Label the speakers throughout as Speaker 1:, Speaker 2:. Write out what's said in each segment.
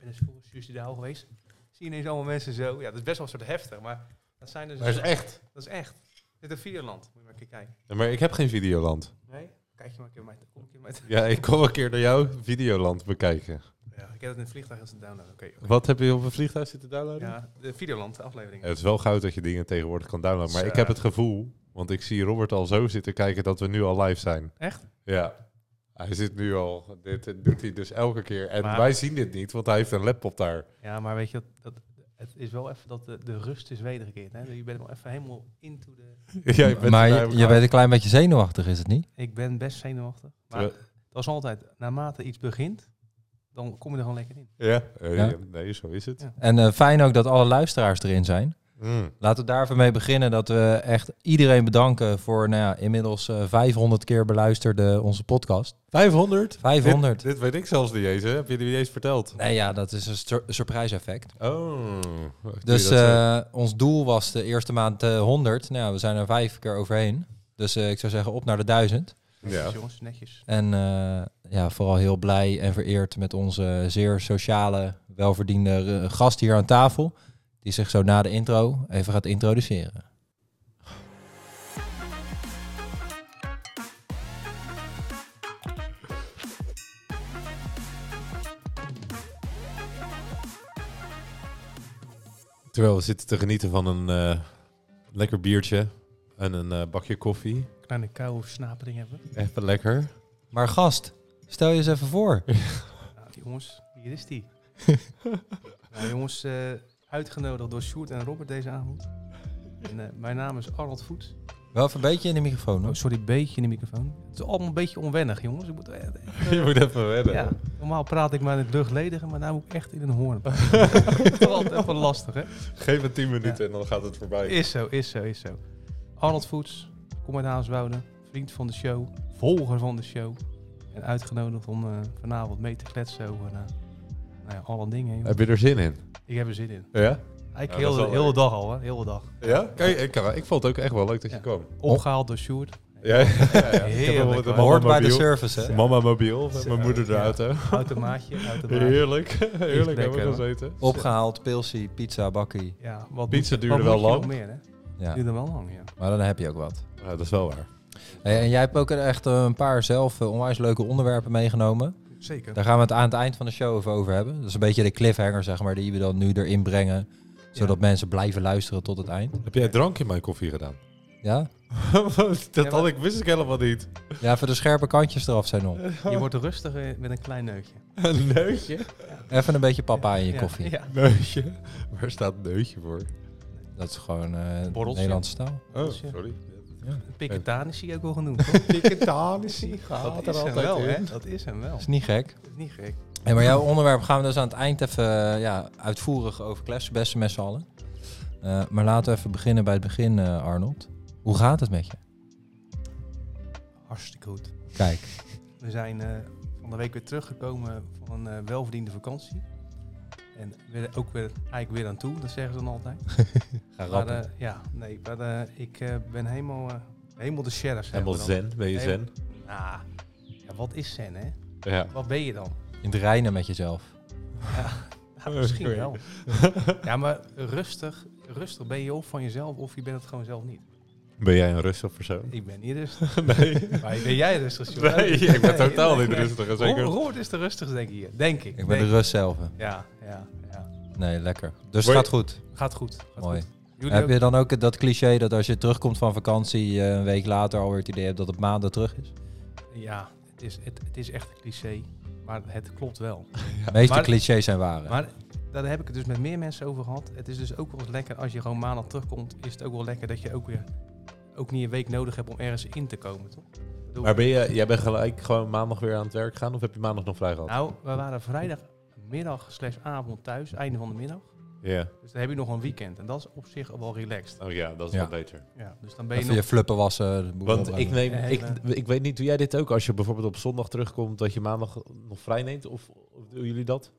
Speaker 1: en is vroeger suicidaal geweest. Zie je ineens allemaal mensen zo. Ja, dat is best wel een soort heftig, maar dat zijn dus.
Speaker 2: Maar dat is echt.
Speaker 1: Dat is echt. Dit is een Vierland. Moet je maar een keer kijken.
Speaker 2: Ja, maar ik heb geen Videoland.
Speaker 1: Nee? Kijk je maar een keer met. Kom een keer met.
Speaker 2: Ja, ik kom een keer naar jouw Videoland bekijken.
Speaker 1: Ja, ik heb het in het vliegtuig als een download. Oké. oké.
Speaker 2: Wat heb je op een vliegtuig zitten downloaden?
Speaker 1: Ja, de Videoland, de aflevering.
Speaker 2: Het is wel goud dat je dingen tegenwoordig kan downloaden. Maar
Speaker 1: Zo.
Speaker 2: ik heb het gevoel, want ik zie Robert al zo zitten kijken dat we nu al live zijn.
Speaker 1: Echt?
Speaker 2: Ja. Hij zit nu al. Dit doet hij dus elke keer. En
Speaker 1: Maar-
Speaker 2: wij zien dit niet, want hij heeft een laptop daar.
Speaker 1: Ja, maar weet je, dat, dat, het is wel even dat de, de rust is wedergekeerd. Hè? Je bent wel even helemaal into de...
Speaker 2: Jij bent
Speaker 3: maar
Speaker 2: er bij
Speaker 3: je, je
Speaker 2: elkaar.
Speaker 3: bent een klein beetje zenuwachtig, is het niet?
Speaker 1: Ik ben best zenuwachtig. Maar dat is altijd, naarmate iets begint, dan kom je er gewoon lekker in.
Speaker 2: Ja. eh,
Speaker 3: Ja.
Speaker 2: Nee, zo is het.
Speaker 1: Ja.
Speaker 3: En eh, fijn ook dat alle luisteraars erin zijn.
Speaker 2: Mm.
Speaker 3: Laten we daar even mee beginnen dat we echt iedereen bedanken voor nou ja, inmiddels eh, 500 keer beluisterde onze podcast.
Speaker 2: 500?
Speaker 3: 500.
Speaker 2: Dit, dit weet ik zelfs niet eens. hè. Heb je die niet eens verteld?
Speaker 3: Nee ja, dat is een sur- surprise effect.
Speaker 2: Oh.
Speaker 3: Dus
Speaker 2: Dat, eh,
Speaker 3: eh, ons doel was de eerste maand eh, 100. Nou ja, we zijn er vijf keer overheen. Dus eh, ik zou zeggen op naar de 1000.
Speaker 1: Netjes,
Speaker 2: Ja.
Speaker 1: jongens, netjes.
Speaker 3: En eh, ja, vooral heel blij en vereerd met onze zeer sociale, welverdiende eh, gast hier aan tafel. Die zich zo na de intro even gaat introduceren.
Speaker 2: Terwijl we zitten te genieten van een eh, lekker biertje en een eh, bakje koffie.
Speaker 1: Kleine kou of snapering hebben. we.
Speaker 2: Even lekker.
Speaker 3: Maar gast, stel je eens even voor.
Speaker 1: Nou, jongens, hier is die. nou, jongens, eh, uitgenodigd door Sjoerd en Robert deze avond. En, eh, mijn naam is Arnold Voets.
Speaker 3: Wel even een beetje in de microfoon.
Speaker 1: Oh,
Speaker 3: Hoor.
Speaker 1: sorry, beetje in de microfoon. Het is allemaal een beetje onwennig, jongens. Ik moet, eh, eh,
Speaker 2: Je moet even wedden.
Speaker 1: ja, normaal praat ik maar in het luchtledige, maar nu moet ik echt in een hoorn. praten. Dat is wel altijd even lastig, hè?
Speaker 2: Geef het 10 minuten en dan gaat het voorbij.
Speaker 1: Is zo, is zo, is zo. Arnold Voets, kom uit Haaswouden, vriend van de show, volger van de show. En uitgenodigd om eh, vanavond mee te kletsen over eh, nou ja, alle dingen. joh.
Speaker 2: Heb je er zin in?
Speaker 1: Ik heb er zin in.
Speaker 2: Ja?
Speaker 1: Eigenlijk
Speaker 2: dat
Speaker 1: heel,
Speaker 2: is
Speaker 1: de,
Speaker 2: wel
Speaker 1: heel de
Speaker 2: leuk.
Speaker 1: dag al, hè? Heel de dag.
Speaker 2: Ja? Kijk, ik, ik vond het ook echt wel leuk dat je
Speaker 1: Ja.
Speaker 2: kwam.
Speaker 1: Opgehaald door Sjoerd.
Speaker 2: Ja, ja, ja, ja. Ik heb
Speaker 1: Heerlijk,
Speaker 2: wel met de
Speaker 1: man.
Speaker 2: mama
Speaker 3: Hoort bij de
Speaker 2: mobiel.
Speaker 3: service, hè?
Speaker 2: Mama mobiel, met mijn moeder de
Speaker 1: Ja.
Speaker 2: auto.
Speaker 1: Automaatje, automaatje.
Speaker 2: Heerlijk, heerlijk hebben
Speaker 1: lekker,
Speaker 2: we
Speaker 1: hoor.
Speaker 2: gezeten.
Speaker 3: Opgehaald, pilsie, pizza, bakkie.
Speaker 1: Ja, wat
Speaker 2: Pizza
Speaker 1: moet-
Speaker 2: duurde
Speaker 1: wat
Speaker 2: wel
Speaker 1: moet je
Speaker 2: lang.
Speaker 1: nog Meer, hè?
Speaker 3: Ja,
Speaker 1: Duurde wel lang, ja.
Speaker 3: maar dan heb je ook wat.
Speaker 2: Ja, dat is wel waar.
Speaker 3: Hey, en jij hebt ook echt eh, een paar zelf eh, onwijs leuke onderwerpen meegenomen.
Speaker 1: Zeker.
Speaker 3: Daar gaan we het aan het eind van de show even over hebben. Dat is een beetje de cliffhanger, zeg maar, die we dan nu erin brengen. Zodat mensen blijven luisteren tot het eind.
Speaker 2: Heb jij drank in mijn koffie gedaan?
Speaker 3: Ja?
Speaker 2: dat
Speaker 1: Ja, maar-
Speaker 2: had ik, wist ik helemaal niet.
Speaker 3: Ja, even de scherpe kantjes eraf zijn op.
Speaker 1: Je wordt rustig eh, met een klein neutje.
Speaker 2: Een neutje?
Speaker 3: Even een beetje papa in je
Speaker 1: Ja,
Speaker 3: koffie.
Speaker 1: Ja.
Speaker 2: Neutje? Waar staat neutje voor?
Speaker 3: Dat is gewoon eh
Speaker 1: Borreltje.
Speaker 3: Nederlandse taal.
Speaker 2: Oh,
Speaker 1: Neutje.
Speaker 2: sorry.
Speaker 1: Piketanis zie je ook wel genoemd. hoor.
Speaker 2: Piketanissie
Speaker 1: Dat is hem wel, hè? Dat is hem wel.
Speaker 3: Dat is niet gek.
Speaker 1: Dat is niet gek.
Speaker 3: Hey, maar jouw onderwerp gaan we dus aan het eind even eh, ja, uitvoerig over kletsen, beste met z'n allen. Eh, maar laten we even beginnen bij het begin, eh, Arnold. Hoe gaat het met je?
Speaker 1: Hartstikke goed.
Speaker 3: Kijk,
Speaker 1: We zijn eh, van de week weer teruggekomen van een eh, welverdiende vakantie. En weer, ook weer, eigenlijk weer aan toe, dat zeggen ze dan altijd.
Speaker 3: ga
Speaker 1: Maar eh, ja, nee, maar eh, ik eh, ben helemaal, eh, helemaal de sheriff. zeggen
Speaker 2: Helemaal
Speaker 1: we dan.
Speaker 2: zen, ben je zen?
Speaker 1: Ah, ja, wat is zen, hè?
Speaker 2: Ja.
Speaker 1: Wat ben je dan?
Speaker 3: In het reinen met jezelf.
Speaker 1: Ja, misschien
Speaker 2: Oké.
Speaker 1: wel. Ja, maar rustig, rustig ben je of van jezelf of je bent het gewoon zelf niet.
Speaker 2: Ben jij een rustig persoon?
Speaker 1: Ik ben dus, niet rustig.
Speaker 2: Nee.
Speaker 1: Maar ben jij rustig, Sjoerd?
Speaker 2: Nee, ik ben
Speaker 1: Nee,
Speaker 2: totaal
Speaker 1: nee,
Speaker 2: niet
Speaker 1: nee. Oh.
Speaker 2: rustig.
Speaker 1: Ro-
Speaker 2: Zeker.
Speaker 1: Roord is de rustigste, denk ik hier. Denk ik.
Speaker 3: Ik ben
Speaker 1: denk
Speaker 3: de rust zelf. hè.
Speaker 1: Ja, ja, ja.
Speaker 3: Nee, lekker. Dus het
Speaker 2: Word je-
Speaker 3: gaat goed.
Speaker 1: Gaat goed. Gaat
Speaker 3: Mooi.
Speaker 1: goed. Jullie
Speaker 3: Heb
Speaker 1: ook?
Speaker 3: je dan ook dat cliché dat als je terugkomt van vakantie, eh, een week later alweer het idee hebt dat het maanden terug is?
Speaker 1: Ja, het is, het, het is echt een cliché, maar het klopt wel.
Speaker 3: De meeste
Speaker 1: maar-
Speaker 3: clichés zijn waar. hè?
Speaker 1: Maar daar heb ik het dus met meer mensen over gehad. Het is dus ook wel eens lekker als je gewoon maandag terugkomt, is het ook wel lekker dat je ook weer ook niet een week nodig hebt om ergens in te komen, toch? Ik bedoel,
Speaker 2: Maar ben je, jij bent gelijk gewoon maandag weer aan het werk gaan of heb je maandag nog vrij gehad?
Speaker 1: nou, we waren vrijdagmiddag slash avond thuis, einde van de middag.
Speaker 2: Ja.
Speaker 1: Dus dan heb je nog een weekend en dat is op zich wel relaxed.
Speaker 2: Oh ja, dat is
Speaker 3: Ja.
Speaker 2: wel beter.
Speaker 1: Ja, dus dan ben je
Speaker 3: Even
Speaker 1: nog...
Speaker 3: je fluppen wassen. de boel
Speaker 2: Want
Speaker 3: opruimen.
Speaker 2: ik neem,
Speaker 1: Ja,
Speaker 2: ik,
Speaker 1: hele-
Speaker 2: ik weet niet, doe jij dit ook als je bijvoorbeeld op zondag terugkomt, dat je maandag nog vrij neemt? Of, of doen jullie dat?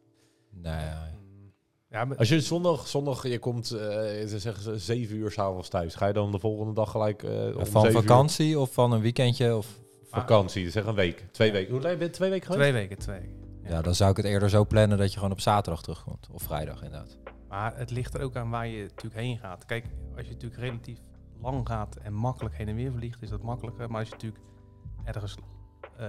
Speaker 3: Nee, nee.
Speaker 1: Mm, Ja, maar
Speaker 2: Als je zondag, zondag je komt, eh ze zeggen ze zeven uur s'avonds thuis, ga je dan de volgende dag gelijk eh om
Speaker 3: Van
Speaker 2: zeven uur-
Speaker 3: vakantie of van een weekendje? Of...
Speaker 2: vakantie, zeg een week, twee weken. Hoe lang ben je twee weken geweest?
Speaker 1: twee weken, twee weken. Ja.
Speaker 3: Ja, dan zou ik het eerder zo plannen dat je gewoon op zaterdag terugkomt. Of vrijdag inderdaad.
Speaker 1: Maar het ligt er ook aan waar je natuurlijk heen gaat. Kijk, als je natuurlijk relatief lang gaat en makkelijk heen en weer vliegt, is dat makkelijker. Maar als je natuurlijk ergens eh,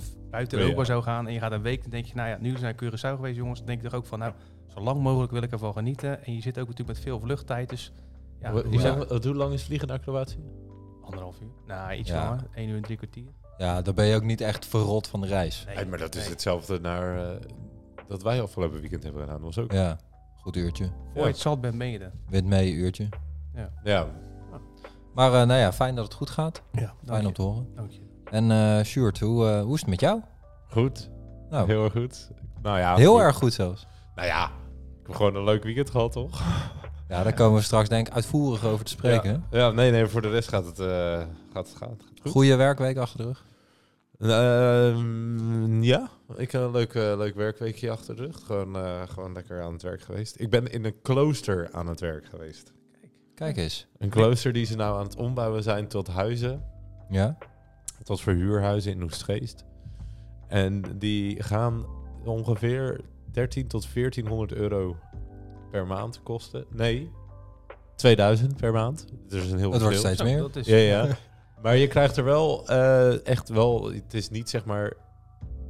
Speaker 1: f- buiten
Speaker 2: Ja.
Speaker 1: Europa zou gaan en je gaat een week, dan denk je, nou ja, nu zijn we Curaçao geweest, jongens. Dan denk je toch ook van, nou, zo lang mogelijk wil ik ervan genieten. En je zit ook natuurlijk met veel vluchttijd, dus ja,
Speaker 2: Hoe-
Speaker 1: die
Speaker 2: hoe,
Speaker 1: zijn
Speaker 2: lang, wat- hoe lang is vliegen naar Kroatië?
Speaker 1: anderhalf uur. Nou, iets
Speaker 3: Ja.
Speaker 1: langer. 1 uur en drie kwartier.
Speaker 3: Ja, dan ben je ook niet echt verrot van de reis.
Speaker 1: Nee,
Speaker 2: Hey, maar dat is
Speaker 1: nee.
Speaker 2: hetzelfde naar eh, dat wij afgelopen weekend hebben gedaan. Dat was ook.
Speaker 3: Ja, goed uurtje.
Speaker 1: Voor je het zat bent, ben je er.
Speaker 3: Wind mee, uurtje.
Speaker 2: Ja,
Speaker 3: Maar eh, nou ja, fijn dat het goed gaat.
Speaker 1: Ja,
Speaker 3: Fijn om
Speaker 1: dank
Speaker 3: te
Speaker 1: je.
Speaker 3: horen.
Speaker 1: Dank je.
Speaker 3: En eh Sjoerd, hoe, eh, hoe is het met jou?
Speaker 2: goed.
Speaker 3: Nou, heel,
Speaker 2: Heel erg goed. Nou ja, goed.
Speaker 3: erg goed zelfs.
Speaker 2: Nou ja, ik heb gewoon een leuk weekend gehad, toch?
Speaker 3: Ja, daar komen we straks denk ik uitvoerig over te spreken. hè?
Speaker 2: Ja, nee, nee, voor de rest gaat het, eh, gaat, het- gaat, het goed.
Speaker 3: Goede werkweek achter de rug.
Speaker 2: Ehm, ja, ik heb een leuk, eh, leuk werkweekje achter de rug. Gewoon, eh, gewoon lekker aan het werk geweest. Ik ben in een klooster aan het werk geweest.
Speaker 3: Kijk eens.
Speaker 2: Een klooster die ze nou aan het ombouwen zijn tot huizen.
Speaker 3: Ja?
Speaker 2: Het was verhuurhuizen in Oestgeest. En die gaan ongeveer 13 tot 1400 euro per maand kosten. Nee, 2000 per maand. Dat is een heel
Speaker 3: Het wordt
Speaker 2: verschil.
Speaker 3: steeds
Speaker 1: Zo,
Speaker 3: meer.
Speaker 1: dat is-
Speaker 2: Ja, ja. Maar je krijgt er wel eh, echt wel... Het is niet zeg maar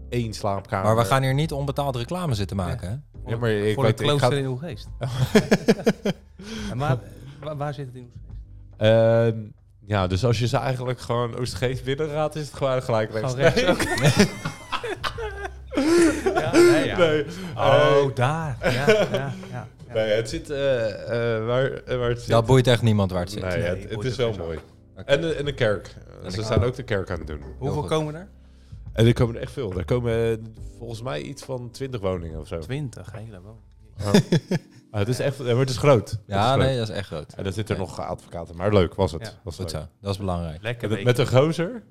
Speaker 2: één slaapkamer.
Speaker 3: Maar we gaan hier niet onbetaald reclame zitten maken. Hè?
Speaker 1: Voor,
Speaker 2: Ja, maar ik
Speaker 1: voor
Speaker 2: weet-
Speaker 1: een
Speaker 2: ik ga-
Speaker 1: klooster in uw geest. En waar, waar, waar zit het in uw geest?
Speaker 2: Ehm, ja, dus als je ze eigenlijk gewoon Oostgeest binnenraadt, is het gewoon gelijk rechts.
Speaker 1: Gewoon rechts, Ja, nee, ja.
Speaker 2: Nee. Eh,
Speaker 1: Oh, daar. Ja, ja, ja, ja.
Speaker 2: Nee, het zit eh, eh, waar, eh, waar het zit.
Speaker 3: Dat boeit echt niemand waar het zit.
Speaker 2: Nee,
Speaker 1: Nee,
Speaker 2: het,
Speaker 1: boeit
Speaker 2: het
Speaker 1: ook
Speaker 2: is wel
Speaker 1: geen zak.
Speaker 2: mooi.
Speaker 3: Oké.
Speaker 2: En, de, en de kerk. Ze
Speaker 3: kerk.
Speaker 2: zijn ook de kerk aan het doen.
Speaker 1: Hoeveel
Speaker 3: goed.
Speaker 1: komen er?
Speaker 2: En er komen er echt veel. Er komen eh, volgens mij iets van 20 woningen of zo.
Speaker 1: Twintig, helemaal.
Speaker 2: Ah, het is echt, eh, maar het is groot. Het is
Speaker 3: Ja,
Speaker 2: groot.
Speaker 3: nee, dat is echt groot.
Speaker 2: En dan zitten er
Speaker 3: Nee.
Speaker 2: nog advocaten. Maar leuk was het.
Speaker 1: Ja.
Speaker 2: was
Speaker 3: Goed
Speaker 2: leuk.
Speaker 3: zo. Dat is belangrijk.
Speaker 1: Lekker
Speaker 2: Met, met een gozer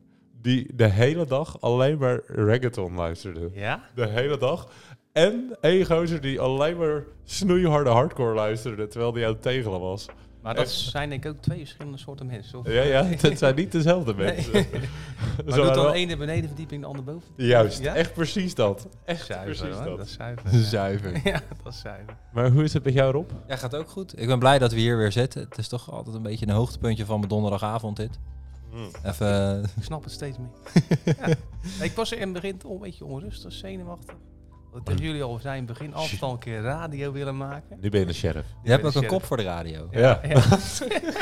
Speaker 2: die de hele dag alleen maar reggaeton luisterde.
Speaker 1: Ja?
Speaker 2: De hele dag. En één gozer die alleen maar snoeiharde hardcore luisterde, terwijl die aan het tegelen was.
Speaker 1: Maar dat zijn denk ik ook twee verschillende soorten mensen. Of?
Speaker 2: Ja, ja, het zijn niet dezelfde mensen.
Speaker 1: Nee.
Speaker 2: Ze
Speaker 1: Maar
Speaker 2: waren
Speaker 1: doet dan
Speaker 2: wel-
Speaker 1: de ene beneden verdieping, de andere boven?
Speaker 2: Juist,
Speaker 1: Ja?
Speaker 2: echt precies dat. Echt
Speaker 1: Zuiver,
Speaker 2: precies
Speaker 1: hoor.
Speaker 2: dat.
Speaker 1: Dat. is zuiver. Ja.
Speaker 3: Zuiver.
Speaker 1: Ja, dat is zuiver.
Speaker 2: Maar hoe is het met jou, Rob?
Speaker 3: Ja, gaat ook goed. Ik ben blij dat we hier weer zitten. Het is toch altijd een beetje een hoogtepuntje van mijn donderdagavond dit.
Speaker 2: Hmm.
Speaker 3: Even, eh,
Speaker 1: Ik snap het steeds meer. ja. Nee, Ik was er in het begin toch een beetje onrustig, zenuwachtig. Want tegen jullie al zijn begin af al een keer radio willen maken.
Speaker 2: Nu ben je de sheriff.
Speaker 3: je hebt ook een
Speaker 1: sheriff.
Speaker 3: kop voor de radio.
Speaker 1: Ja. Ja.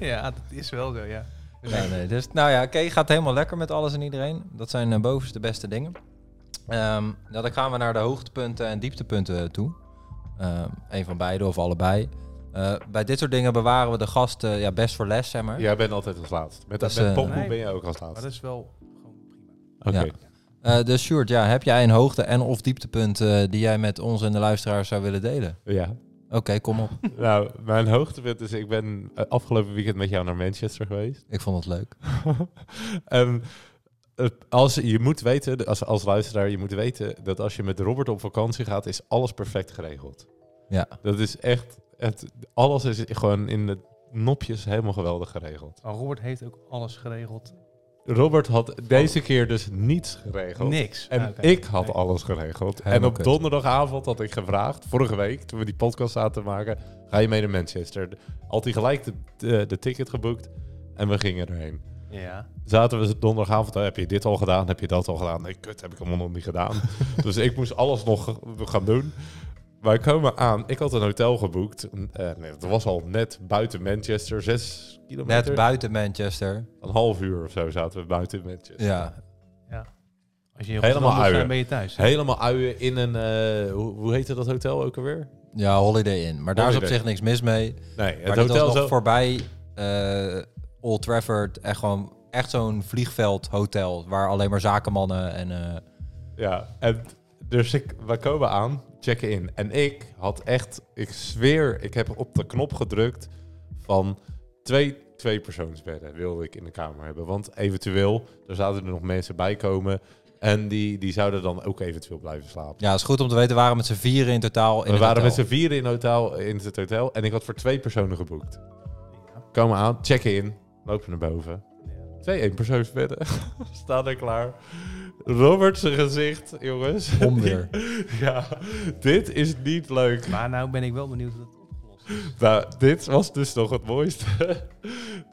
Speaker 1: Ja, dat is wel zo, ja.
Speaker 3: Ja, nee, dus, nou ja, oké, gaat helemaal lekker met alles en iedereen. Dat zijn eh, bovenste beste dingen. Ehm, nou, dan gaan we naar de hoogtepunten en dieptepunten toe. Ehm, een van beide of allebei. Eh, bij dit soort dingen bewaren we de gast eh, ja, best voor les, zeg maar.
Speaker 2: Jij bent altijd als laatst. Met,
Speaker 3: Dus,
Speaker 2: met
Speaker 3: eh,
Speaker 2: Popboek
Speaker 1: Nee.
Speaker 2: ben je ook als
Speaker 1: Maar
Speaker 2: laatst.
Speaker 1: dat is wel gewoon prima.
Speaker 2: Oké.
Speaker 3: Ja. Eh, dus Sjoerd, ja, heb jij een hoogte- en of dieptepunt eh, die jij met ons en de luisteraars zou willen delen?
Speaker 2: Ja.
Speaker 3: Oké, kom op.
Speaker 2: nou, mijn hoogtepunt is, ik ben eh, afgelopen weekend met jou naar Manchester geweest.
Speaker 3: Ik vond het leuk.
Speaker 2: En het- als, je moet weten, als, als luisteraar, je moet weten dat als je met Robert op vakantie gaat, is alles perfect geregeld.
Speaker 3: Ja.
Speaker 2: Dat is echt, het, alles is gewoon in de nopjes helemaal geweldig geregeld.
Speaker 1: Maar Oh, Robert heeft ook alles geregeld.
Speaker 2: Robert had deze keer dus niets geregeld.
Speaker 1: Niks.
Speaker 2: En
Speaker 1: Ah, oké.
Speaker 2: ik had
Speaker 1: Nee.
Speaker 2: alles geregeld.
Speaker 3: Helemaal
Speaker 2: en op
Speaker 3: kut.
Speaker 2: donderdagavond had ik gevraagd, vorige week, toen we die podcast zaten te maken, ga je mee naar Manchester? Had hij gelijk de, de, de ticket geboekt en we gingen erheen.
Speaker 1: Ja.
Speaker 2: Zaten we donderdagavond, heb je dit al gedaan, heb je dat al gedaan? Nee, kut, heb ik allemaal nog niet gedaan. dus ik moest alles nog gaan doen. Wij komen aan, ik had een hotel geboekt. Eh, nee, dat was al net buiten Manchester, zes kilometer.
Speaker 3: Net buiten Manchester.
Speaker 2: een half uur of zo zaten we buiten Manchester.
Speaker 3: Ja.
Speaker 1: Als je heel
Speaker 2: Helemaal
Speaker 1: Helemaal uit
Speaker 2: uien.
Speaker 1: bent, ben je thuis.
Speaker 2: Helemaal uien in een... eh, hoe, hoe heette dat hotel ook alweer?
Speaker 3: Ja, Holiday Inn. Maar daar is
Speaker 2: Holiday.
Speaker 3: op zich niks mis mee.
Speaker 2: Nee, het
Speaker 3: maar dit
Speaker 2: hotel
Speaker 3: was nog
Speaker 2: zo...
Speaker 3: voorbij eh, Old Trafford. Echt gewoon echt zo'n vliegveldhotel waar alleen maar zakenmannen en... eh,
Speaker 2: Ja, en dus ik, wij komen aan, checken in. En ik had echt, ik zweer, ik heb op de knop gedrukt van twee tweepersoonsbedden wilde ik in de kamer hebben. Want eventueel, er zouden er nog mensen bij komen en die, die zouden dan ook eventueel blijven slapen.
Speaker 3: ja, is goed om te weten. We waren met z'n vieren in totaal in
Speaker 2: We
Speaker 3: het
Speaker 2: waren met
Speaker 3: hotel.
Speaker 2: z'n vieren in, hotel, in het hotel en ik had voor twee personen geboekt. Komen aan, checken in, lopen naar boven.
Speaker 1: Ja.
Speaker 2: Twee eenpersoonsbedden. Staan er klaar. Robert zijn gezicht, jongens.
Speaker 3: Omweer.
Speaker 2: ja, dit is niet leuk.
Speaker 1: Maar nou ben ik wel benieuwd hoe dat opgelost is.
Speaker 2: Nou, dit was dus nog het mooiste.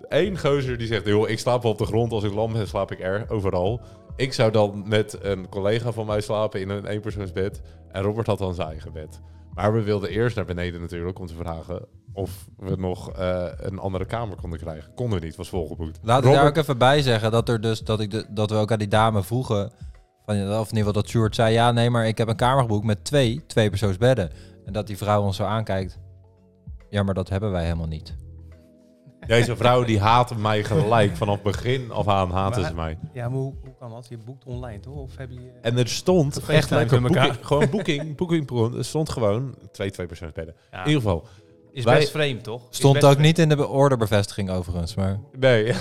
Speaker 2: Eén gozer die zegt, joh, ik slaap wel op de grond. Als ik lam ben, slaap ik er, overal. Ik zou dan met een collega van mij slapen in een eenpersoonsbed. En Robert had dan zijn eigen bed. Maar we wilden eerst naar beneden natuurlijk om te vragen of we nog eh, een andere kamer konden krijgen. Konden we niet, was volgeboekt.
Speaker 3: Laat ik
Speaker 2: Robert-
Speaker 3: daar ook even bij zeggen dat, er dus, dat, ik de- dat we ook aan die dame vroegen. Van, of in ieder geval dat Sjoerd zei: Ja, nee, maar ik heb een kamer geboekt met twee, twee persoonsbedden. En dat die vrouw ons zo aankijkt. Ja, maar dat hebben wij helemaal niet.
Speaker 2: Deze vrouw die haatte mij gelijk. Vanaf begin af aan haatte ze
Speaker 1: Maar-
Speaker 2: mij.
Speaker 1: Ja, maar hoe, hoe kan dat? Je boekt online, toch? Of heb je...
Speaker 2: En er stond
Speaker 1: Op
Speaker 2: echt
Speaker 1: FaceTime
Speaker 2: lekker
Speaker 1: met elkaar.
Speaker 2: boeking, gewoon boeking, boeking, er stond gewoon twee tweepersoonsbedden.
Speaker 1: Ja,
Speaker 2: In ieder geval,
Speaker 1: is
Speaker 2: wij-
Speaker 1: best vreemd, toch? Is
Speaker 3: Stond
Speaker 1: best
Speaker 3: ook
Speaker 1: vreemd.
Speaker 3: niet in de orderbevestiging overigens. Maar
Speaker 2: nee,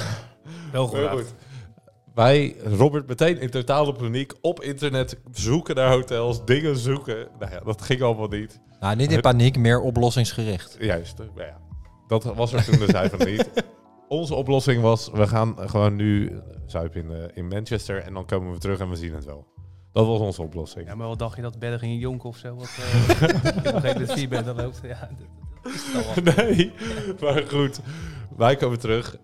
Speaker 1: Wel goed.
Speaker 2: Heel goed. Wij, Robert, meteen in totale paniek op internet zoeken naar hotels, dingen zoeken. Nou ja, dat ging allemaal niet.
Speaker 3: nou, niet in paniek, meer oplossingsgericht.
Speaker 2: Juist, nou ja. Dat was er toen dus eigenlijk niet. Onze oplossing was, we gaan gewoon nu zuipen in, eh, in Manchester en dan komen we terug en we zien het wel. Dat was onze oplossing.
Speaker 1: Ja, maar wat dacht je dat bedden gingen jonken of zo? Wat, eh, ik heb begrepen dat vier bedden loopt. Ja, dat, dat is het al wel.
Speaker 2: Nee, maar goed. Wij komen terug.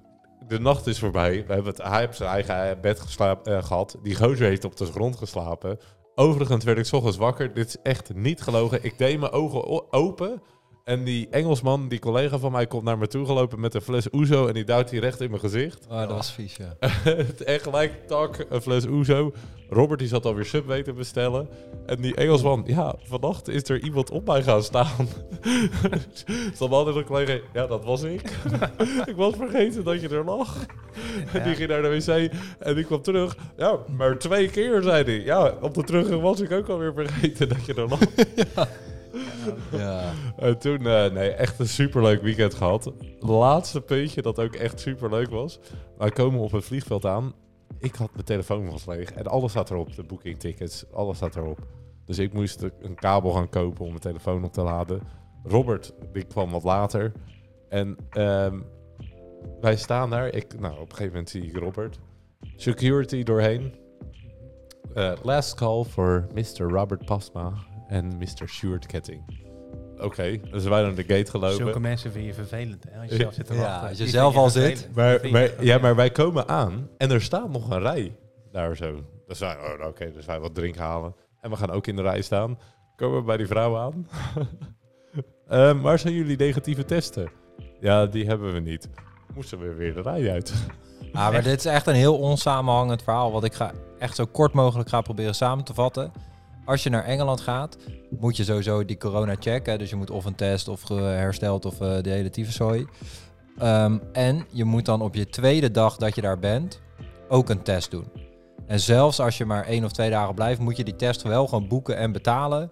Speaker 2: De nacht is voorbij. We hebben het, hij heeft zijn eigen bed geslaap, eh, gehad. Die gozer heeft op de grond geslapen. Overigens werd ik 's ochtends wakker. Dit is echt niet gelogen. Ik deed mijn ogen o- open. En die Engelsman, die collega van mij, komt naar me toe gelopen met een fles Oezo. En die duwt die recht in mijn gezicht.
Speaker 3: Oh, dat was vies, ja.
Speaker 2: en gelijk, tak, een fles Oezo. Robert die zat alweer Subway te bestellen. En die Engelsman, ja, vannacht is er iemand op mij gaan staan. Stond altijd een collega, ja, dat was ik. ik was vergeten dat je er lag. En die ging naar de wc en die kwam terug. Ja, maar twee keer, zei hij. Ja, op de terugweg was ik ook alweer vergeten dat je er lag.
Speaker 3: ja.
Speaker 2: En toen, eh, nee, echt een superleuk weekend gehad. Laatste puntje dat ook echt superleuk was. Wij komen op het vliegveld aan. Ik had mijn telefoon was leeg en alles staat erop. De booking tickets, alles staat erop. Dus ik moest een- een kabel gaan kopen om mijn telefoon op te laden. Robert, die kwam wat later. En ehm, wij staan daar. Ik, nou, op een gegeven moment zie ik Robert. Security doorheen. Eh, last call for Mr. Robert Pasma en Mr. Stuart Ketting. Oké, dus wij naar de gate
Speaker 1: Zulke
Speaker 2: gelopen. mensen.
Speaker 1: mensen vind je vervelend, hè? Als je zelf zit te
Speaker 3: Ja,
Speaker 1: wachten.
Speaker 3: als je
Speaker 1: Die
Speaker 3: zelf
Speaker 1: vind
Speaker 3: al
Speaker 1: vervelend.
Speaker 3: zit.
Speaker 2: Maar,
Speaker 1: Die vind je
Speaker 2: maar, ja,
Speaker 1: vervelend.
Speaker 2: maar wij komen aan en er staat nog een rij daar zo. Dus wij, oh, oké, dus wij wat drink halen. En we gaan ook in de rij staan. Komen we bij die vrouw aan. Ehm, waar zijn jullie negatieve testen? Ja, die hebben we niet. Moesten we weer de rij uit.
Speaker 3: Ah, maar dit is echt een heel onsamenhangend verhaal. Wat ik ga echt zo kort mogelijk ga proberen samen te vatten. Als je naar Engeland gaat, moet je sowieso die corona checken. Dus je moet of een test of ge- hersteld of eh, de hele tyfuszooi. Ehm, en je moet dan op je tweede dag dat je daar bent ook een test doen. En zelfs als je maar één of twee dagen blijft, moet je die test wel gewoon boeken en betalen.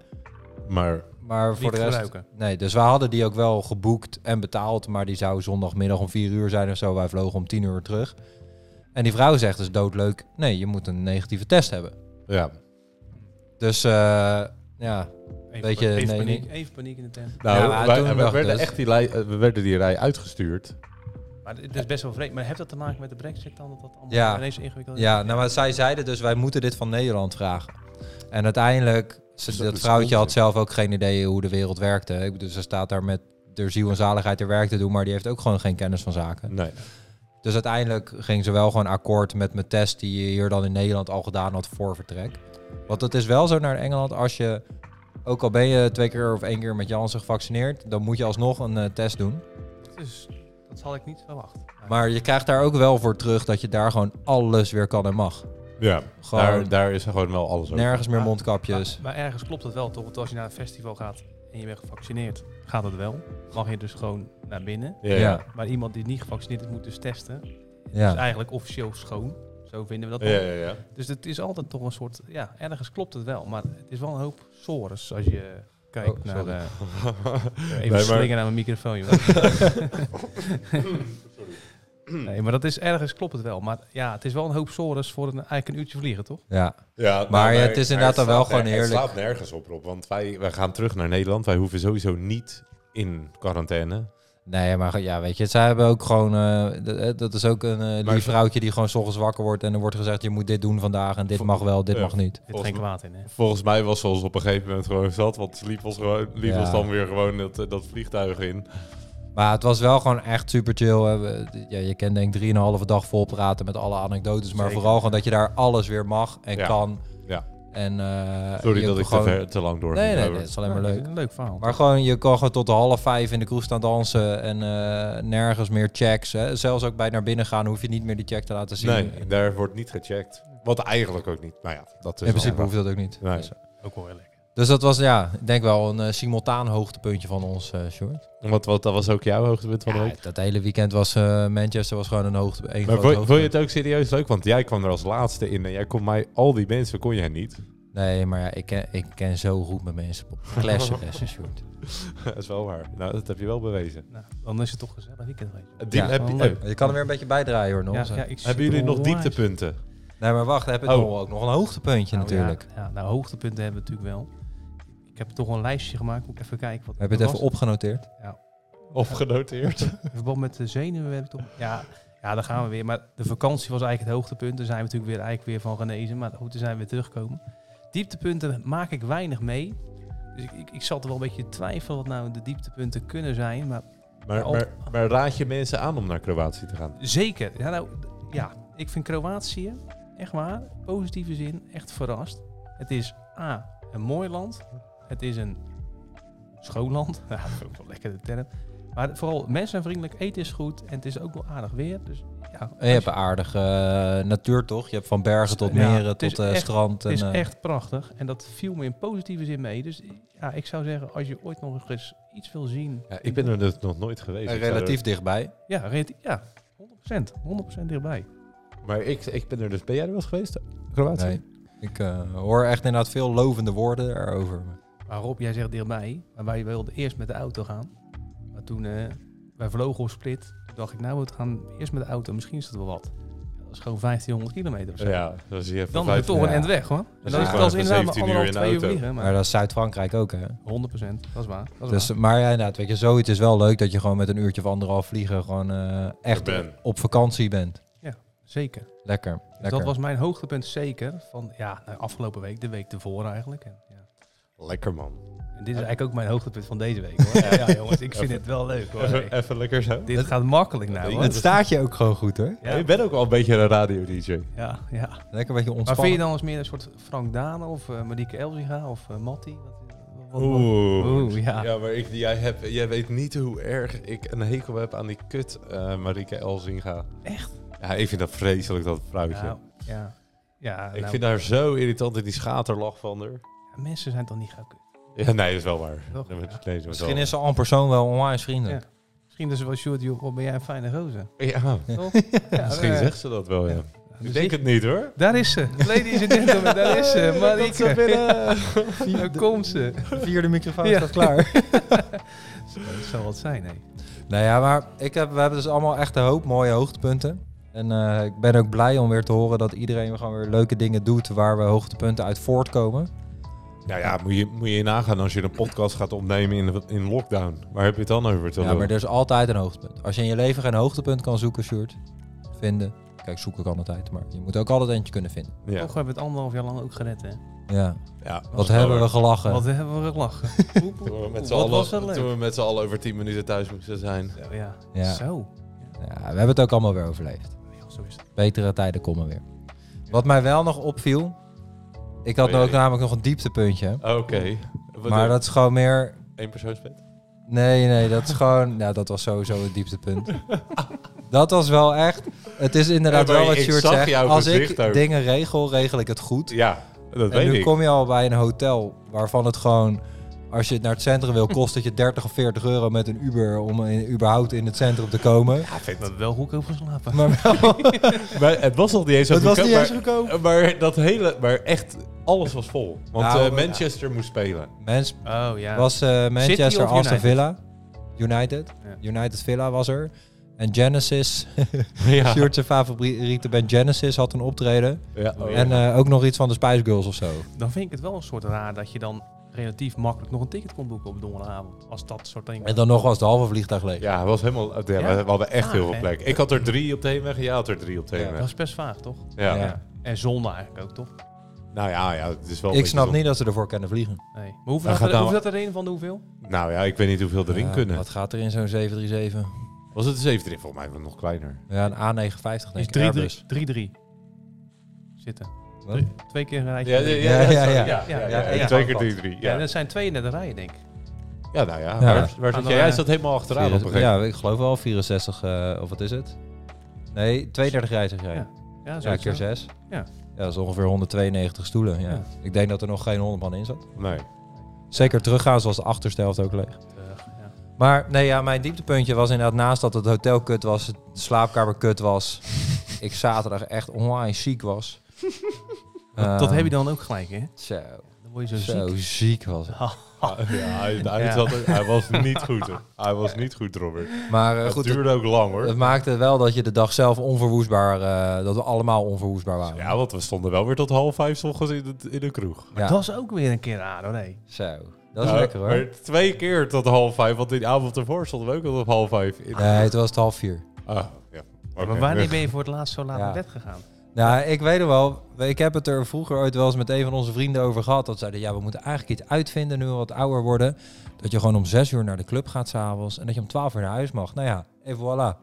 Speaker 2: Maar
Speaker 3: Maar voor de rest...
Speaker 1: gebruiken.
Speaker 3: Nee, dus we hadden die ook wel geboekt en betaald. Maar die zou zondagmiddag om 4 uur zijn of zo. Wij vlogen om 10 uur terug. En die vrouw zegt dus doodleuk... Nee, je moet een negatieve test hebben.
Speaker 2: ja,
Speaker 3: Dus eh, ja,
Speaker 1: Even,
Speaker 3: Weet je,
Speaker 1: even,
Speaker 3: nee,
Speaker 1: paniek,
Speaker 3: nee.
Speaker 1: even paniek in de tent.
Speaker 2: nou,
Speaker 3: Ja, maar
Speaker 2: wij,
Speaker 3: toen
Speaker 2: we,
Speaker 3: dacht
Speaker 2: werden
Speaker 3: dus-
Speaker 2: echt die rij, eh, we werden die rij uitgestuurd.
Speaker 1: Maar het is best wel vreemd. Maar heeft dat te maken met de brexit dan? Dat dat allemaal
Speaker 3: Ja.
Speaker 1: ineens ingewikkeld is?
Speaker 3: ja nou, maar zij zeiden dus... Wij moeten dit van Nederland vragen. En uiteindelijk... Ze,
Speaker 2: Dus dat
Speaker 3: dat
Speaker 2: is
Speaker 3: vrouwtje had
Speaker 2: onzin.
Speaker 3: zelf ook geen idee hoe de wereld werkte. Ik bedoel, ze staat daar met de ziel en zaligheid haar werk te doen... maar die heeft ook gewoon geen kennis van zaken.
Speaker 2: Nee.
Speaker 3: Dus uiteindelijk ging ze wel gewoon akkoord met mijn test die je hier dan in Nederland al gedaan had voor vertrek. Want het is wel zo naar Engeland, als je, ook al ben je twee keer of één keer met Janssen gevaccineerd, dan moet je alsnog een eh, test doen.
Speaker 1: Dus dat had ik niet verwacht.
Speaker 3: Maar je krijgt daar ook wel voor terug dat je daar gewoon alles weer kan en mag.
Speaker 2: Ja,
Speaker 3: Gewoon
Speaker 2: daar, daar is gewoon wel alles over.
Speaker 3: nergens meer
Speaker 1: Maar-
Speaker 3: mondkapjes.
Speaker 1: Maar, maar ergens klopt dat wel toch? Want als je naar een festival gaat en je bent gevaccineerd, gaat dat wel. Mag je dus gewoon naar binnen.
Speaker 2: Ja, ja.
Speaker 3: ja,
Speaker 1: Maar iemand die niet gevaccineerd is, moet dus testen. Dus
Speaker 3: ja.
Speaker 1: eigenlijk officieel schoon. Zo vinden we dat.
Speaker 2: Ja,
Speaker 1: dan.
Speaker 2: ja, ja.
Speaker 1: Dus het is altijd toch een soort. Ja, ergens klopt het wel. Maar het is wel een hoop sores als je kijkt
Speaker 3: Oh,
Speaker 1: naar.
Speaker 3: sorry.
Speaker 1: eh,
Speaker 2: Nee,
Speaker 1: even
Speaker 2: maar-
Speaker 1: slingen naar mijn microfoon, joh. nee, maar dat is ergens klopt het wel. Maar ja, het is wel een hoop sores voor een, eigenlijk een uurtje vliegen, toch?
Speaker 3: ja.
Speaker 2: Ja, nou,
Speaker 3: Maar het is inderdaad
Speaker 2: het
Speaker 3: dan wel
Speaker 2: slaat
Speaker 3: gewoon
Speaker 2: ner-
Speaker 3: heerlijk.
Speaker 2: Het slaat nergens op, Rob. Want wij, wij gaan terug naar Nederland. Wij hoeven sowieso niet in quarantaine.
Speaker 3: Nee, maar ge- ja, weet je, zij hebben ook gewoon... eh, d- eh, dat is ook een eh,
Speaker 2: Maar
Speaker 3: lief
Speaker 2: ze-
Speaker 3: vrouwtje die gewoon 's ochtends wakker wordt... en er wordt gezegd, je moet dit doen vandaag en dit
Speaker 2: Vo-
Speaker 3: mag wel, dit
Speaker 2: ja.
Speaker 3: mag niet.
Speaker 1: zit geen
Speaker 2: me-
Speaker 1: kwaad in, hè?
Speaker 2: Volgens mij was ze ons op een gegeven moment gewoon zat, want ze liep ons, gewoon, liep
Speaker 3: Ja.
Speaker 2: ons dan weer gewoon dat, eh, dat vliegtuig in.
Speaker 3: Maar het was wel gewoon echt super chill. hè. We- Ja, je kent denk ik 3,5 dag vol praten met alle anekdotes. Maar
Speaker 1: Zeker.
Speaker 3: vooral gewoon dat je daar alles weer mag en
Speaker 2: Ja.
Speaker 3: kan.
Speaker 2: Ja.
Speaker 3: En, eh,
Speaker 2: Sorry
Speaker 3: je
Speaker 2: dat ik
Speaker 3: gewoon-
Speaker 2: te, ver- te lang door
Speaker 3: Nee, nee,
Speaker 2: ging
Speaker 3: nee,
Speaker 2: over.
Speaker 3: dat is alleen maar
Speaker 1: Ja,
Speaker 3: leuk.
Speaker 1: Een leuk verhaal.
Speaker 3: Maar gewoon, je kan gewoon tot de half vijf in de kroeg staan dansen en eh, nergens meer checks. Hè. Zelfs ook bij naar binnen gaan hoef je niet meer die check te laten zien.
Speaker 2: Nee, daar wordt niet gecheckt. Wat eigenlijk ook niet. Nou ja, dat is
Speaker 3: in principe
Speaker 2: wel-
Speaker 3: hoeft dat ook niet.
Speaker 2: Nee.
Speaker 3: Dus,
Speaker 1: Ook wel weer lekker.
Speaker 3: dus dat was, ja, ik denk wel een eh, simultaan hoogtepuntje van ons, eh Sjoerd.
Speaker 2: Want, want dat was ook jouw hoogtepunt van de
Speaker 3: Ja,
Speaker 2: week.
Speaker 3: dat hele weekend was eh, Manchester was gewoon een hoogte. Een
Speaker 2: Maar
Speaker 3: groot
Speaker 2: vond, vond je
Speaker 3: hoogtepunt.
Speaker 2: het ook serieus leuk? Want jij kwam er als laatste in en jij kon mij, al die mensen kon jij niet.
Speaker 3: Nee, maar ja, ik, ken, ik ken zo goed met mensen. Klassen, lessen, Sjoerd.
Speaker 2: dat is wel waar. Nou, dat heb je wel bewezen.
Speaker 1: Nou, dan is het toch gezellig weekend, weet je.
Speaker 2: Die,
Speaker 3: Ja,
Speaker 2: heb,
Speaker 1: wel
Speaker 2: je- eh,
Speaker 1: leuk.
Speaker 2: heb-
Speaker 3: Je kan er weer een beetje bijdraaien hoor, Nons.
Speaker 1: ja, ik zit
Speaker 2: hebben jullie nog
Speaker 1: onwijs-
Speaker 2: dieptepunten?
Speaker 3: Nee, maar wacht, heb ik
Speaker 2: Oh.
Speaker 3: nog ook nog een hoogtepuntje
Speaker 1: Nou,
Speaker 3: natuurlijk.
Speaker 1: Ja, ja, nou, hoogtepunten hebben we natuurlijk wel. Ik heb toch wel een lijstje gemaakt. Moet ik even kijken wat
Speaker 3: Heb je het
Speaker 1: Oh, wat
Speaker 3: even
Speaker 1: was.
Speaker 3: opgenoteerd?
Speaker 2: Of genoteerd?
Speaker 1: In verband met de zenuwen heb ik toch... Ja, ja, daar gaan we weer. Maar de vakantie was eigenlijk het hoogtepunt. Daar zijn we natuurlijk weer, eigenlijk weer van genezen. Maar goed, daar zijn we weer teruggekomen. Dieptepunten maak ik weinig mee. Dus ik, ik, ik zat er wel een beetje te twijfelen wat nou de dieptepunten kunnen zijn. Maar
Speaker 2: Maar, maar, maar raad je mensen aan om naar Kroatië te gaan?
Speaker 1: Zeker. Ja, nou, d- ja, ik vind Kroatië, echt waar, positieve zin, echt verrast. Het is A, een mooi land. Het is een schoon land. Ja, dat is ook wel lekker de term. Maar vooral mensen zijn vriendelijk, eten is goed en het is ook wel aardig weer. Dus ja,
Speaker 3: En je hebt een aardige eh, natuur toch? Je hebt van bergen tot
Speaker 1: Ja,
Speaker 3: meren
Speaker 1: het is
Speaker 3: tot eh,
Speaker 1: echt-
Speaker 3: strand.
Speaker 1: het is
Speaker 3: en, eh,
Speaker 1: echt prachtig en dat viel me in positieve zin mee. Dus ja, ik zou zeggen, als je ooit nog eens iets wil zien...
Speaker 2: Ja, ik ben er dus nog nooit geweest.
Speaker 3: eh,
Speaker 2: Ik zou er-
Speaker 3: relatief dichtbij.
Speaker 1: Ja, relatief- ja 100%, 100% dichtbij.
Speaker 2: Maar ik, ik ben er dus... Ben jij er wel eens geweest? Kroatië?
Speaker 3: Nee. Ik eh, hoor echt inderdaad veel lovende woorden erover.
Speaker 1: Maar Rob, jij zegt dichtbij, maar wij wilden eerst met de auto gaan. Maar toen eh, wij vlogen op split, toen dacht ik, nou, we gaan eerst met de auto, misschien is dat wel wat. Ja, dat is gewoon 1500 kilometer of zo.
Speaker 2: Ja, dan zie je
Speaker 1: Dan hebben
Speaker 2: vijf-
Speaker 1: we toch
Speaker 3: ja.
Speaker 1: een end weg, hoor. En dan
Speaker 2: Dan
Speaker 3: zit
Speaker 1: is
Speaker 3: je
Speaker 1: het als
Speaker 2: gewoon
Speaker 1: inderdaad maar
Speaker 2: 17
Speaker 1: anderhalf,
Speaker 2: uur in de
Speaker 1: twee uur
Speaker 2: auto.
Speaker 1: vliegen.
Speaker 3: Maar,
Speaker 1: Maar 100%,
Speaker 3: dat is Zuid-Frankrijk ook, hè?
Speaker 1: dat is waar. Dat is
Speaker 3: Dus,
Speaker 1: waar.
Speaker 3: maar ja, inderdaad, weet je, zoiets is wel leuk dat je gewoon met een uurtje of anderhalf vliegen gewoon eh, echt
Speaker 2: ben.
Speaker 3: op vakantie bent.
Speaker 1: Zeker. Dus
Speaker 3: Lekker, lekker.
Speaker 1: dat was mijn hoogtepunt zeker van, ja, nou, afgelopen week, de week ervoor eigenlijk. En, ja.
Speaker 2: Lekker man.
Speaker 1: en dit is eigenlijk ook mijn hoogtepunt van deze week, hoor. Ja, ja, jongens, ik vind het wel leuk, hoor.
Speaker 2: Even, even lekker zo.
Speaker 1: Dit gaat makkelijk nou, hoor.
Speaker 3: Het staat je ook gewoon goed, hoor.
Speaker 2: Ja, je
Speaker 1: Ja,
Speaker 2: bent ook wel een beetje een radio-dj.
Speaker 1: ja, ja.
Speaker 3: Lekker een beetje
Speaker 1: Maar vind je
Speaker 3: ontspannen.
Speaker 1: dan als meer een soort Frank Dane of eh Marieke Elzinga of eh, Matti? Wat- wat- Nou, wat-
Speaker 2: Oeh.
Speaker 1: Oeh, ja.
Speaker 2: Ja, maar ik, jij, heb, jij weet niet hoe erg ik een hekel heb aan die kut eh Marike Elzinga.
Speaker 1: Echt?
Speaker 2: Ja, ik vind dat vreselijk, dat vrouwtje.
Speaker 1: Nou, ja. Ja,
Speaker 2: ik
Speaker 1: nou,
Speaker 2: vind haar zo irritant in die schaterlach van haar.
Speaker 1: mensen zijn toch niet gauw kut.
Speaker 2: Ja, nee, dat is wel waar.
Speaker 1: Toch?
Speaker 2: Nee, maar-
Speaker 1: Ja.
Speaker 2: nee, dat is wel
Speaker 3: Misschien is ze al een persoon wel onwijs vriendelijk.
Speaker 1: Misschien dus wel short, joh, Rob, ben jij een fijne roze?
Speaker 2: waar. Ja,
Speaker 1: Toch?
Speaker 2: misschien
Speaker 3: nou
Speaker 2: zegt ze dat wel, ja. Ik denk het niet, hoor.
Speaker 1: Daar is ze. Ladies and gentlemen, daar is
Speaker 3: eh,
Speaker 1: ze. Marieke. Daar komt ze.
Speaker 3: Vierde microfoon
Speaker 1: Ja.
Speaker 3: staat klaar.
Speaker 1: Dat zou wat zijn, hè?
Speaker 3: Nou ja, maar ik heb, we hebben dus allemaal echt een hoop mooie hoogtepunten. En eh, ik ben ook blij om weer te horen dat iedereen gewoon weer leuke dingen doet waar we hoogtepunten uit voortkomen.
Speaker 2: Nou ja, moet je, moet je nagaan als je een podcast gaat opnemen in, in lockdown. Waar heb je het dan over te
Speaker 3: Ja,
Speaker 2: doen?
Speaker 3: maar er is altijd een hoogtepunt. Als je in je leven geen hoogtepunt kan zoeken, Sjoerd, vinden. Kijk, zoeken kan altijd, maar je moet ook altijd eentje kunnen vinden.
Speaker 2: ja.
Speaker 1: Toch hebben we het anderhalf jaar lang ook gered, hè?
Speaker 3: Ja.
Speaker 2: Ja,
Speaker 3: Wat hebben we gelachen.
Speaker 1: Wat hebben we gelachen. Oep, oep,
Speaker 2: Toen we
Speaker 1: oep. Wat
Speaker 2: met z'n
Speaker 1: was dat
Speaker 2: allen, toen
Speaker 1: leuk.
Speaker 2: we met z'n allen over 10 minuten thuis moesten zijn.
Speaker 1: Zo, ja.
Speaker 3: Ja.
Speaker 1: Zo.
Speaker 3: ja, we hebben het ook allemaal weer overleefd.
Speaker 1: Ja, Zo is het.
Speaker 3: Betere tijden komen weer. Wat mij wel nog opviel, ik had
Speaker 2: Oh,
Speaker 3: nou ook
Speaker 2: jee.
Speaker 3: namelijk nog een dieptepuntje.
Speaker 2: Oké. Wat
Speaker 3: Maar
Speaker 2: doe-
Speaker 3: dat is gewoon meer
Speaker 2: Eén persoonsbed?
Speaker 3: Nee, nee, dat is gewoon... Nou, dat was sowieso het dieptepunt. dat was wel echt... Het is inderdaad
Speaker 2: Ja, maar
Speaker 3: wel wat
Speaker 2: ik
Speaker 3: Sjoerd
Speaker 2: zag
Speaker 3: zegt.
Speaker 2: jouw
Speaker 3: Als ik
Speaker 2: gezicht ook.
Speaker 3: dingen regel, regel ik het goed.
Speaker 2: Ja, dat
Speaker 3: en
Speaker 2: weet
Speaker 3: nu
Speaker 2: ik.
Speaker 3: kom je al bij een hotel waarvan het gewoon... Als je naar het centrum wil, kost het je 30 of 40 euro met een Uber... om in, überhaupt in het centrum te komen.
Speaker 2: Ja,
Speaker 1: We hebben wel goedkoop geslapen.
Speaker 3: Maar wel,
Speaker 2: maar het was nog niet eens zo
Speaker 3: het was
Speaker 2: goedkoop,
Speaker 3: niet eens
Speaker 2: maar-
Speaker 3: goedkoop.
Speaker 2: Maar dat hele, maar echt, alles was vol. Want
Speaker 3: Nou,
Speaker 2: eh, Manchester moest spelen.
Speaker 3: Mens
Speaker 1: Oh, ja.
Speaker 3: was eh, Manchester
Speaker 1: of
Speaker 3: Aston
Speaker 1: United?
Speaker 3: Villa. United.
Speaker 1: Ja.
Speaker 3: United Villa was er. En Genesis,
Speaker 2: Ja.
Speaker 3: Sjoerd zijn favoriete band Genesis, had een optreden.
Speaker 2: Ja, oh,
Speaker 1: En,
Speaker 2: ja.
Speaker 3: En eh, ook nog iets van de Spice Girls of zo.
Speaker 1: Dan vind ik het wel een soort raar dat je dan relatief makkelijk nog een ticket kon boeken op donderdagavond. Als dat soort dingen.
Speaker 3: En dan nog was de halve vliegtuig leeg.
Speaker 2: Ja, het was helemaal, het-
Speaker 1: Ja.
Speaker 2: we hadden echt
Speaker 1: Ah,
Speaker 2: heel veel
Speaker 1: hè.
Speaker 2: plek. Ik had er drie op de heenweg en jij had er drie op de
Speaker 3: Ja,
Speaker 1: Dat
Speaker 2: heenweg.
Speaker 1: is best vaag, toch?
Speaker 2: Ja,
Speaker 3: Ja.
Speaker 1: En zonde eigenlijk ook, toch?
Speaker 2: nou ja, ja, het is wel... een
Speaker 3: Ik
Speaker 2: beetje
Speaker 3: snap
Speaker 2: zonde.
Speaker 3: niet dat ze ervoor kunnen vliegen.
Speaker 1: Nee. Maar hoeveel
Speaker 2: Dan
Speaker 1: had er,
Speaker 2: gaat nou-
Speaker 1: hoeveel had er een van de hoeveel?
Speaker 2: Nou ja, ik weet niet hoeveel erin
Speaker 3: Ja,
Speaker 2: kunnen.
Speaker 3: Wat gaat er in zo'n 737?
Speaker 2: Was het een 7 erin? Volgens mij was het nog kleiner.
Speaker 3: Ja, een A950 denk
Speaker 1: Is
Speaker 3: ik.
Speaker 1: 3-3.
Speaker 3: Airbus.
Speaker 1: 3-3. Zitten.
Speaker 3: Wat?
Speaker 1: Drie- Twee keer een rijtje. drie.
Speaker 3: ja, ja, ja.
Speaker 1: ja,
Speaker 3: ja, ja.
Speaker 2: Twee keer drie, drie.
Speaker 1: Ja,
Speaker 2: Ja,
Speaker 1: dat zijn twee naar de rij, denk ik.
Speaker 2: ja nou ja.
Speaker 3: Ja.
Speaker 2: Waar,
Speaker 1: Gaan
Speaker 2: waar zat
Speaker 1: we-
Speaker 2: jij? Jij zat helemaal achteraan op een gegeven moment.
Speaker 3: Ja, ik geloof wel 64, eh, of wat is het? Nee, 32 reizigers rijden.
Speaker 1: Ja,
Speaker 3: Ja,
Speaker 1: zo
Speaker 3: keer
Speaker 1: zo.
Speaker 3: 6.
Speaker 1: Ja.
Speaker 3: ja, dat is ongeveer 192 stoelen. Ja.
Speaker 1: Ja.
Speaker 3: Ik denk dat er nog geen 100 man in zat.
Speaker 2: Nee.
Speaker 3: Zeker teruggaan, zoals de achterste helft ook leeg.
Speaker 1: Terug, ja.
Speaker 3: Maar nee, ja, mijn dieptepuntje was inderdaad naast dat het hotel kut was, het slaapkamer kut was. ik zaterdag echt online ziek was. Ehm,
Speaker 1: Dat- dat heb je dan ook gelijk, hè?
Speaker 3: Zo,
Speaker 1: Dan word je
Speaker 3: Ehm,
Speaker 1: zo,
Speaker 3: zo ziek.
Speaker 1: ziek.
Speaker 3: was het.
Speaker 2: Ja, hij, hij,
Speaker 1: Ja.
Speaker 2: zat er- hij was niet goed. hoor. Hij was niet goed, Robert.
Speaker 3: Maar eh,
Speaker 2: Het
Speaker 3: goed, het,
Speaker 2: duurde ook lang, hoor.
Speaker 3: het maakte wel dat je de dag zelf onverwoestbaar, eh, dat we allemaal onverwoestbaar waren.
Speaker 2: Ja, want we stonden wel weer tot half vijf 's ochtends in de, in de kroeg.
Speaker 1: Maar
Speaker 3: Ja.
Speaker 1: dat is ook weer een keer aan, hoor. Nee.
Speaker 3: Zo, dat is
Speaker 2: Nou,
Speaker 3: lekker hoor.
Speaker 2: maar twee keer tot half vijf, want die avond ervoor stonden we ook al tot half vijf. In de-
Speaker 3: Nee, het was het half vier.
Speaker 2: Ah, ja. Oké.
Speaker 1: Maar wanneer ben je voor het laatst zo laat
Speaker 3: Ja.
Speaker 1: naar bed gegaan?
Speaker 3: Nou, ik weet het wel. Ik heb het er vroeger ooit wel eens met een van onze vrienden over gehad. Dat zeiden, ja, we moeten eigenlijk iets uitvinden nu we wat ouder worden. Dat je gewoon om zes uur naar de club gaat s'avonds. En dat je om twaalf uur naar huis mag. Nou ja, en voilà.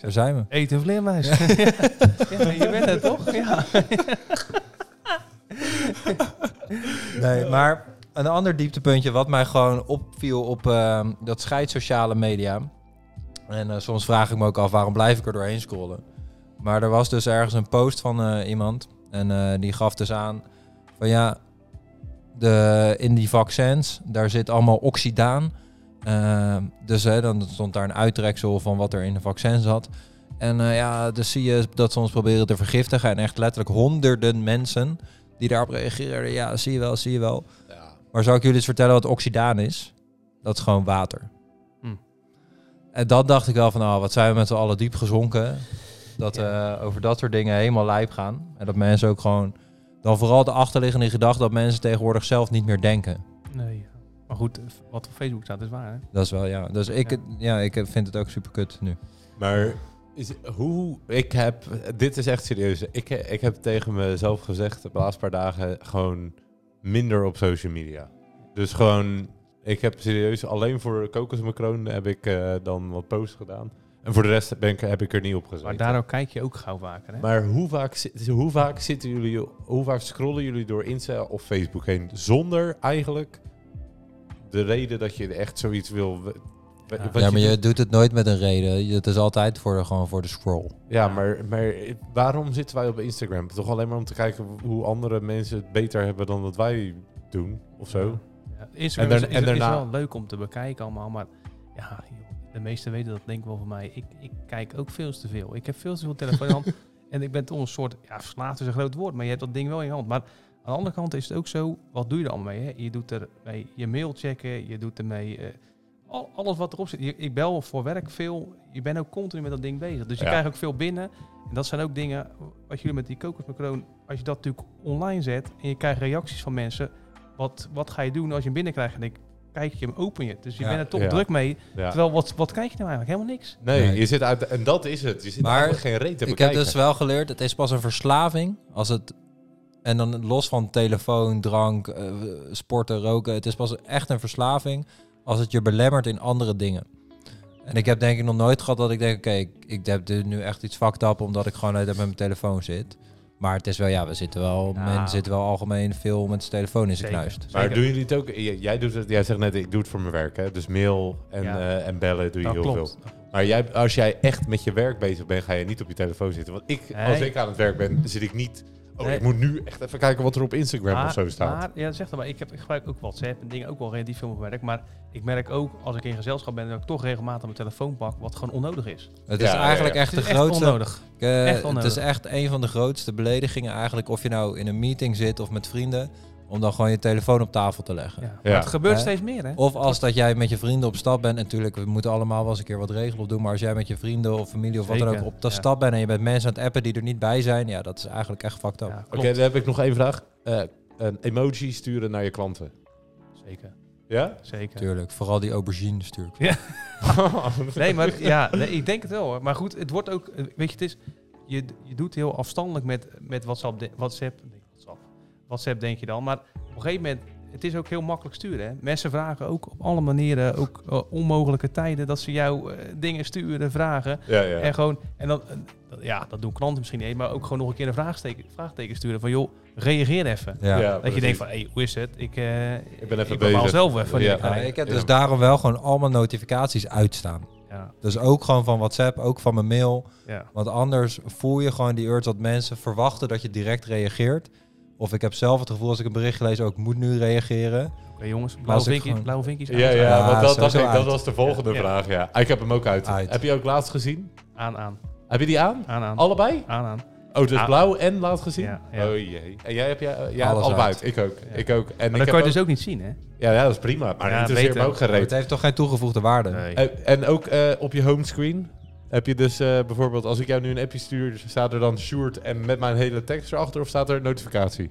Speaker 3: Zo zijn we.
Speaker 1: Eten vleermuis. Ja. ja, je bent het toch? Ja.
Speaker 3: Nee, maar een ander dieptepuntje wat mij gewoon opviel op ehm, dat scheidt sociale media. En eh, soms vraag ik me ook af waarom blijf ik er doorheen scrollen. Maar er was dus ergens een post van eh, iemand en eh, die gaf dus aan van ja, de, in die vaccins daar zit allemaal oxidaan. Ehm, dus hè, dan stond daar een uittreksel van wat er in de vaccin zat. En eh, ja, dus zie je dat ze ons proberen te vergiftigen. En echt letterlijk honderden mensen die daarop reageerden. Ja, zie je wel, zie je wel.
Speaker 2: Ja.
Speaker 3: Maar zou ik jullie eens vertellen wat oxidaan is? Dat is gewoon water.
Speaker 1: Hm.
Speaker 3: En dan dacht ik wel van, oh, wat zijn we met z'n allen diep gezonken. Dat we over dat soort dingen helemaal lijp gaan. En dat mensen ook gewoon... Dan vooral de achterliggende gedachte dat mensen tegenwoordig zelf niet meer denken.
Speaker 1: Nee. ja. Maar goed, eh, wat op Facebook staat is waar, hè?
Speaker 3: Dat is wel, ja. Dus ik,
Speaker 1: Ja.
Speaker 3: ja. ik eh, vind het ook super kut nu.
Speaker 2: Maar is, hoe, ik heb, dit is echt serieus. Ik, ik heb tegen mezelf gezegd de laatste paar dagen gewoon minder op social media. Dus gewoon, ik heb serieus alleen voor kokosmacroon heb ik eh, dan wat posts gedaan. En voor de rest ben ik, heb ik er niet op gezeten.
Speaker 1: Maar daardoor kijk je ook gauw vaker, hè?
Speaker 2: Maar hoe vaak, zit- hoe vaak zitten jullie, hoe vaak scrollen jullie door Insta of Facebook heen zonder eigenlijk de reden dat je echt zoiets wil? we- we-
Speaker 1: Ja.
Speaker 2: wat
Speaker 3: ja, maar
Speaker 2: doet?
Speaker 3: je doet het nooit met een reden. Het is altijd voor, gewoon voor de scroll.
Speaker 2: Ja, maar, maar waarom zitten wij op Instagram? Toch alleen maar om te kijken hoe andere mensen het beter hebben dan dat wij doen of zo?
Speaker 1: Ja, Instagram
Speaker 2: En
Speaker 1: is,
Speaker 2: daar-
Speaker 1: is,
Speaker 2: en
Speaker 1: is
Speaker 2: daarna-
Speaker 1: wel leuk om te bekijken allemaal, maar ja, joh, de meesten weten dat denk ik wel van mij. Ik, ik kijk ook veel te veel. Ik heb veel te veel telefoon in hand. En ik ben toch een soort, ja, verslaafd is een groot woord, maar je hebt dat ding wel in je hand. Maar aan de andere kant is het ook zo, wat doe je er allemaal mee? Hè? Je doet er mee je mail checken, je doet ermee eh, al, alles wat erop zit. Je- ik bel voor werk veel, je bent ook continu met dat ding bezig. Dus je
Speaker 2: Ja.
Speaker 1: krijgt ook veel binnen. En dat zijn ook dingen, wat jullie met die kokosmacroon, als je dat natuurlijk online zet en je krijgt reacties van mensen, wat, wat ga je doen als je hem binnenkrijgt? En ik kijk je hem, open je het. Dus je
Speaker 3: Ja,
Speaker 1: bent er toch
Speaker 2: ja.
Speaker 1: druk mee.
Speaker 2: Ja.
Speaker 1: Terwijl, wat, wat kijk je nou eigenlijk? Helemaal niks.
Speaker 2: Nee,
Speaker 3: Nee.
Speaker 2: je zit uit. En dat is het. Je zit
Speaker 3: Maar
Speaker 2: eigenlijk geen reet te
Speaker 3: Ik heb
Speaker 2: bekijken.
Speaker 3: dus wel geleerd, het is pas een verslaving als het... En dan los van telefoon, drank, eh, sporten, roken. Het is pas echt een verslaving als het je belemmert in andere dingen. En ik heb denk ik nog nooit gehad dat ik denk... Oké, ik, ik heb dit nu echt iets fucked up omdat ik gewoon net met mijn telefoon zit. Maar het is wel, ja, we zitten wel,
Speaker 1: Ja.
Speaker 3: men zit wel algemeen veel met zijn telefoon in zijn
Speaker 1: Zeker.
Speaker 3: knuist.
Speaker 2: maar
Speaker 1: Zeker.
Speaker 2: doen jullie het ook? J- Jij, doet het, jij zegt net, ik doe het voor mijn werk. Hè? Dus mail en,
Speaker 1: Ja.
Speaker 2: eh, en bellen doe je
Speaker 1: Dat
Speaker 2: heel
Speaker 1: klopt.
Speaker 2: veel. Maar jij, als jij echt met je werk bezig bent, ga je niet op je telefoon zitten. Want ik, als
Speaker 1: Nee.
Speaker 2: ik aan het werk ben, zit ik niet. Oh,
Speaker 1: Nee.
Speaker 2: ik moet nu echt even kijken wat er op Instagram
Speaker 1: maar,
Speaker 2: of zo staat.
Speaker 1: Maar, ja, zeg dat maar. Ik, heb, ik gebruik ook WhatsApp en dingen ook wel relatief veel op mijn werk. Maar ik merk ook, als ik in gezelschap ben, dat ik toch regelmatig mijn telefoon pak, wat gewoon onnodig is.
Speaker 3: Het
Speaker 2: Ja,
Speaker 3: is
Speaker 2: ja,
Speaker 3: eigenlijk
Speaker 2: ja.
Speaker 3: echt
Speaker 1: Het
Speaker 3: de
Speaker 1: is
Speaker 3: grootste...
Speaker 1: onnodig.
Speaker 3: Eh,
Speaker 1: Echt
Speaker 3: het
Speaker 1: onnodig.
Speaker 3: is echt een van de grootste beledigingen eigenlijk. Of je nou in een meeting zit of met vrienden. Om dan gewoon je telefoon op tafel te leggen.
Speaker 1: Ja. Maar het gebeurt
Speaker 3: Hè?
Speaker 1: steeds meer, hè?
Speaker 3: Of als dat jij met je vrienden op stap bent. Natuurlijk, we moeten allemaal wel eens een keer wat regelen of doen. Maar als jij met je vrienden of familie of wat dan
Speaker 1: Zeker,
Speaker 3: ook op de
Speaker 1: ja.
Speaker 3: stap bent. En je bent mensen aan het appen die er niet bij zijn. Ja, dat is eigenlijk echt fucked up.
Speaker 1: Ja,
Speaker 2: Oké,
Speaker 1: klopt.
Speaker 2: dan heb ik nog één vraag. Eh, een emoji sturen naar je klanten.
Speaker 1: Zeker,
Speaker 2: Ja?
Speaker 1: zeker.
Speaker 3: Tuurlijk, vooral die aubergine natuurlijk.
Speaker 1: Nee, maar ja, nee, ik denk het wel. hoor. Maar goed, het wordt ook, eh, weet je, het is, je, je doet heel afstandelijk met, met WhatsApp, de- WhatsApp, nee, WhatsApp, WhatsApp denk je dan. Maar op een gegeven moment, het is ook heel makkelijk sturen. Hè? Mensen vragen ook op alle manieren, ook eh, onmogelijke tijden, dat ze jou eh, dingen sturen, vragen.
Speaker 2: ja, ja.
Speaker 1: En gewoon, en dan, eh, dat- ja, dat doen klanten misschien niet, maar ook gewoon nog een keer een vraagteken, vraagteken sturen van, joh, reageer even.
Speaker 3: Ja.
Speaker 1: Dat je
Speaker 2: precies.
Speaker 1: denkt van, hé, hoe is het? Ik, eh, ik
Speaker 2: ben even
Speaker 1: bepaal
Speaker 2: bezig.
Speaker 1: zelf even.
Speaker 2: Ja.
Speaker 1: Ja.
Speaker 3: Ja, ik heb dus
Speaker 2: Ja.
Speaker 3: daarom wel gewoon allemaal notificaties uitstaan.
Speaker 1: Ja.
Speaker 3: Dus ook gewoon van WhatsApp, ook van mijn mail.
Speaker 1: Ja.
Speaker 3: Want anders voel je gewoon die urge dat mensen verwachten dat je direct reageert. Of ik heb zelf het gevoel als ik een bericht lees, ook ik moet nu reageren.
Speaker 1: Oké, jongens, blauwe
Speaker 3: ik
Speaker 1: vinkjes,
Speaker 3: gewoon-
Speaker 1: blauwe vinkjes.
Speaker 2: Ja, ja,
Speaker 3: Ja,
Speaker 2: want dat, dat,
Speaker 3: Ah, sowieso
Speaker 2: dat
Speaker 3: uit.
Speaker 2: was de volgende
Speaker 1: Ja.
Speaker 2: vraag, ja. Ah, Ik heb hem ook uit.
Speaker 3: Uit.
Speaker 2: Heb je ook laatst gezien?
Speaker 1: Aan, aan,
Speaker 2: Heb je die aan?
Speaker 1: aan, aan.
Speaker 2: Allebei?
Speaker 1: Aan, aan.
Speaker 2: Oh, dus
Speaker 1: Ah.
Speaker 2: blauw en laat gezien?
Speaker 1: Ja, ja.
Speaker 2: Oh jee. En jij heb jij, eh, ja,
Speaker 3: Alles
Speaker 2: allebei
Speaker 3: uit.
Speaker 2: uit. Ik ook.
Speaker 1: Ja.
Speaker 2: Ik ook. En
Speaker 1: Maar
Speaker 2: ik
Speaker 1: dat kan je
Speaker 2: heb
Speaker 1: dus ook niet zien, hè?
Speaker 2: ook- Ja, ja, dat is prima. Maar
Speaker 1: Ja,
Speaker 2: dat interesseert
Speaker 1: beter.
Speaker 2: me ook geen
Speaker 3: Maar
Speaker 2: reet.
Speaker 3: het heeft toch geen toegevoegde waarde?
Speaker 2: Eh, En ook eh, op je homescreen heb je dus eh, bijvoorbeeld, als ik jou nu een appje stuur, dus staat er dan Sjoerd en met mijn hele tekst erachter of staat er notificatie?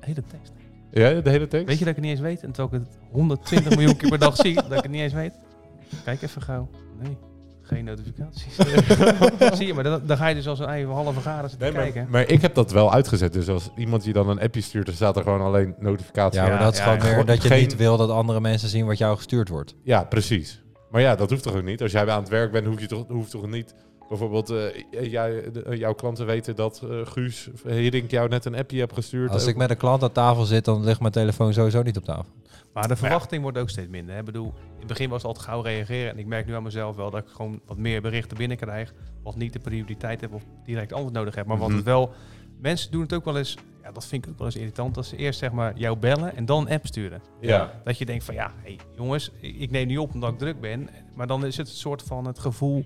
Speaker 1: Hele tekst.
Speaker 2: Ja, de hele tekst?
Speaker 1: Weet je dat ik het niet eens weet? En terwijl ik het 120 miljoen keer per dag zie, dat ik het niet eens weet. Kijk even gauw. Nee, geen notificaties. zie je, maar dan, dan ga je dus als een eigen halve garen zitten
Speaker 2: Nee,
Speaker 1: kijken.
Speaker 2: maar, maar ik heb dat wel uitgezet. Dus als iemand je dan een appje stuurt, dan staat er gewoon alleen notificatie.
Speaker 3: Ja, maar
Speaker 1: Ja,
Speaker 3: dat is
Speaker 1: ja,
Speaker 3: gewoon
Speaker 1: ja.
Speaker 3: meer dat je
Speaker 2: Geen-
Speaker 3: niet wil dat andere mensen zien wat jou gestuurd wordt.
Speaker 2: Ja, precies. Maar ja, dat hoeft toch ook niet? Als jij aan het werk bent, hoef je toch, hoeft toch niet... Bijvoorbeeld, eh, jij, de- jouw klanten weten dat eh, Guus Hiddink jou net een appje hebt gestuurd.
Speaker 3: Als ik met een klant aan tafel zit, dan ligt mijn telefoon sowieso niet op tafel.
Speaker 1: Maar de
Speaker 2: ja.
Speaker 1: verwachting wordt ook steeds minder. Hè? Ik bedoel, in het begin was het altijd gauw reageren. En ik merk nu aan mezelf wel dat ik gewoon wat meer berichten binnenkrijg. Wat niet de prioriteit heb of direct antwoord nodig heb. Maar wat
Speaker 2: Mhm.
Speaker 1: het wel... Mensen doen het ook wel eens... Ja, dat vind ik ook wel eens irritant. Dat ze eerst zeg maar jou bellen en dan een app sturen.
Speaker 2: Ja.
Speaker 1: Dat je denkt van ja, hey, jongens, ik ik neem niet op omdat ik druk ben. Maar dan is het een soort van het gevoel...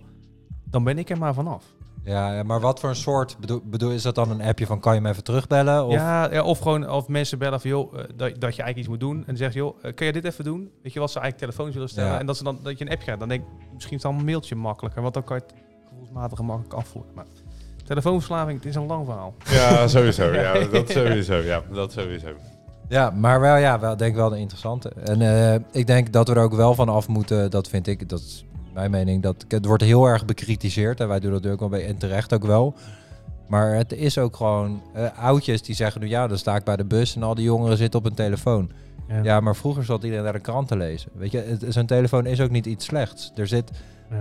Speaker 1: Dan ben ik er maar vanaf.
Speaker 3: Ja, ja, maar wat voor een soort bedoel, bedoel is dat dan een appje van kan je me even terugbellen? Of,
Speaker 1: Ja, ja, of gewoon of mensen bellen van joh, eh, dat, dat je eigenlijk iets moet doen. En dan zeggen ze, joh, eh, kun je dit even doen? Weet je wat ze eigenlijk telefoons willen stellen.
Speaker 3: Ja.
Speaker 1: En dat, ze dan, dat je een app krijgt. Dan denk ik, misschien is dan een mailtje makkelijker. Want dan kan je het gevoelsmatig makkelijk afvoeren. Maar telefoonverslaving, het is een lang verhaal.
Speaker 2: Ja, sowieso. Ja, dat sowieso. Ja, dat sowieso.
Speaker 3: Ja, maar wel, ja, wel, denk ik wel een interessante. En eh, ik denk dat we er ook wel van af moeten, dat vind ik, dat is mijn mening, dat het wordt heel erg bekritiseerd en wij doen dat natuurlijk wel bij en terecht ook wel. Maar het is ook gewoon eh, oudjes die zeggen nu ja, dan sta ik bij de bus en al die jongeren zitten op hun telefoon. Ja, maar vroeger zat iedereen naar de krant te lezen. Weet je, het- zo'n telefoon is ook niet iets slechts. Er zit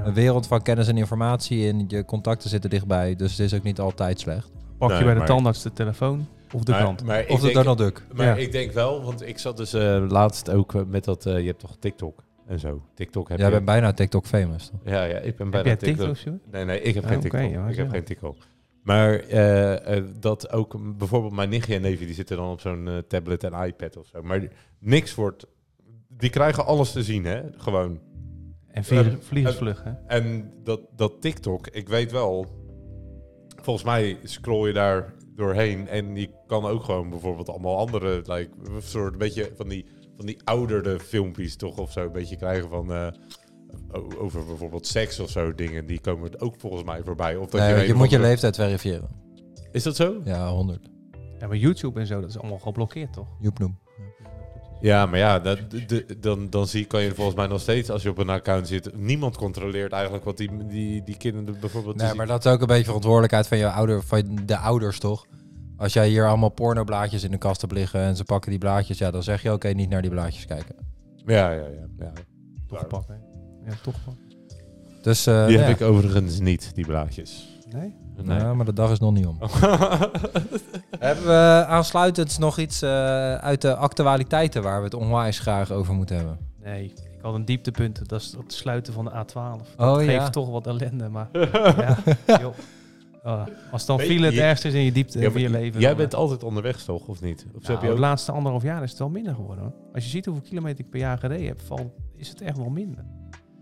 Speaker 3: een wereld van kennis en informatie in, je contacten zitten dichtbij, dus het is ook niet altijd slecht.
Speaker 1: Pak je
Speaker 2: Nee,
Speaker 1: bij de
Speaker 2: maar-
Speaker 1: tandarts de telefoon of de krant.
Speaker 2: maar
Speaker 3: Of de Donald Duck.
Speaker 2: Maar
Speaker 1: Ja.
Speaker 2: ik denk wel, want ik zat dus eh, laatst ook eh, met dat... eh, je hebt toch TikTok en zo? TikTok heb
Speaker 3: Jij
Speaker 2: je...
Speaker 3: bent bijna TikTok famous. toch?
Speaker 2: ja, ja, ik ben
Speaker 1: Heb
Speaker 2: bijna
Speaker 1: jij
Speaker 2: TikTok.
Speaker 1: TikTok? Sjoerd?
Speaker 2: Nee, nee, ik heb
Speaker 1: Ah,
Speaker 2: geen
Speaker 1: oké,
Speaker 2: TikTok.
Speaker 1: ja,
Speaker 2: ik heb
Speaker 1: ja.
Speaker 2: geen TikTok. Maar eh, eh, dat ook m, bijvoorbeeld mijn nichtje en neefje, die zitten dan op zo'n eh, tablet en iPad of zo. Maar die- niks wordt... Die krijgen alles te zien, hè? Gewoon.
Speaker 1: En virus-
Speaker 2: Eh,
Speaker 1: vliegensvlug, hè?
Speaker 2: En dat, dat TikTok, ik weet wel... Volgens mij scroll je daar doorheen en je kan ook gewoon bijvoorbeeld allemaal andere... Like, een soort beetje van die, van die oudere filmpjes toch of zo een beetje krijgen van... eh, o- over bijvoorbeeld seks of zo dingen, die komen ook volgens mij voorbij. Of dat
Speaker 3: Nee,
Speaker 2: je,
Speaker 3: je,
Speaker 2: een of
Speaker 3: moet je
Speaker 2: andere-
Speaker 3: leeftijd verifiëren.
Speaker 2: Is dat zo?
Speaker 3: Ja, 100.
Speaker 1: Ja, maar YouTube en zo, dat is allemaal geblokkeerd, toch?
Speaker 3: Joepnoem.
Speaker 2: Ja, maar ja, dat, de- de- dan, dan zie, kan je volgens mij nog steeds, als je op een account zit, niemand controleert eigenlijk wat die, die, die kinderen bijvoorbeeld te
Speaker 3: Nee,
Speaker 2: zien-
Speaker 3: maar dat is ook een beetje verantwoordelijkheid van, je ouder, van de ouders, toch? Als jij hier allemaal pornoblaadjes in de kast hebt liggen en ze pakken die blaadjes, ja, dan zeg je oké, niet naar die blaadjes kijken.
Speaker 2: Ja, ja, ja. ja.
Speaker 1: Toch
Speaker 2: Daarom.
Speaker 1: gepakt, hè? Ja, toch gepakt.
Speaker 3: Dus eh,
Speaker 2: Die
Speaker 3: nou ja.
Speaker 2: heb ik overigens niet, die blaadjes.
Speaker 1: Nee?
Speaker 2: Nee.
Speaker 3: Ja, maar de dag is nog niet om. Hebben we aansluitend nog iets eh, uit de actualiteiten waar we het onwijs graag over moeten hebben?
Speaker 1: Nee, ik had een dieptepunt. Dat is het sluiten van de A12.
Speaker 3: Oh
Speaker 1: geeft
Speaker 3: ja.
Speaker 1: toch wat ellende, maar ja, joh. Ah, als dan
Speaker 2: Weet
Speaker 1: file het
Speaker 2: je-
Speaker 1: ergste is in je diepte
Speaker 2: Ja,
Speaker 1: van
Speaker 2: maar
Speaker 1: je leven.
Speaker 2: Jij
Speaker 1: dan,
Speaker 2: bent
Speaker 1: eh,
Speaker 2: altijd onderweg, toch? Of niet? Of
Speaker 1: nou,
Speaker 2: heb je ook...
Speaker 1: de laatste anderhalf jaar is het wel minder geworden. Hoor. Als je ziet hoeveel kilometer ik per jaar gereden heb, valt, is het echt wel minder.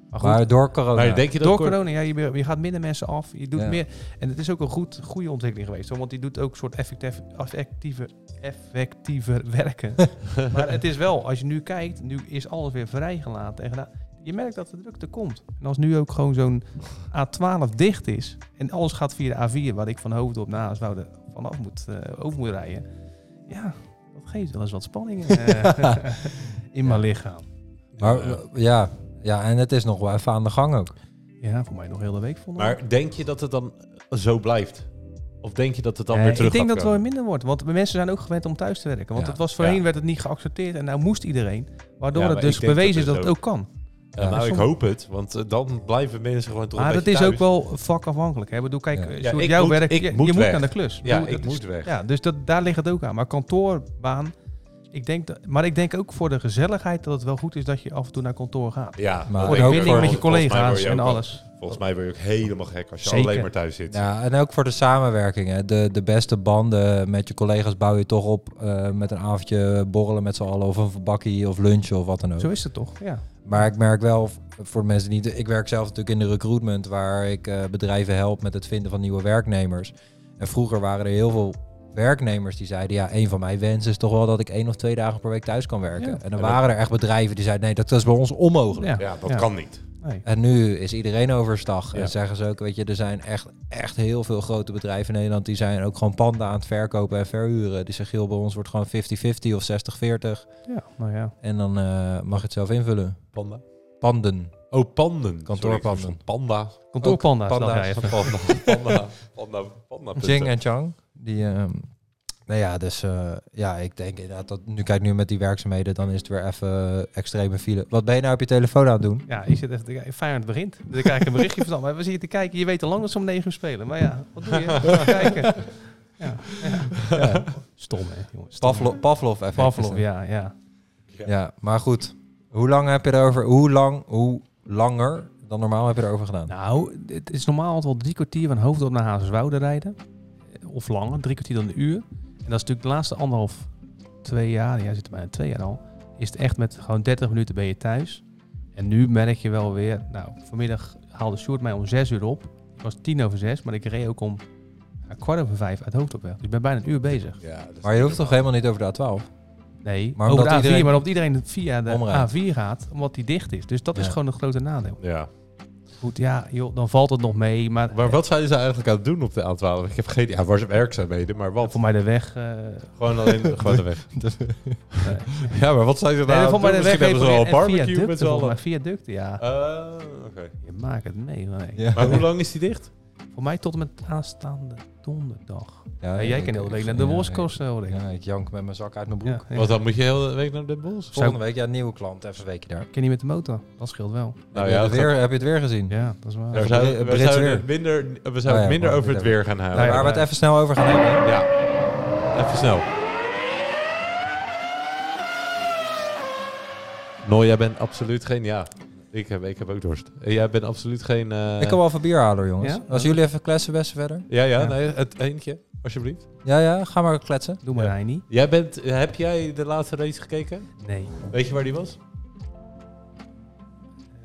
Speaker 1: Maar goed,
Speaker 3: Maar door corona.
Speaker 2: Maar denk je dat
Speaker 1: door
Speaker 2: kort-
Speaker 1: corona, ja, je, je gaat minder mensen af. Je doet
Speaker 3: Ja.
Speaker 1: meer. En het is ook een goed, goede ontwikkeling geweest. Hoor, want die doet ook een soort effectief, effectiever, effectiever werken. maar het is wel, als je nu kijkt, nu is alles weer vrijgelaten. En gedaan. Je merkt dat de drukte komt. En als nu ook gewoon zo'n A12 dicht is. En alles gaat via de A4, waar ik van Hoofddorp naar Aaswoude vanaf moet, eh, over moet rijden. Ja, Dat geeft wel eens wat spanning eh, in mijn lichaam.
Speaker 3: Maar
Speaker 2: Ja.
Speaker 3: eh, ja, ja, en het is nog wel even aan de gang ook.
Speaker 1: Ja, voor mij nog heel de week volgens
Speaker 2: Maar denk je dat het dan zo blijft? Of denk je dat het dan
Speaker 1: Eh,
Speaker 2: weer terug
Speaker 1: ik denk
Speaker 2: gaat
Speaker 1: dat het wel
Speaker 2: komen?
Speaker 1: weer minder wordt. Want mensen zijn ook gewend om thuis te werken. Want
Speaker 3: Ja.
Speaker 1: het was voorheen
Speaker 2: Ja.
Speaker 1: werd het niet geaccepteerd. En nou moest iedereen. Waardoor
Speaker 2: Ja,
Speaker 1: het
Speaker 2: maar
Speaker 1: dus
Speaker 2: ik denk
Speaker 1: bewezen
Speaker 2: dat
Speaker 1: is dat
Speaker 2: het
Speaker 1: het ook kan.
Speaker 2: Ja,
Speaker 3: Ja,
Speaker 2: nou, ik
Speaker 1: soms-
Speaker 2: hoop het, want eh, dan blijven mensen gewoon toch
Speaker 1: maar
Speaker 2: een
Speaker 1: dat
Speaker 2: beetje
Speaker 1: is
Speaker 2: thuis.
Speaker 1: ook wel vakafhankelijk. Hè? Ik bedoel, kijk,
Speaker 3: Ja.
Speaker 1: eh,
Speaker 2: Ja,
Speaker 1: Sjoerd,
Speaker 2: ik
Speaker 1: jouw
Speaker 2: moet-
Speaker 1: werk,
Speaker 2: ik
Speaker 1: je,
Speaker 2: moet
Speaker 1: je moet
Speaker 2: weg.
Speaker 1: aan de klus.
Speaker 2: Ja,
Speaker 1: bedoel,
Speaker 2: ik
Speaker 1: dat
Speaker 2: moet
Speaker 1: is-
Speaker 2: weg.
Speaker 1: Ja, dus dat, daar ligt het ook aan. Maar kantoorbaan, ik denk dat, maar ik denk ook voor de gezelligheid dat het wel goed is dat je af en toe naar kantoor gaat.
Speaker 2: Ja,
Speaker 3: Maar
Speaker 1: Voor
Speaker 2: dat
Speaker 3: ook
Speaker 1: de
Speaker 2: denk ik
Speaker 1: verbinding
Speaker 2: wel,
Speaker 1: met je
Speaker 2: want volgens mij
Speaker 1: collega's
Speaker 2: word je
Speaker 1: en
Speaker 2: ook wel-
Speaker 1: alles.
Speaker 2: Volgens mij word je ook helemaal gek als je
Speaker 1: Zeker.
Speaker 2: alleen maar thuis zit.
Speaker 3: Ja, en ook voor de samenwerking. Hè. De, de beste banden met je collega's bouw je toch op eh, met een avondje borrelen met z'n allen. Of een bakkie of lunchen of wat dan ook.
Speaker 1: Zo is het toch, ja.
Speaker 3: Maar ik merk wel, v- voor de mensen die niet... Ik werk zelf natuurlijk in de recruitment, waar ik eh, bedrijven help met het vinden van nieuwe werknemers. En vroeger waren er heel veel werknemers die zeiden... ja, een van mijn wensen is toch wel dat ik één of twee dagen per week thuis kan werken.
Speaker 1: Ja.
Speaker 3: En
Speaker 2: Ja,
Speaker 3: dan
Speaker 2: dat-
Speaker 3: waren er echt bedrijven die zeiden... nee, dat is bij ons onmogelijk.
Speaker 1: Ja,
Speaker 2: Ja, dat
Speaker 1: ja.
Speaker 2: kan niet.
Speaker 1: Nee.
Speaker 3: En nu is iedereen overstag.
Speaker 2: Ja.
Speaker 3: En zeggen ze ook, weet je, er zijn echt, echt heel veel grote bedrijven in Nederland... die zijn ook gewoon panden aan het verkopen en verhuren. Die zeggen, joh, bij ons wordt gewoon 50-50 of 60-40.
Speaker 1: Ja, nou ja.
Speaker 3: En dan eh, mag je het zelf invullen.
Speaker 2: Panda?
Speaker 3: Panden.
Speaker 2: Oh, panden.
Speaker 3: Kantoorpanden.
Speaker 2: Sorry, ik dacht van panda.
Speaker 1: Kantoorpanda's, dacht jij
Speaker 3: panda's.
Speaker 1: even.
Speaker 2: Panda. Panda. Panda. Panda.
Speaker 3: Jing en Chang. Die, ehm, nou ja, dus eh, ja, ik denk inderdaad dat... Nu kijk nu met die werkzaamheden, dan is het weer even eh, extreme file. Wat ben je nou op je telefoon aan het doen?
Speaker 1: Ja, ik zit even te kijken. Feyenoord begint. Dus ik krijg ik een berichtje van maar we zitten te kijken. Je weet al lang dat ze om 9 uur spelen. Maar ja, wat doe je? Even kijken. Ja, ja.
Speaker 3: Ja.
Speaker 1: Stom, hè, jongens. Stom.
Speaker 3: Pavlov, Pavlov effect.
Speaker 1: Pavlov, ja, ja.
Speaker 3: Ja. maar goed. Hoe lang heb je erover? Hoe lang, hoe langer dan normaal heb je erover gedaan?
Speaker 1: Nou, het is normaal altijd wel drie kwartier van Hoofddorp naar Hazerswoude rijden. Eh, Of langer, drie kwartier dan een uur. En dat is natuurlijk de laatste anderhalf, twee jaar, ja, zit bijna twee jaar al, is het echt met gewoon 30 minuten ben je thuis. En nu merk je wel weer, nou, vanmiddag haalde Sjoerd mij om zes uur op. Het was tien over zes, maar ik reed ook om ja, kwart over vijf uit Hoofddorp weg. Dus ik ben bijna een uur bezig.
Speaker 2: Ja, dat is
Speaker 3: maar je hoeft
Speaker 2: niet
Speaker 3: toch helemaal niet over de A12?
Speaker 1: Nee,
Speaker 3: Maar
Speaker 1: maar over de A4,
Speaker 3: omdat iedereen-
Speaker 1: maar omdat iedereen via de
Speaker 3: Omrijdt.
Speaker 1: A4 gaat, omdat die dicht is. Dus dat is
Speaker 3: Ja.
Speaker 1: gewoon een grote nadeel.
Speaker 2: normaal. Ja.
Speaker 1: Goed, ja, joh, dan valt het nog mee, maar...
Speaker 2: Maar wat zijn ze eigenlijk aan het doen op de A12? Ik heb geen idee. Ja, waar ze werkzaamheden, maar wat?
Speaker 1: Voor mij de weg. eh,
Speaker 2: Gewoon alleen gewoon de weg.
Speaker 1: Nee.
Speaker 2: Ja, maar wat zijn ze
Speaker 1: Nee,
Speaker 2: daar aan
Speaker 1: voor
Speaker 2: het
Speaker 1: mij
Speaker 2: doen?
Speaker 1: de weg
Speaker 2: Misschien hebben ze wel een barbecue
Speaker 1: viaducten,
Speaker 2: met z'n
Speaker 1: volgens
Speaker 2: allen.
Speaker 1: mij viaducten, ja.
Speaker 2: Eh, oké.
Speaker 1: Je maakt het mee, nee.
Speaker 2: Maar hoe lang is die dicht?
Speaker 1: Voor mij tot en met aanstaande donderdag.
Speaker 3: Ja,
Speaker 1: Ja,
Speaker 3: ik-
Speaker 1: jij kan heel de
Speaker 3: ik-
Speaker 1: week naar
Speaker 3: ja,
Speaker 1: de
Speaker 3: ik-
Speaker 1: Wolskos, hoor ik.
Speaker 3: Ja, ik jank met mijn zak uit mijn broek.
Speaker 1: Ja, ja.
Speaker 2: Want dan moet je heel de week naar Den Bosch.
Speaker 1: Zou-
Speaker 3: Volgende week, ja, nieuwe klant, even een weekje daar.
Speaker 1: Ik ken niet met de motor, dat scheelt wel.
Speaker 2: Nou ja,
Speaker 3: heb, je het
Speaker 2: dat
Speaker 3: weer, heb je het weer gezien?
Speaker 2: Hm.
Speaker 1: Ja, dat is waar.
Speaker 2: We
Speaker 3: Ja,
Speaker 2: zouden, we
Speaker 3: Brits
Speaker 2: zouden
Speaker 3: weer.
Speaker 2: het minder, we
Speaker 3: Ah
Speaker 2: zouden
Speaker 3: ja,
Speaker 2: het minder
Speaker 3: maar
Speaker 2: over het
Speaker 3: weer.
Speaker 2: weer gaan houden.
Speaker 1: Nee,
Speaker 3: Waar we het even snel over gaan hebben.
Speaker 2: Ja, even snel. No, jij bent absoluut geen... Ja, ik heb, ik heb ook dorst. Eh, Jij bent absoluut geen... eh,
Speaker 3: Ik kan wel even bier halen, hoor, jongens.
Speaker 1: Ja?
Speaker 3: Als jullie even kletsen, best verder.
Speaker 2: Ja, ja,
Speaker 1: Ja.
Speaker 2: Nee, het eentje, alsjeblieft.
Speaker 3: Ja, ja, ga maar kletsen.
Speaker 1: Doe maar
Speaker 2: Ja.
Speaker 1: hij niet.
Speaker 2: Jij bent, heb jij de laatste race gekeken?
Speaker 1: Nee,
Speaker 2: Weet je waar die was?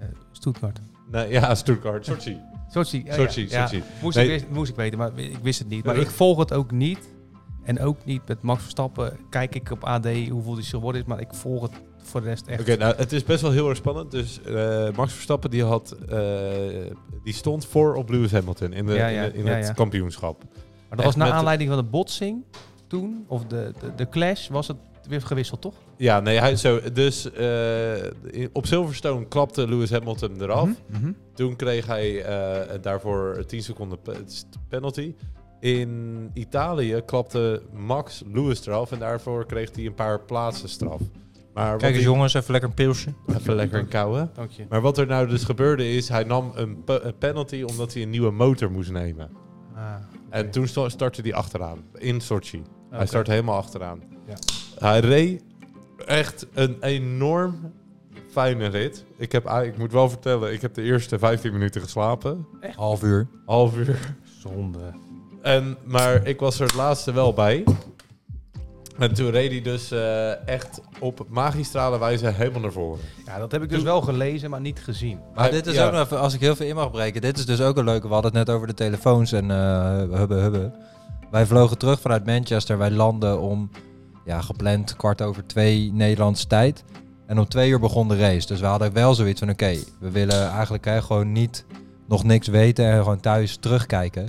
Speaker 1: Eh Stuttgart.
Speaker 2: Nee, ja, Stuttgart, Sochi.
Speaker 1: Sochi. ja,
Speaker 2: Sochi,
Speaker 1: ja,
Speaker 2: Sochi.
Speaker 1: ja. Moest,
Speaker 2: Nee.
Speaker 1: ik wist- moest ik weten, maar ik wist het niet. Maar
Speaker 2: Ja.
Speaker 1: ik volg het ook niet. En ook niet met Max Verstappen. Kijk ik op AD hoeveel die geworden is, maar ik volg het voor de rest echt.
Speaker 2: Oké, nou, het is best wel heel erg spannend. Dus eh, Max Verstappen die had, eh, die stond voor op Lewis Hamilton in, de,
Speaker 1: Ja, ja,
Speaker 2: in, de- in
Speaker 1: ja,
Speaker 2: het
Speaker 1: ja.
Speaker 2: kampioenschap.
Speaker 1: Maar dat was
Speaker 2: Echt
Speaker 1: naar
Speaker 2: met-
Speaker 1: aanleiding van de botsing toen, of de, de, de clash, was het weer gewisseld, toch?
Speaker 2: Ja, nee, hij zo. Dus eh, in- op Silverstone klapte Lewis Hamilton eraf.
Speaker 3: Mhm.
Speaker 1: Mhm.
Speaker 2: Toen kreeg hij eh, daarvoor 10 seconden pe- penalty. In Italië klapte Max Lewis eraf en daarvoor kreeg hij een paar plaatsen straf. Maar wat
Speaker 3: Kijk eens,
Speaker 2: hij-
Speaker 3: jongens, even lekker een pilsje.
Speaker 2: Even lekker een kouwen.
Speaker 1: Dank je.
Speaker 2: Maar wat er nou dus gebeurde is, hij nam een, pe- een penalty omdat hij een nieuwe motor moest nemen.
Speaker 1: Ah,
Speaker 2: En toen sta- startte hij achteraan, in Sochi. Hij startte helemaal achteraan.
Speaker 1: Ja.
Speaker 2: Hij reed echt een enorm fijne rit. Ik, heb, ah, ik moet wel vertellen, ik heb de eerste 15 minuten geslapen.
Speaker 3: Half uur.
Speaker 2: Half uur.
Speaker 1: Zonde.
Speaker 2: En, maar ik was er het laatste wel bij. En toen reed hij dus eh, echt op magistrale wijze helemaal naar voren.
Speaker 1: Ja, dat heb ik dus wel gelezen, maar niet gezien.
Speaker 3: Maar dit is
Speaker 2: ja.
Speaker 3: ook nog even, als ik heel veel in mag breken, dit is dus ook een leuke. We hadden het net over de telefoons en eh hubbe hubbe. Wij vlogen terug vanuit Manchester. Wij landen om, ja, gepland kwart over twee Nederlandse tijd. En om twee uur begon de race. Dus we hadden wel zoiets van, oké, we willen eigenlijk hè, gewoon niet nog niks weten en gewoon thuis terugkijken.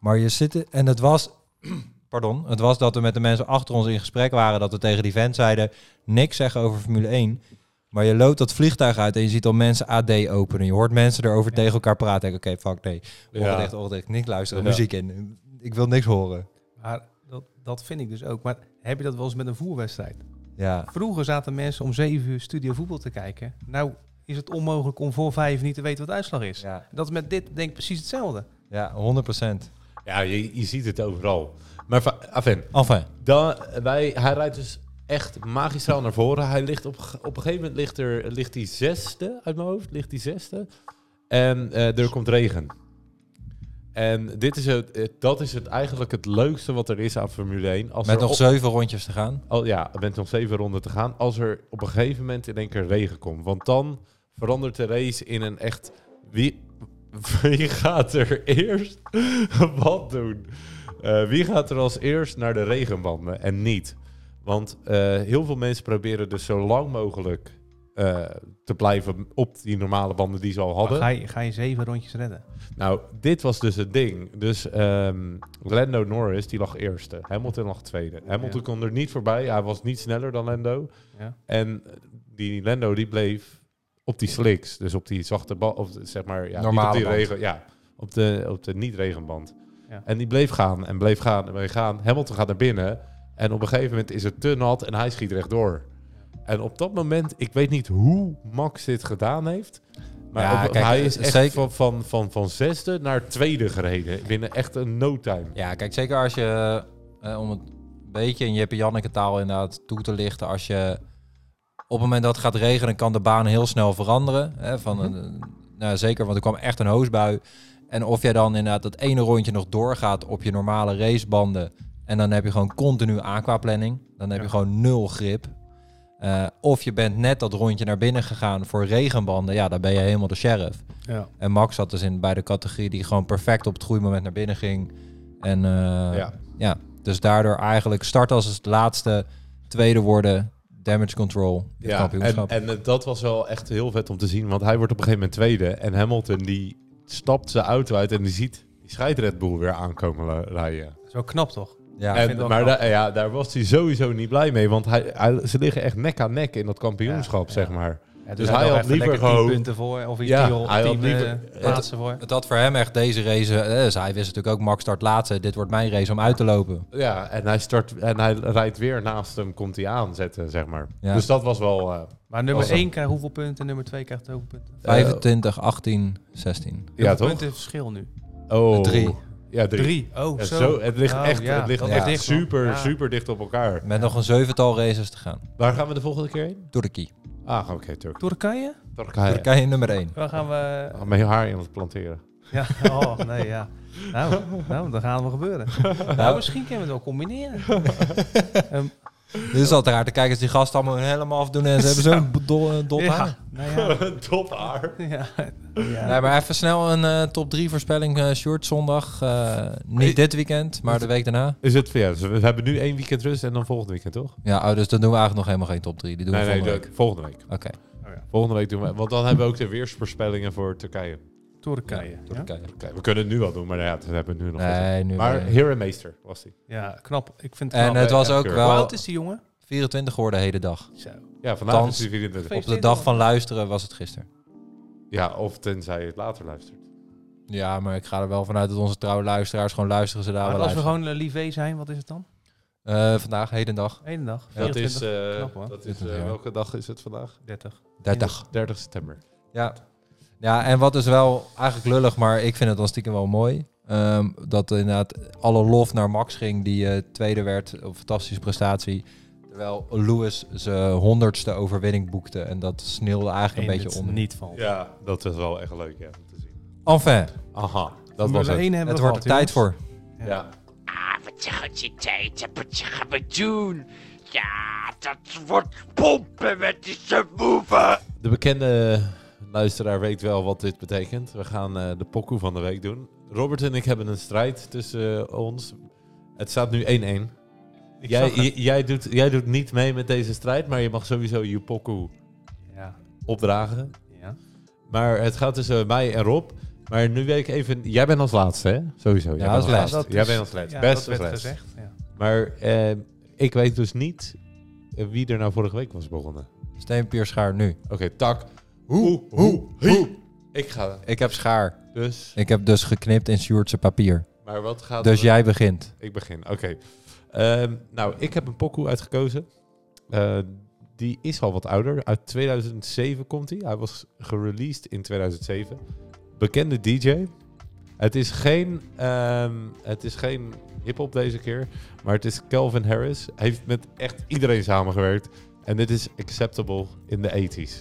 Speaker 3: Maar je zit, en het was Pardon. Het was dat we met de mensen achter ons in gesprek waren. Dat we tegen die vent zeiden, niks zeggen over Formule 1. Maar je loopt dat vliegtuig uit en je ziet al mensen AD openen. Je hoort mensen erover tegen elkaar praten. Ik denk, Oké, fuck nee.
Speaker 2: Ja.
Speaker 3: Ongedicht, ongedicht. Niks luisteren.
Speaker 2: Ja.
Speaker 3: Muziek in. Ik wil niks horen.
Speaker 1: Maar dat, dat vind ik dus ook. Maar heb je dat wel eens met een voerwedstrijd?
Speaker 3: Ja.
Speaker 1: Vroeger zaten mensen om 7 uur studio voetbal te kijken. Nou is het onmogelijk om voor 5 niet te weten wat de uitslag is.
Speaker 3: Ja,
Speaker 1: Dat is met dit denk ik precies hetzelfde.
Speaker 3: ja 100 procent.
Speaker 2: Ja, je, je ziet het overal. Maar va- enfin,
Speaker 3: Enfin.
Speaker 2: dan, wij, hij rijdt dus echt magistraal naar voren. Hij ligt op, ge- op een gegeven moment ligt er ligt die zesde uit mijn hoofd, ligt die zesde. En eh, er komt regen. En dit is het, eh, dat is het eigenlijk het leukste wat er is aan Formule 1. Als
Speaker 3: Met
Speaker 2: er
Speaker 3: nog
Speaker 2: op-
Speaker 3: zeven rondjes te gaan.
Speaker 2: al, ja, met nog zeven ronden te gaan. Als er op een gegeven moment in één keer regen komt. Want dan verandert de race in een echt... Wie, wie gaat er eerst wat doen? Eh, wie gaat er als eerst naar de regenbanden en niet? Want eh, heel veel mensen proberen dus zo lang mogelijk eh, te blijven op die normale banden die ze al
Speaker 1: Maar
Speaker 2: hadden.
Speaker 1: Ga je, ga je zeven rondjes redden?
Speaker 2: Nou, dit was dus het ding. Dus ehm Lando Norris, die lag eerste. Hamilton lag tweede. Hamilton
Speaker 1: Ja.
Speaker 2: kon er niet voorbij. Hij was niet sneller dan Lando.
Speaker 1: Ja.
Speaker 2: En die Lando, die bleef op die slicks. Dus op die zachte bal, of zeg maar... Ja,
Speaker 3: Normale
Speaker 2: niet op die
Speaker 3: band.
Speaker 2: regen, Ja, op de, op de niet-regenband.
Speaker 1: Ja.
Speaker 2: En die bleef gaan en bleef gaan en bleef gaan. Hamilton gaat naar binnen. En op een gegeven moment is het te nat en hij schiet rechtdoor. En op dat moment, ik weet niet hoe Max dit gedaan heeft. Maar
Speaker 3: Ja,
Speaker 2: op-
Speaker 3: kijk,
Speaker 2: hij is
Speaker 3: het-
Speaker 2: echt
Speaker 3: zeker-
Speaker 2: van, van, van, van zesde naar tweede gereden. Binnen echt een no time.
Speaker 3: Ja, kijk, zeker als je, eh, om het een beetje in Jeppe Janneke taal inderdaad toe te lichten, als je op het moment dat het gaat regenen, kan de baan heel snel veranderen. Hè, van een, nou, zeker, want er kwam echt een hoosbui. En of jij dan inderdaad dat ene rondje nog doorgaat op je normale racebanden, en dan heb je gewoon continu aquaplanning, dan heb
Speaker 1: Ja.
Speaker 3: je gewoon nul grip. Eh, of je bent net dat rondje naar binnen gegaan voor regenbanden, ja, dan ben je helemaal de sheriff.
Speaker 1: Ja.
Speaker 3: En Max zat dus in, bij de categorie die gewoon perfect op het groeimoment naar binnen ging. En eh, ja. dus daardoor eigenlijk start als het laatste, tweede worden, damage control, dit
Speaker 2: Ja, en,
Speaker 3: kampioenschap.
Speaker 2: en eh, dat was wel echt heel vet om te zien. Want hij wordt op een gegeven moment tweede. En Hamilton die stapt zijn auto uit en die ziet die scheidt Red Bull weer aankomen la- rijden.
Speaker 1: Dat is wel knap toch?
Speaker 3: ja,
Speaker 1: ik
Speaker 2: en,
Speaker 1: vind het wel
Speaker 2: maar
Speaker 1: knap.
Speaker 2: da- ja, daar was hij sowieso niet blij mee. Want hij, hij- ze liggen echt nek aan nek in dat kampioenschap,
Speaker 1: Ja,
Speaker 2: zeg
Speaker 1: ja.
Speaker 2: maar.
Speaker 1: Ja,
Speaker 2: Dus hij had liever
Speaker 1: lekker tien
Speaker 2: gewoon-
Speaker 1: punten voor of iets
Speaker 2: Ja,
Speaker 1: tien,
Speaker 2: hij had
Speaker 1: tien,
Speaker 2: liever-
Speaker 1: eh, plaatsen voor.
Speaker 3: het had voor hem echt deze race, eh, dus hij wist natuurlijk ook Max start laatste, dit wordt mijn race om uit te lopen.
Speaker 2: Ja, en hij, start, en hij rijdt weer naast hem, komt hij aanzetten, zeg maar.
Speaker 3: Ja.
Speaker 2: Dus dat was wel... eh,
Speaker 1: Maar nummer
Speaker 2: Awesome.
Speaker 1: 1 krijgt hoeveel punten en nummer 2 krijgt hoeveel punten?
Speaker 2: Eh,
Speaker 3: 25, 18, 16.
Speaker 2: ja,
Speaker 1: Hoeveel
Speaker 2: toch?
Speaker 1: punten verschil nu?
Speaker 2: Oh.
Speaker 3: Drie.
Speaker 2: Ja, drie.
Speaker 1: 3. Oh,
Speaker 2: Ja,
Speaker 1: zo.
Speaker 2: zo. het ligt
Speaker 1: Oh,
Speaker 2: echt,
Speaker 1: ja,
Speaker 2: het ligt
Speaker 1: dat
Speaker 2: echt
Speaker 3: ligt
Speaker 1: dicht, man.
Speaker 2: super,
Speaker 1: Ja.
Speaker 2: super dicht op elkaar.
Speaker 3: Met nog een zevental races te gaan.
Speaker 2: Waar gaan we de volgende keer heen?
Speaker 3: Turkey.
Speaker 2: Ah, oké, Turk.
Speaker 1: Turkije?
Speaker 2: Turkije.
Speaker 3: Turkije nummer 1.
Speaker 1: Waar gaan we...
Speaker 2: Ah, Met je haar in het planteren.
Speaker 1: Ja, oh nee, ja. Nou, nou dan gaan we gebeuren. Nou, misschien kunnen we het wel combineren.
Speaker 3: Dit is altijd raar te kijken als die gasten allemaal hun helm afdoen en ze hebben zo'n dol, dol
Speaker 1: ja.
Speaker 3: haar.
Speaker 1: Nou ja.
Speaker 2: Top haar.
Speaker 1: Ja. ja.
Speaker 3: Nee, maar even snel een eh, top 3 voorspelling eh short zondag. Eh, niet dit weekend, maar de week daarna.
Speaker 2: Is het ja, dus We hebben nu één weekend rust en dan volgende weekend, toch?
Speaker 3: Ja, oh, dus dan doen we eigenlijk nog helemaal geen top 3. Die doen
Speaker 2: nee,
Speaker 3: we
Speaker 2: nee,
Speaker 3: volgende
Speaker 2: de-
Speaker 3: week.
Speaker 2: volgende week.
Speaker 3: Oké,
Speaker 1: Oh, ja.
Speaker 2: Volgende week doen we... Want dan hebben we ook de weersvoorspellingen voor Turkije.
Speaker 1: Turkije. Ja?
Speaker 3: Turkije.
Speaker 2: Oké, we kunnen het nu wel doen, maar ja, dat hebben we nu nog niet.
Speaker 3: Nee, nu
Speaker 2: Maar
Speaker 3: weer.
Speaker 2: Heer en Meester was die.
Speaker 1: Ja, knap. Ik vind het knap.
Speaker 3: En het was ook
Speaker 2: Keur.
Speaker 1: Hoe
Speaker 3: wel
Speaker 1: oud is die jongen?
Speaker 3: 24 geworden de hele dag.
Speaker 1: Zo.
Speaker 2: Ja, vandaag
Speaker 3: Thans-
Speaker 2: is die 24.
Speaker 3: Op de dag van luisteren was het gisteren.
Speaker 2: Ja, of tenzij je het later luistert.
Speaker 3: Ja, maar ik ga er wel vanuit dat onze trouwe luisteraars gewoon luisteren ze daar
Speaker 1: Maar
Speaker 3: wel
Speaker 1: als we
Speaker 3: luisteren.
Speaker 1: gewoon eh, Livé zijn, wat is het dan?
Speaker 3: Eh, vandaag, heden dag,
Speaker 1: Eén dag.
Speaker 2: Dat is,
Speaker 1: 24,
Speaker 2: eh,
Speaker 1: knap, hoor.
Speaker 2: dat is
Speaker 3: Dit is,
Speaker 2: eh,
Speaker 3: ja.
Speaker 2: welke dag is het vandaag?
Speaker 1: 30.
Speaker 3: 30.
Speaker 2: 30 september.
Speaker 3: Ja. ja, en wat is wel eigenlijk lullig, maar ik vind het dan stiekem wel mooi. ehm, dat inderdaad alle lof naar Max ging, die eh, tweede werd. Een fantastische prestatie. Terwijl Lewis zijn honderdste overwinning boekte. En dat sneeuwde eigenlijk
Speaker 1: Eén
Speaker 3: een beetje
Speaker 1: dit
Speaker 3: onder.
Speaker 1: niet valt.
Speaker 2: Ja, dat is wel echt leuk ja, om te zien.
Speaker 3: Enfin,
Speaker 2: Aha, dat
Speaker 1: Dat
Speaker 2: was het.
Speaker 1: één hebben
Speaker 3: het
Speaker 1: we
Speaker 3: wordt er
Speaker 1: gehad,
Speaker 3: tijd
Speaker 1: jongens.
Speaker 3: voor.
Speaker 1: Ja.
Speaker 2: Ja.
Speaker 4: Ah, wat je gaat je tijd, wat je gaat me doen. Ja, dat wordt pompen met die subwoofer.
Speaker 2: De bekende luisteraar weet wel wat dit betekent. We gaan eh, de pokoe van de week doen. Robert en ik hebben een strijd tussen eh, ons. Het staat nu 1-1.
Speaker 1: Ik
Speaker 2: Jij,
Speaker 1: zag het.
Speaker 2: j- jij, doet, jij doet niet mee met deze strijd, maar je mag sowieso je pokoe
Speaker 1: Ja.
Speaker 2: opdragen.
Speaker 1: Ja.
Speaker 2: Maar het gaat tussen mij en Rob. Maar nu weet ik even... Jij bent als laatste, hè? Sowieso. jij
Speaker 3: Ja,
Speaker 2: bent
Speaker 3: als
Speaker 2: laatste.
Speaker 1: laatste.
Speaker 2: Jij bent als laatste.
Speaker 1: Ja,
Speaker 2: Best
Speaker 1: dat
Speaker 2: als
Speaker 1: werd
Speaker 2: laatste.
Speaker 1: gezegd. Ja.
Speaker 2: Maar eh, ik weet dus niet eh, wie er nou vorige week was begonnen.
Speaker 3: Steenpapier, schaar, nu.
Speaker 2: Oké, tak. Hoe, hoe, hoe. Ik ga
Speaker 3: Ik heb schaar.
Speaker 2: dus.
Speaker 3: Ik heb dus geknipt in Sjoerdse papier.
Speaker 2: Maar wat gaat
Speaker 3: Dus
Speaker 2: er-
Speaker 3: jij begint.
Speaker 2: Ik begin, oké. Ehm, nou, ik heb een pokoe uitgekozen. Eh, die is al wat ouder. Uit 2007 komt hij. Hij was gereleased in 2007. Bekende DJ. Het is geen, ehm, het is geen hip-hop deze keer. Maar het is Calvin Harris. Hij heeft met echt iedereen samengewerkt. En dit is acceptable in de 80s.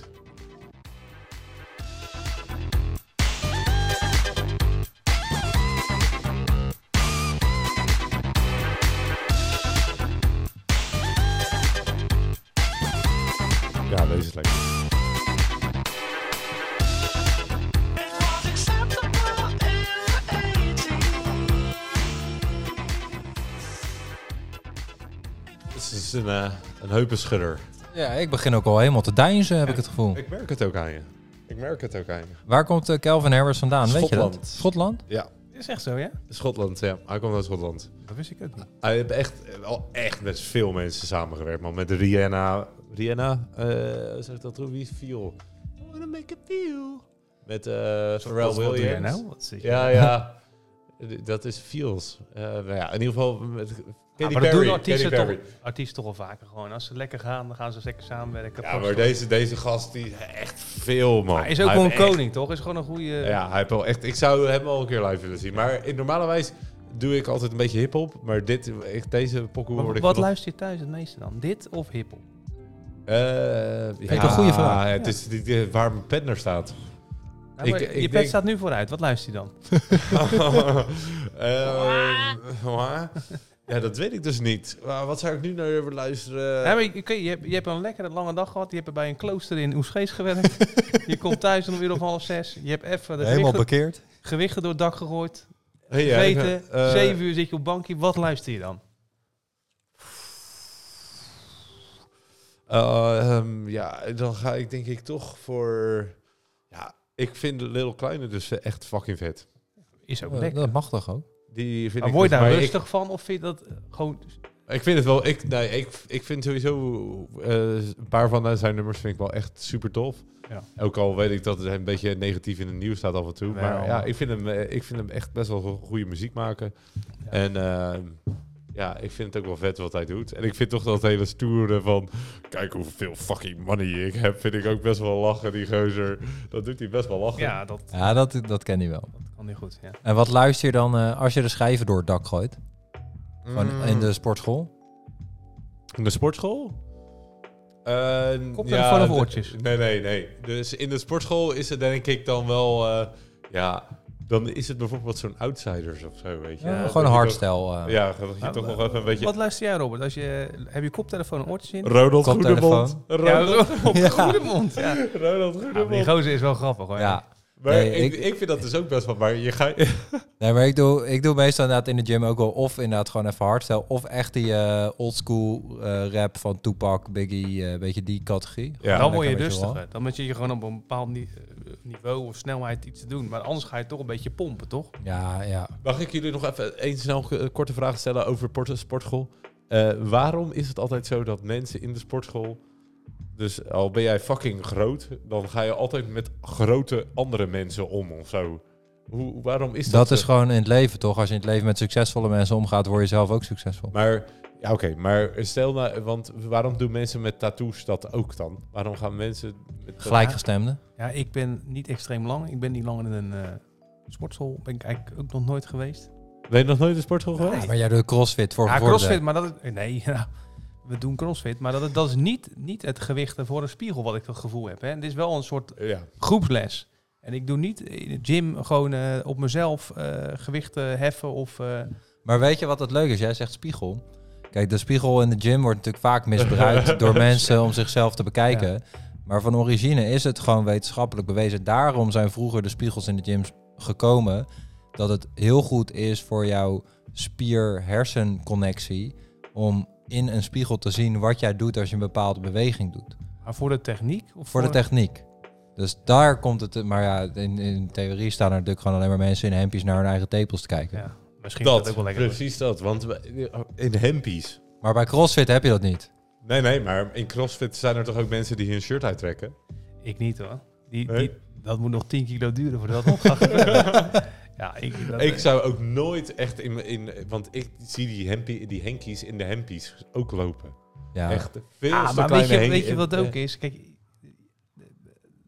Speaker 2: Ja, deze is lekker.
Speaker 5: It was acceptable in the 80s.
Speaker 2: Het is een, eh een heupenschudder.
Speaker 3: Ja, ik begin ook al helemaal te deinzen, heb ik het gevoel.
Speaker 2: Ik merk het ook aan je. Ik merk het ook aan je.
Speaker 3: Waar komt eh, Calvin Harris vandaan? Weet je
Speaker 2: Schotland.
Speaker 3: dat? Schotland?
Speaker 2: Ja,
Speaker 1: Is echt zo, ja?
Speaker 2: Schotland, ja. Hij komt uit Schotland.
Speaker 1: Dat wist ik ook niet.
Speaker 2: Hij heeft Ah, echt, al echt met veel mensen samengewerkt, man. Met Rihanna. Rihanna, eh, hoe zeg ik dat terug? Wie is Feel? I wanna make a feel. Met eh Pharrell
Speaker 1: Wat doe jij
Speaker 2: Williams.
Speaker 1: nou? Wat zit je-
Speaker 2: Ja, ja. dat is Feels. Eh, nou ja, in ieder geval met Katy
Speaker 1: Ja, maar dat
Speaker 2: Perry.
Speaker 1: doen
Speaker 2: Katy
Speaker 1: artiesten
Speaker 2: Perry.
Speaker 1: toch, artiesten toch al vaker gewoon. Als ze lekker gaan, dan gaan ze lekker samenwerken.
Speaker 2: Ja,
Speaker 1: Past
Speaker 2: maar
Speaker 1: toch.
Speaker 2: deze, deze gast, die echt veel, man.
Speaker 1: Hij is ook
Speaker 2: Hij
Speaker 1: gewoon een
Speaker 2: heeft echt-
Speaker 1: koning, toch? Is gewoon een goede...
Speaker 2: Ja, hij heeft wel echt. Ik zou hem al een keer live willen zien. Maar in normale wijze doe ik altijd een beetje hip-hop. Maar dit, echt, deze pokoe
Speaker 1: Maar
Speaker 2: word ik
Speaker 1: wat
Speaker 2: nog-
Speaker 1: luister je thuis het meeste dan? Dit of hiphop?
Speaker 2: Eh
Speaker 3: ik een goede vraag.
Speaker 2: Het is die, die- waar mijn pen naar staat.
Speaker 1: Nou,
Speaker 2: Ik-
Speaker 1: maar
Speaker 2: ik
Speaker 1: je pet
Speaker 2: denk-
Speaker 1: staat nu vooruit. Wat luister je dan?
Speaker 2: Eh, wa? ja, dat weet ik dus niet. Wa- Wat zou ik nu naar willen luisteren?
Speaker 1: Ja, maar je, oké, je, hebt, je hebt een lekkere lange dag gehad. Je hebt bij een klooster in Oesgees gewerkt. je komt thuis om een uur of half zes. Je hebt even de
Speaker 3: Helemaal
Speaker 1: gewichten,
Speaker 3: bekeerd.
Speaker 1: gewichten door het dak gegooid.
Speaker 2: Hey, ja, ik-
Speaker 1: Weten,
Speaker 2: eh,
Speaker 1: zeven uur zit je op bankje. Wat luister je dan?
Speaker 2: eh, ehm, ja, dan ga ik denk ik toch voor... Ja, ik vind Little Kleine dus eh, echt fucking vet.
Speaker 1: Is ook
Speaker 3: Eh,
Speaker 1: lekker.
Speaker 3: Dat mag toch ook?
Speaker 2: Die vind
Speaker 1: Maar
Speaker 2: ik
Speaker 1: word je
Speaker 2: dus-
Speaker 1: daar
Speaker 2: maar ik-
Speaker 1: rustig van? Of vind je dat eh, gewoon...
Speaker 2: Ik vind het wel. Ik, nee, ik, ik vind sowieso eh, een paar van zijn nummers vind ik wel echt super tof.
Speaker 1: Ja.
Speaker 2: Ook al weet ik dat het een beetje negatief in het nieuws staat af en toe.
Speaker 1: Wel.
Speaker 2: Maar ja, ik vind, hem, eh, ik vind hem echt best wel go- goede muziek maken.
Speaker 1: Ja.
Speaker 2: En ehm, ja, ik vind het ook wel vet wat hij doet. En ik vind toch dat hele stoere van... Kijk hoeveel fucking money ik heb. Vind ik ook best wel lachen, die gozer. Dat doet hij best wel lachen.
Speaker 1: Ja, dat
Speaker 3: Ja, dat, dat ken hij wel.
Speaker 1: kan niet goed. Ja.
Speaker 3: En wat luister je dan eh, als je de schijven door het dak gooit? Gewoon
Speaker 2: Mm.
Speaker 3: in de sportschool?
Speaker 2: In de sportschool? Uh,
Speaker 1: Koptelefoon of oortjes?
Speaker 2: Nee, nee, nee. Dus in de sportschool is het denk ik dan wel... eh, ja, dan is het bijvoorbeeld zo'n Outsiders of zo, weet je.
Speaker 3: Ja,
Speaker 2: Dat
Speaker 3: gewoon een
Speaker 2: je
Speaker 3: hardstyle. eh,
Speaker 2: toch- Ja, dat je toch nog even een beetje...
Speaker 1: Wat luister jij, Robert? Als je, eh, heb je koptelefoon en oortjes in?
Speaker 2: Ronald
Speaker 3: Koptelefoon.
Speaker 2: Goedemond. Ronald,
Speaker 1: op de goede mond. Ja.
Speaker 2: Ronald
Speaker 1: Ja, maar die
Speaker 2: Goedemond.
Speaker 1: gozer is wel grappig hoor.
Speaker 3: ja.
Speaker 2: maar
Speaker 3: Nee,
Speaker 2: ik,
Speaker 3: ik-
Speaker 2: ik vind dat dus ook best wel... Maar je gaat...
Speaker 3: Nee, maar ik doe, ik doe meestal inderdaad in de gym ook wel of inderdaad gewoon even hardstyle. Of echt die eh, oldschool eh, rap van Tupac, Biggie, eh, een beetje die categorie.
Speaker 2: Ja.
Speaker 1: dan word je
Speaker 3: lekker, weet je wel.
Speaker 1: rustiger. Dan moet je je gewoon op een bepaald ni- eh, niveau of snelheid iets te doen. Maar anders ga je toch een beetje pompen, toch?
Speaker 3: Ja, ja.
Speaker 2: Mag ik jullie nog even één snel eh, korte vraag stellen over port- sportschool? Eh, waarom is het altijd zo dat mensen in de sportschool... Dus al ben jij fucking groot, dan ga je altijd met grote andere mensen om of zo. Hoe, waarom is dat?
Speaker 3: Dat
Speaker 2: zo?
Speaker 3: is gewoon in het leven toch? Als je in het leven met succesvolle mensen omgaat, word je zelf ook succesvol.
Speaker 2: Maar, ja oké, maar stel nou... Want waarom doen mensen met tattoos dat ook dan? Waarom gaan mensen... Met
Speaker 3: Gelijkgestemde.
Speaker 1: Ja, ik ben niet extreem lang. Ik ben niet lang in een eh, sportschool. Ben ik eigenlijk ook nog nooit geweest.
Speaker 2: Ben je nog nooit in de sportschool geweest?
Speaker 3: Ja, maar jij doet crossfit voor
Speaker 1: Ja,
Speaker 3: voor de-
Speaker 1: crossfit, maar dat is... Nee, ja, we doen crossfit. Maar dat, is- dat is niet, niet het gewichten voor een spiegel wat ik dat gevoel heb. Hè. Het is wel een soort
Speaker 2: Ja.
Speaker 1: groepsles. En ik doe niet in de gym gewoon eh, op mezelf eh, gewichten heffen of... eh,
Speaker 3: Maar weet je wat het leuk is? Jij zegt spiegel. Kijk, de spiegel in de gym wordt natuurlijk vaak misbruikt door mensen om zichzelf te bekijken. Maar van origine is het gewoon wetenschappelijk bewezen. Daarom zijn vroeger de spiegels in de gyms gekomen. Dat het heel goed is voor jouw spier-hersenconnectie om in een spiegel te zien wat jij doet als je een bepaalde beweging doet.
Speaker 1: maar voor de techniek? Of
Speaker 3: Voor de techniek. Dus daar komt het. Maar ja, in, in theorie staan er natuurlijk gewoon alleen maar mensen in hempjes naar hun eigen tepels te kijken.
Speaker 1: Ja. Misschien is dat
Speaker 2: Dat,
Speaker 1: ook wel lekker.
Speaker 2: precies dat. Want we- in hempies.
Speaker 3: Maar bij CrossFit heb je dat niet.
Speaker 2: Nee, nee, maar in CrossFit zijn er toch ook mensen die hun shirt uittrekken?
Speaker 1: Ik niet hoor. Die,
Speaker 2: Nee?
Speaker 1: die, dat moet nog 10 kilo duren voordat dat nog gaat gebeuren. ja, ik, dat-
Speaker 2: Ik zou ook nooit echt in... in want ik zie die, hempie, die henkies in de hempies ook lopen.
Speaker 3: Ja.
Speaker 2: Echt veel
Speaker 1: Ah,
Speaker 2: te
Speaker 1: maar weet
Speaker 2: kleine
Speaker 1: je,
Speaker 2: hen-
Speaker 1: weet je wat het ook
Speaker 2: eh,
Speaker 1: is? Kijk,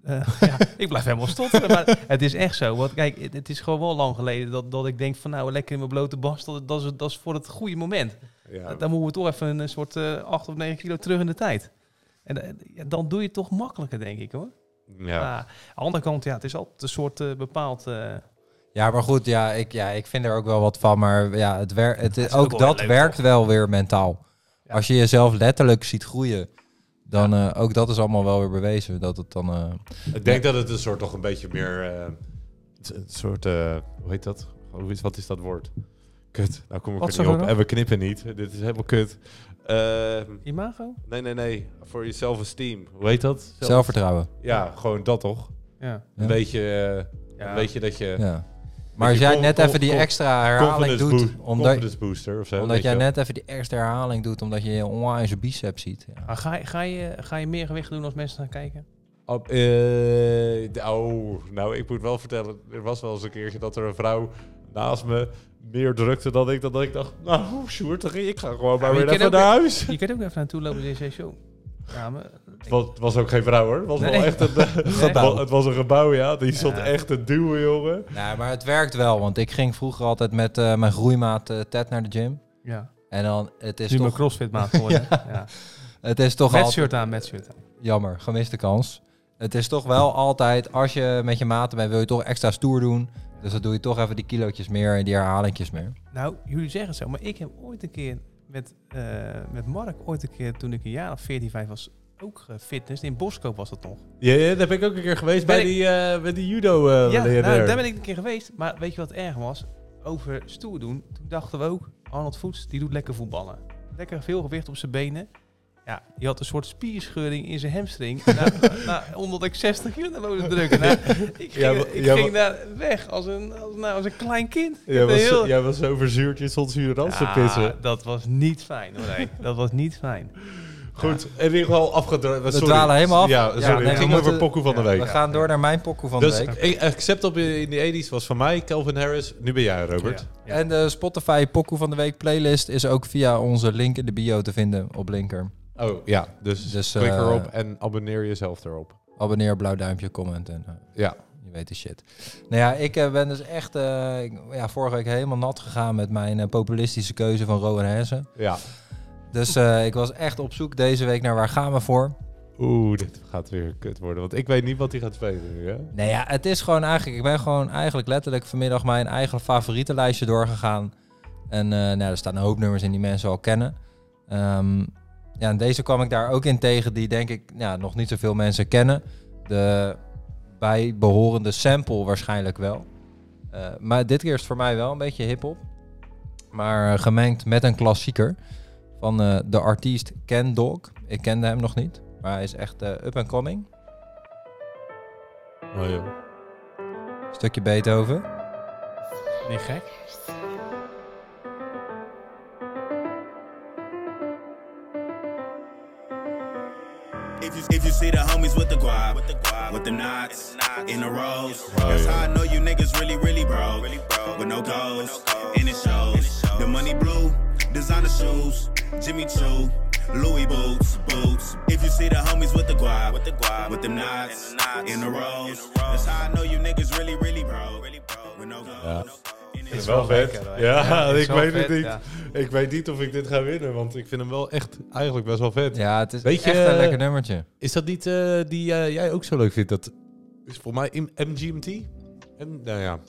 Speaker 1: eh, ja, ik blijf helemaal stotteren, maar het is echt zo. Want kijk, het- het is gewoon wel lang geleden dat, dat ik denk van nou, lekker in mijn blote bast, dat, dat, is, dat is voor het goede moment.
Speaker 2: ja.
Speaker 1: Dan moeten we toch even een soort eh 8 of 9 kilo terug in de tijd. En eh, ja, dan doe je het toch makkelijker, denk ik hoor.
Speaker 2: ja.
Speaker 1: Maar aan de andere kant, ja, het is altijd een soort eh, bepaald... eh,
Speaker 3: Ja, maar goed, ja ik, ja, ik vind er ook wel wat van. Maar ja, het wer het,
Speaker 1: is ook
Speaker 3: ook,
Speaker 1: wel weer
Speaker 3: dat
Speaker 1: leuk,
Speaker 3: werkt wel weer mentaal.
Speaker 1: Ja.
Speaker 3: Als je jezelf letterlijk ziet groeien, dan eh, ook dat is allemaal wel weer bewezen. Dat het dan. eh,
Speaker 2: Ik denk dat het een soort toch een beetje meer. eh, het- een soort. eh, hoe heet dat? Hoe is, wat is dat woord? Kut. Nou kom ik
Speaker 1: Wat
Speaker 2: er
Speaker 1: zeg
Speaker 2: niet
Speaker 1: je
Speaker 2: op.
Speaker 1: nou?
Speaker 2: En we knippen niet. Dit is helemaal kut. Ehm,
Speaker 1: imago?
Speaker 2: nee, nee, nee. Voor je self-esteem. Hoe heet dat? Self-
Speaker 3: Zelfvertrouwen.
Speaker 2: Ja, gewoon dat toch?
Speaker 1: Ja.
Speaker 3: Ja.
Speaker 2: Een beetje. eh,
Speaker 1: Ja.
Speaker 2: Een beetje dat je.
Speaker 3: Ja. Maar als
Speaker 2: je
Speaker 3: jij
Speaker 2: con-
Speaker 3: net
Speaker 2: con-
Speaker 3: even die
Speaker 2: con-
Speaker 3: extra herhaling
Speaker 2: Confidence,
Speaker 3: doet,
Speaker 2: boo-
Speaker 3: omdat,
Speaker 2: confidence booster of zo.
Speaker 3: omdat
Speaker 2: weet
Speaker 3: jij
Speaker 2: je wel.
Speaker 3: net even die extra herhaling doet, omdat je je onwijs bicep ziet. Ja.
Speaker 1: Maar ga, je- ga, je, ga je meer gewicht doen als mensen naar kijken?
Speaker 2: Op, eh, de- oh, nou, ik moet wel vertellen. Er was wel eens een keertje dat er een vrouw naast me meer drukte dan ik. Dat ik dacht, nou, Sjoerd, ik ga gewoon maar
Speaker 1: je
Speaker 2: weer
Speaker 1: kan
Speaker 2: even
Speaker 1: ook-
Speaker 2: naar huis.
Speaker 1: Je kunt ook even naartoe lopen en zeggen, joh, ja, maar,
Speaker 2: Het was, het was ook geen vrouw hoor. Het was
Speaker 1: Nee.
Speaker 2: wel echt een eh,
Speaker 1: Gebouw.
Speaker 2: Het was een gebouw, ja. Die stond
Speaker 1: Ja.
Speaker 2: echt te duwen, jongen.
Speaker 3: Nee, maar het werkt wel, want ik ging vroeger altijd met eh, mijn groeimaat eh, Ted naar de gym.
Speaker 1: ja.
Speaker 3: En dan, het is
Speaker 1: nu mijn
Speaker 3: toch,
Speaker 1: crossfit maat geworden. ja.
Speaker 3: het is toch
Speaker 1: Met
Speaker 3: altijd...
Speaker 1: shirt aan, met shirt aan.
Speaker 3: Jammer, gemiste kans. Het is toch wel altijd, als je met je maten bent, wil je toch extra stoer doen. Dus dan doe je toch even die kilootjes meer en die herhalingjes meer.
Speaker 1: Nou, jullie zeggen het zo, maar ik heb ooit een keer met, eh, met Mark, ooit een keer toen ik een jaar of 14, 5 was, ook gefitnessd. In Boskoop was dat nog.
Speaker 2: Ja, ja, daar ben ik ook een keer geweest
Speaker 1: Ben
Speaker 2: bij,
Speaker 1: ik-
Speaker 2: die, eh, bij die judo eh
Speaker 1: ja,
Speaker 2: leraar.
Speaker 1: nou, daar ben ik een keer geweest. Maar weet je wat erg was? Over stoer doen, toen dachten we ook, Arnold Voets, die doet lekker voetballen. Lekker veel gewicht op zijn benen. Ja, die had een soort spierscheuring in zijn hamstring. na, na, omdat ik 60 kilo naar boven drukte. Nou, ik ging,
Speaker 2: Ja, wa-
Speaker 1: ik
Speaker 2: ja,
Speaker 1: ging daar weg als een, als, nou, als een klein kind. Ik
Speaker 2: Jij
Speaker 1: heb
Speaker 2: was,
Speaker 1: een heel-
Speaker 2: jij was zo verzuurd, je stond zuurans te
Speaker 1: Ah,
Speaker 2: pissen.
Speaker 1: dat was niet fijn hoor. nee. Dat was niet fijn.
Speaker 2: Goed, in ieder geval afgedroogd.
Speaker 3: We dwalen helemaal af.
Speaker 2: Ja,
Speaker 3: Ja,
Speaker 2: sorry.
Speaker 3: nee, we
Speaker 2: het ging
Speaker 3: moeten-
Speaker 2: over Pokoe van de
Speaker 1: Ja,
Speaker 2: Week.
Speaker 3: We gaan door naar mijn pokoe van
Speaker 2: dus
Speaker 3: de week.
Speaker 2: ik- except op in de 80s was van mij Calvin Harris. Nu ben jij, Robert.
Speaker 1: Ja.
Speaker 3: En de Spotify pokoe van de week playlist is ook via onze link in de bio te vinden op Linker.
Speaker 2: Oh ja, dus,
Speaker 3: Dus,
Speaker 2: klik
Speaker 3: eh,
Speaker 2: erop en abonneer jezelf erop.
Speaker 3: Abonneer, blauw duimpje, comment en eh,
Speaker 2: Ja,
Speaker 3: je weet de shit. Nou ja, ik eh, ben dus echt eh, ik- ja, vorige week helemaal nat gegaan met mijn eh, populistische keuze van Rowan Hersen.
Speaker 2: ja.
Speaker 3: Dus eh, ik was echt op zoek deze week naar waar gaan we voor.
Speaker 2: Oeh, dit gaat weer kut worden. Want ik weet niet wat hij gaat spelen nu, hè?
Speaker 3: Nou ja, het is gewoon eigenlijk. Ik ben gewoon eigenlijk letterlijk vanmiddag mijn eigen favoriete lijstje doorgegaan. En eh, nou, er staan een hoop nummers in die mensen al kennen. Ehm, ja, en deze kwam ik daar ook in tegen, die denk ik ja, nog niet zoveel mensen kennen. De bijbehorende sample waarschijnlijk wel. Eh, maar dit keer is het voor mij wel een beetje hip-hop. Maar eh, gemengd met een klassieker van eh, de artiest Ken Dog. Ik kende hem nog niet, maar hij is echt eh, up and coming.
Speaker 2: Oh, ja.
Speaker 3: Stukje Beethoven.
Speaker 1: Niet gek?
Speaker 6: If you, if you see the homies with the guap, with the, guap, with the knots, in the rows, that's how I know you niggas really, really bro, really bro with no goals, and it shows. The money blue, designer shoes, Jimmy Choo, Louis boots, boots. If you see the homies with the guap, with the guap, with them knots, in the rows, that's how I know you niggas really, really bro, really bro with no goals. and it
Speaker 2: Is
Speaker 6: shows.
Speaker 2: wel vet.
Speaker 1: lekker, hoor.
Speaker 2: ja,
Speaker 1: Ja, is
Speaker 2: ik
Speaker 1: wel
Speaker 2: weet
Speaker 1: vet,
Speaker 2: het niet.
Speaker 1: ja.
Speaker 2: Ik weet niet of ik dit ga winnen, want ik vind hem wel echt eigenlijk best wel vet.
Speaker 3: Ja, het is
Speaker 2: Weet je,
Speaker 3: echt een
Speaker 2: eh,
Speaker 3: lekker nummertje.
Speaker 2: Is dat niet eh, die eh, jij ook zo leuk vindt? Dat is voor mij M- MGMT. En, nou ja.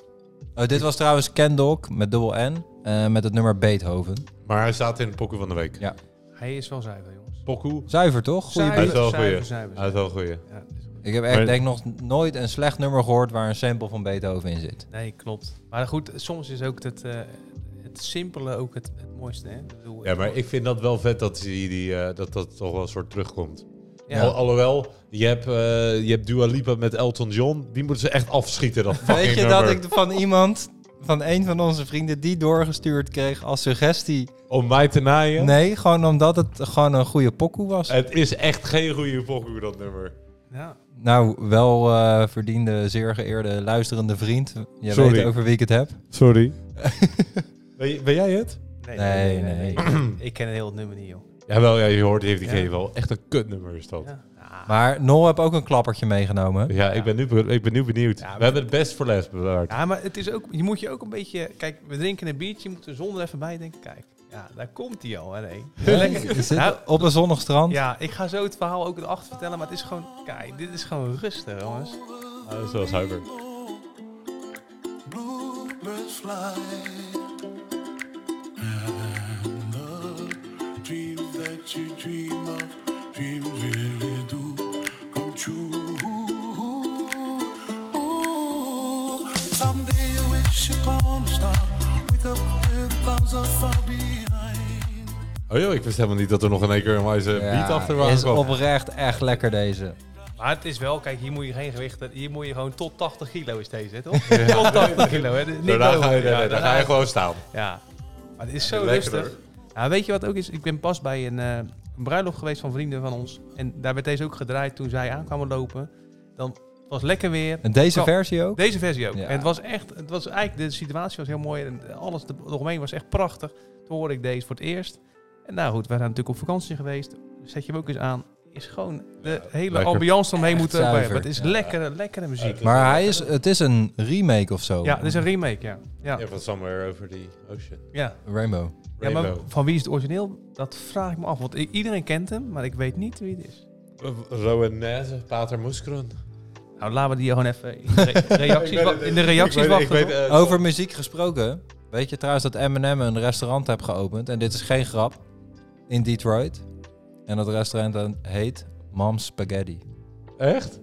Speaker 3: Oh, dit was trouwens Kendalk met dubbel N. eh, met het nummer Beethoven.
Speaker 2: Maar hij staat in Pokoe van de Week.
Speaker 3: Ja.
Speaker 1: Hij is wel zuiver jongens.
Speaker 2: Pokoe,
Speaker 3: Zuiver toch? Goeie
Speaker 2: hij
Speaker 1: Zuiver.
Speaker 2: is
Speaker 3: beat.
Speaker 2: wel een goeie.
Speaker 1: zuiver, zuiver,
Speaker 2: Hij is wel een goeie.
Speaker 1: Ja, dus-
Speaker 3: Ik heb echt
Speaker 2: Maar-
Speaker 3: denk nog nooit een slecht nummer gehoord waar een sample van Beethoven in zit.
Speaker 1: Nee, klopt. Maar goed, soms is ook het, eh, het simpele ook het, het mooiste. Hè? Ik bedoel,
Speaker 2: Ja, maar ik vind dat wel vet dat die, die, eh, dat, dat toch wel een soort terugkomt.
Speaker 1: Ja.
Speaker 2: Al- alhoewel, je hebt, eh je hebt Dua Lipa met Elton John. Die moeten ze echt afschieten, dat fucking
Speaker 3: Weet je
Speaker 2: nummer.
Speaker 3: dat ik van iemand van een van onze vrienden die doorgestuurd kreeg als suggestie.
Speaker 2: Om mij te naaien?
Speaker 3: Nee, gewoon omdat het gewoon een goede pokoe was.
Speaker 2: Het is echt geen goede pokoe, dat nummer.
Speaker 1: Ja.
Speaker 3: Nou, wel eh, verdiende, zeer geëerde, luisterende vriend. Je
Speaker 2: Sorry.
Speaker 3: weet over wie ik het heb.
Speaker 2: Sorry. ben, ben jij het?
Speaker 1: Nee,
Speaker 3: Nee,
Speaker 1: ik ken heel het nummer niet, joh.
Speaker 2: Jawel, ja, je hoort heeft die
Speaker 1: Ja.
Speaker 2: gegeven wel. Echt een kutnummer is dat. Ja,
Speaker 1: Ja. Ah,
Speaker 3: Maar Nol heb ook een klappertje meegenomen. hè?
Speaker 2: ik, ben nu, be- ik ben nu benieuwd.
Speaker 1: Ja,
Speaker 2: We hebben het best voor les bewaard.
Speaker 1: Ja, maar het is ook, je moet je ook een beetje... Kijk, we drinken een biertje, je moet de zon er even bij denken. Kijk, ja, daar komt hij al. Hè, nee. Lekker.
Speaker 3: We
Speaker 1: Nou,
Speaker 3: zitten op een zonnig strand.
Speaker 1: ja, ik ga zo het verhaal ook erachter vertellen, maar het is gewoon... Kijk, dit is gewoon rustig, jongens.
Speaker 2: Ah, dat is wel zuiver.
Speaker 5: Bluebirds fly, and the dreams that you dream of, dreams really do come true. Ooh, someday you wish upon a star, wake up with clouds are far behind.
Speaker 2: Oh joh, ik wist helemaal niet dat er nog in één keer een wijze
Speaker 3: Ja,
Speaker 2: beat achter waren
Speaker 3: is
Speaker 2: kwam.
Speaker 3: oprecht echt lekker deze.
Speaker 1: Maar het is wel, kijk, hier moet je geen gewicht... Hier moet je gewoon tot 80 kilo is deze, hè, toch? Tot 80 kilo, hè. Niet
Speaker 2: Daarna
Speaker 1: hoger.
Speaker 2: ga je,
Speaker 1: Ja,
Speaker 2: daar
Speaker 1: daarna
Speaker 2: ga je gewoon staan.
Speaker 1: Ja. Maar het is zo
Speaker 2: Lekker,
Speaker 1: rustig. Ja, weet je wat ook is? Ik ben pas bij een, eh, een bruiloft geweest van vrienden van ons. En daar werd deze ook gedraaid toen zij aankwamen lopen. Dan het was lekker weer.
Speaker 3: En deze
Speaker 1: Kan-
Speaker 3: versie ook?
Speaker 1: Deze versie ook.
Speaker 3: Ja.
Speaker 1: En het was echt, het was eigenlijk, de situatie was heel mooi. En alles er- eromheen was echt prachtig. Toen hoorde ik deze voor het eerst. En nou goed, we zijn natuurlijk op vakantie geweest. Zet je hem ook eens aan. Is gewoon de hele
Speaker 2: lekker.
Speaker 1: ambiance eromheen
Speaker 3: Echt
Speaker 1: moeten. Maar
Speaker 3: zuiver.
Speaker 1: het is
Speaker 3: Ja.
Speaker 1: lekkere, lekkere muziek. Ja,
Speaker 3: Maar hij is, het is een remake of zo.
Speaker 1: het is een remake, ja. Ja,
Speaker 2: Ja, van Somewhere Over the Ocean.
Speaker 1: ja.
Speaker 3: Rainbow.
Speaker 1: Ja, maar
Speaker 2: Rainbow.
Speaker 1: van wie is het origineel? Dat vraag ik me af. Want i- iedereen kent hem, maar ik weet niet wie het is.
Speaker 2: Rowanese, Pater Moeskron.
Speaker 1: Nou, laten we die gewoon even in de, re- reacties wa- in de reacties wachten. toch?
Speaker 2: eh,
Speaker 3: Over muziek gesproken. Weet je trouwens dat Eminem een restaurant heeft geopend? En dit is geen grap. In Detroit. En dat restaurant heet Mom's Spaghetti.
Speaker 2: Echt?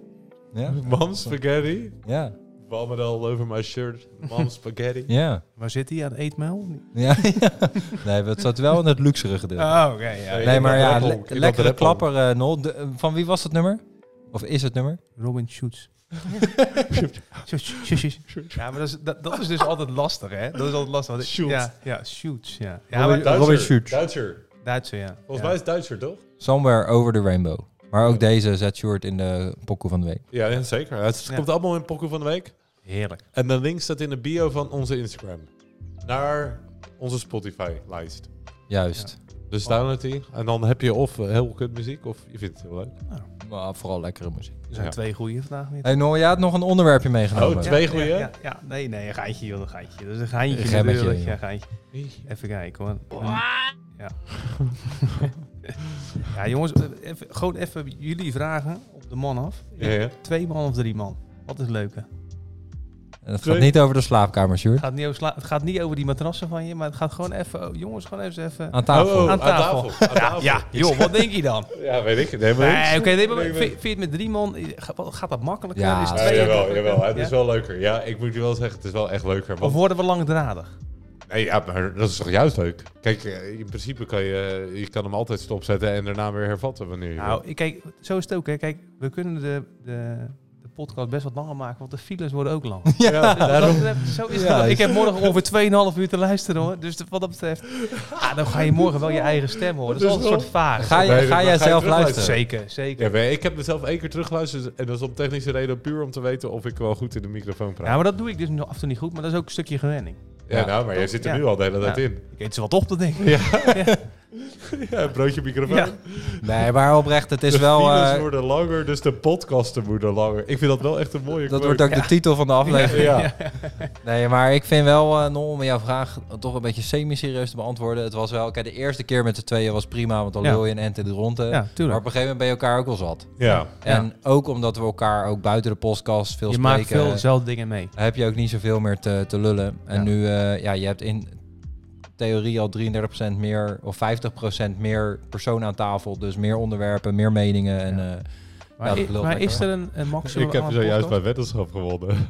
Speaker 3: Ja?
Speaker 2: Mom spaghetti?
Speaker 3: Ja.
Speaker 2: Vomit all over my shirt. Mom spaghetti.
Speaker 3: Ja.
Speaker 1: Waar zit hij aan het eetmail?
Speaker 3: ja. Nee, maar het zat wel in het luxere gedeelte.
Speaker 1: Oh, oké. ja.
Speaker 3: nee, maar
Speaker 2: In dat
Speaker 3: ja,
Speaker 2: rappel.
Speaker 3: le-
Speaker 2: In dat
Speaker 3: lekkere
Speaker 2: rappel.
Speaker 3: klapper, eh, Nol. De- eh, van wie was het nummer? Of is het nummer?
Speaker 1: Robin Schutz. ja, maar dat is, dat, dat is dus altijd lastig, hè? Dat is altijd lastig. want ik-
Speaker 2: Schutz.
Speaker 1: Ja, ja, Schutz, ja. Ja,
Speaker 2: Robin,
Speaker 1: maar,
Speaker 2: Duitser,
Speaker 3: Robin Schutz.
Speaker 2: Duitser.
Speaker 1: Duitser, ja.
Speaker 2: Volgens
Speaker 1: Ja.
Speaker 2: mij is het Duitser, toch?
Speaker 3: Somewhere Over the Rainbow. Maar ook deze zet Short in de pokoe van de week.
Speaker 2: Ja, ja, zeker. Het
Speaker 1: Ja.
Speaker 2: komt allemaal in Pokken van de Week.
Speaker 1: Heerlijk.
Speaker 2: En de link staat in de bio van onze Instagram. Naar onze Spotify-lijst.
Speaker 3: Juist.
Speaker 2: Dus
Speaker 1: Oh.
Speaker 2: download die. En dan heb je of eh, heel kut muziek, of je vindt het heel leuk.
Speaker 3: Maar vooral lekkere muziek.
Speaker 1: Er zijn
Speaker 2: Ja.
Speaker 1: twee goede vandaag weer.
Speaker 3: Hey Nol, jij had nog een onderwerpje meegenomen.
Speaker 2: Oh, twee goeie?
Speaker 1: Ja, ja, ja. nee, nee, een geintje, joh, een geintje. Dat is een geintje.
Speaker 3: Een gemmetje,
Speaker 1: natuurlijk.
Speaker 3: joh.
Speaker 1: Ja, geintje. Even kijken hoor. Ja. ja, jongens, eh, even, gewoon even jullie vragen op de man af.
Speaker 2: Ja, ja.
Speaker 1: Twee man of drie man? Wat is leuker?
Speaker 3: En het gaat
Speaker 2: Twee.
Speaker 3: niet over de slaapkamer, Sjoerd.
Speaker 1: Het gaat niet over, sla- het gaat niet over die matrassen van je, maar het gaat gewoon even, oh, jongens, gewoon even. even
Speaker 3: Aan tafel.
Speaker 2: Oh, oh,
Speaker 1: Aan tafel.
Speaker 2: Aan tafel.
Speaker 1: ja, joh, wat denk je dan?
Speaker 2: Ja, weet ik. Nee, maar
Speaker 1: Nee, oké, nee, maar
Speaker 2: Nee, maar-
Speaker 1: vind vind je het met drie man, eh, ga- wat- gaat dat makkelijker?
Speaker 3: Ja,
Speaker 1: Is het
Speaker 3: ja,
Speaker 2: Ja,
Speaker 1: twee-
Speaker 2: Ah, jawel, jawel. Het
Speaker 1: Ja?
Speaker 2: is wel leuker. Ja, ik moet je wel zeggen, het is wel echt leuker.
Speaker 1: Of
Speaker 2: Want,
Speaker 1: worden we langdradig?
Speaker 2: nee, ja, maar dat is toch juist leuk? Kijk, eh, in principe kan je, eh, je kan hem altijd stopzetten en daarna weer hervatten wanneer je wil.
Speaker 1: Nou, ik- kijk, zo is het ook. Hè. Kijk, we kunnen de, de, de podcast best wat langer maken, want de files worden ook lang.
Speaker 2: Ja, daarom.
Speaker 1: Wat dat betreft, zo is
Speaker 3: Ja,
Speaker 1: het. Ik
Speaker 3: is-
Speaker 1: heb morgen ongeveer 2,5 uur te luisteren hoor. Dus wat dat betreft, ah, dan ga je morgen wel je eigen stem horen. Dat is
Speaker 2: Dus
Speaker 1: altijd een soort vaag.
Speaker 3: Ga, je,
Speaker 2: Nee, dat-
Speaker 3: ga
Speaker 2: maar
Speaker 3: jij
Speaker 2: ga je
Speaker 3: zelf
Speaker 2: terug
Speaker 3: luisteren?
Speaker 1: Zeker, zeker.
Speaker 2: Ja, maar ik heb mezelf één keer teruggeluisterd en dat is om technische reden puur om te weten of ik wel goed in de microfoon praat.
Speaker 1: Ja, maar dat doe ik dus nog af en toe niet goed, maar dat is ook een stukje gewenning.
Speaker 2: Ja, nou, maar jij zit er
Speaker 1: Ja.
Speaker 2: nu al de hele tijd
Speaker 1: Ja.
Speaker 2: in.
Speaker 1: Ik eet ze wat op, dat ding.
Speaker 2: Ja, een broodje microfoon.
Speaker 1: Ja.
Speaker 3: Nee, maar oprecht, het is
Speaker 2: de
Speaker 3: wel...
Speaker 2: files
Speaker 3: eh,
Speaker 2: worden langer, dus de podcasten worden langer. Ik vind dat wel echt een mooie
Speaker 3: dat
Speaker 2: quote.
Speaker 3: wordt ook de titel van de aflevering.
Speaker 2: Ja.
Speaker 3: Nee, maar ik vind wel, eh Nol, om jouw vraag toch een beetje semi-serieus te beantwoorden. Het was wel... Kijk, de eerste keer met de tweeën was prima, want dan
Speaker 1: Ja.
Speaker 3: lul je een ent in de ronde.
Speaker 1: Ja, tuurlijk.
Speaker 3: Maar op een gegeven moment ben je elkaar ook al zat.
Speaker 2: Ja.
Speaker 3: En ook omdat we elkaar ook buiten de podcast veel
Speaker 1: Je
Speaker 3: spreken...
Speaker 1: maakt veel dezelfde dingen mee.
Speaker 3: heb je ook niet zoveel meer te, te lullen. En
Speaker 1: Ja.
Speaker 3: nu, eh, ja, je hebt in theorie al 33% meer of 50% meer persoon aan tafel. Dus meer onderwerpen, meer meningen. En, eh,
Speaker 1: Maar,
Speaker 3: dat
Speaker 1: i-
Speaker 3: lult
Speaker 1: maar
Speaker 3: lekker,
Speaker 1: is er een, een maximum
Speaker 2: Ik heb
Speaker 1: aan
Speaker 2: zojuist
Speaker 1: podcast?
Speaker 2: mijn weddenschap gewonnen.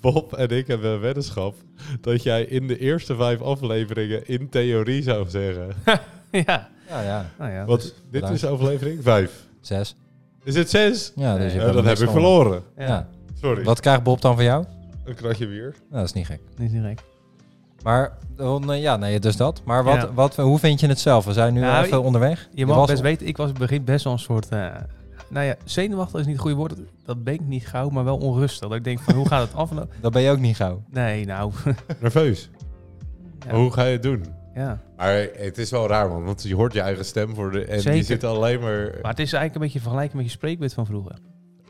Speaker 2: Bob en ik hebben een weddenschap dat jij in de eerste vijf afleveringen in theorie zou zeggen.
Speaker 1: Ja,
Speaker 3: ja, ja,
Speaker 1: nou ja.
Speaker 2: Want dit is
Speaker 3: luister.
Speaker 2: aflevering vijf.
Speaker 3: zes.
Speaker 2: Is het zes?
Speaker 3: Ja, dus je
Speaker 2: Eh,
Speaker 3: kan
Speaker 2: dat
Speaker 3: niks
Speaker 2: heb ik
Speaker 3: van.
Speaker 2: verloren.
Speaker 1: ja,
Speaker 3: Ja.
Speaker 2: Sorry.
Speaker 3: Wat krijgt Bob dan van jou?
Speaker 2: Een kratje bier.
Speaker 3: Nou, dat is niet gek.
Speaker 1: Niet direct.
Speaker 3: Maar dan, eh, ja, nee, dus dat. Maar wat,
Speaker 1: Ja.
Speaker 3: wat, hoe vind je het zelf? We zijn nu
Speaker 1: Nou,
Speaker 3: even
Speaker 1: ik-
Speaker 3: onderweg.
Speaker 1: Je mag
Speaker 3: was-
Speaker 1: best weten, ik was in het begin best wel een soort... eh, nou ja, zenuwachtig is niet het goede woord. Dat ben ik niet gauw, maar wel onrustig. Dat ik denk van, hoe gaat het aflopen?
Speaker 3: Dat ben je ook niet gauw.
Speaker 1: Nee, nou...
Speaker 2: Nerveus.
Speaker 1: ja,
Speaker 2: Hoe ga je het doen?
Speaker 1: ja.
Speaker 2: Maar het is wel raar, man. Want je hoort je eigen stem voor de... En je
Speaker 1: Zeker.
Speaker 2: zit alleen maar...
Speaker 1: Maar het is eigenlijk een beetje vergelijken met je spreekbeurt van vroeger.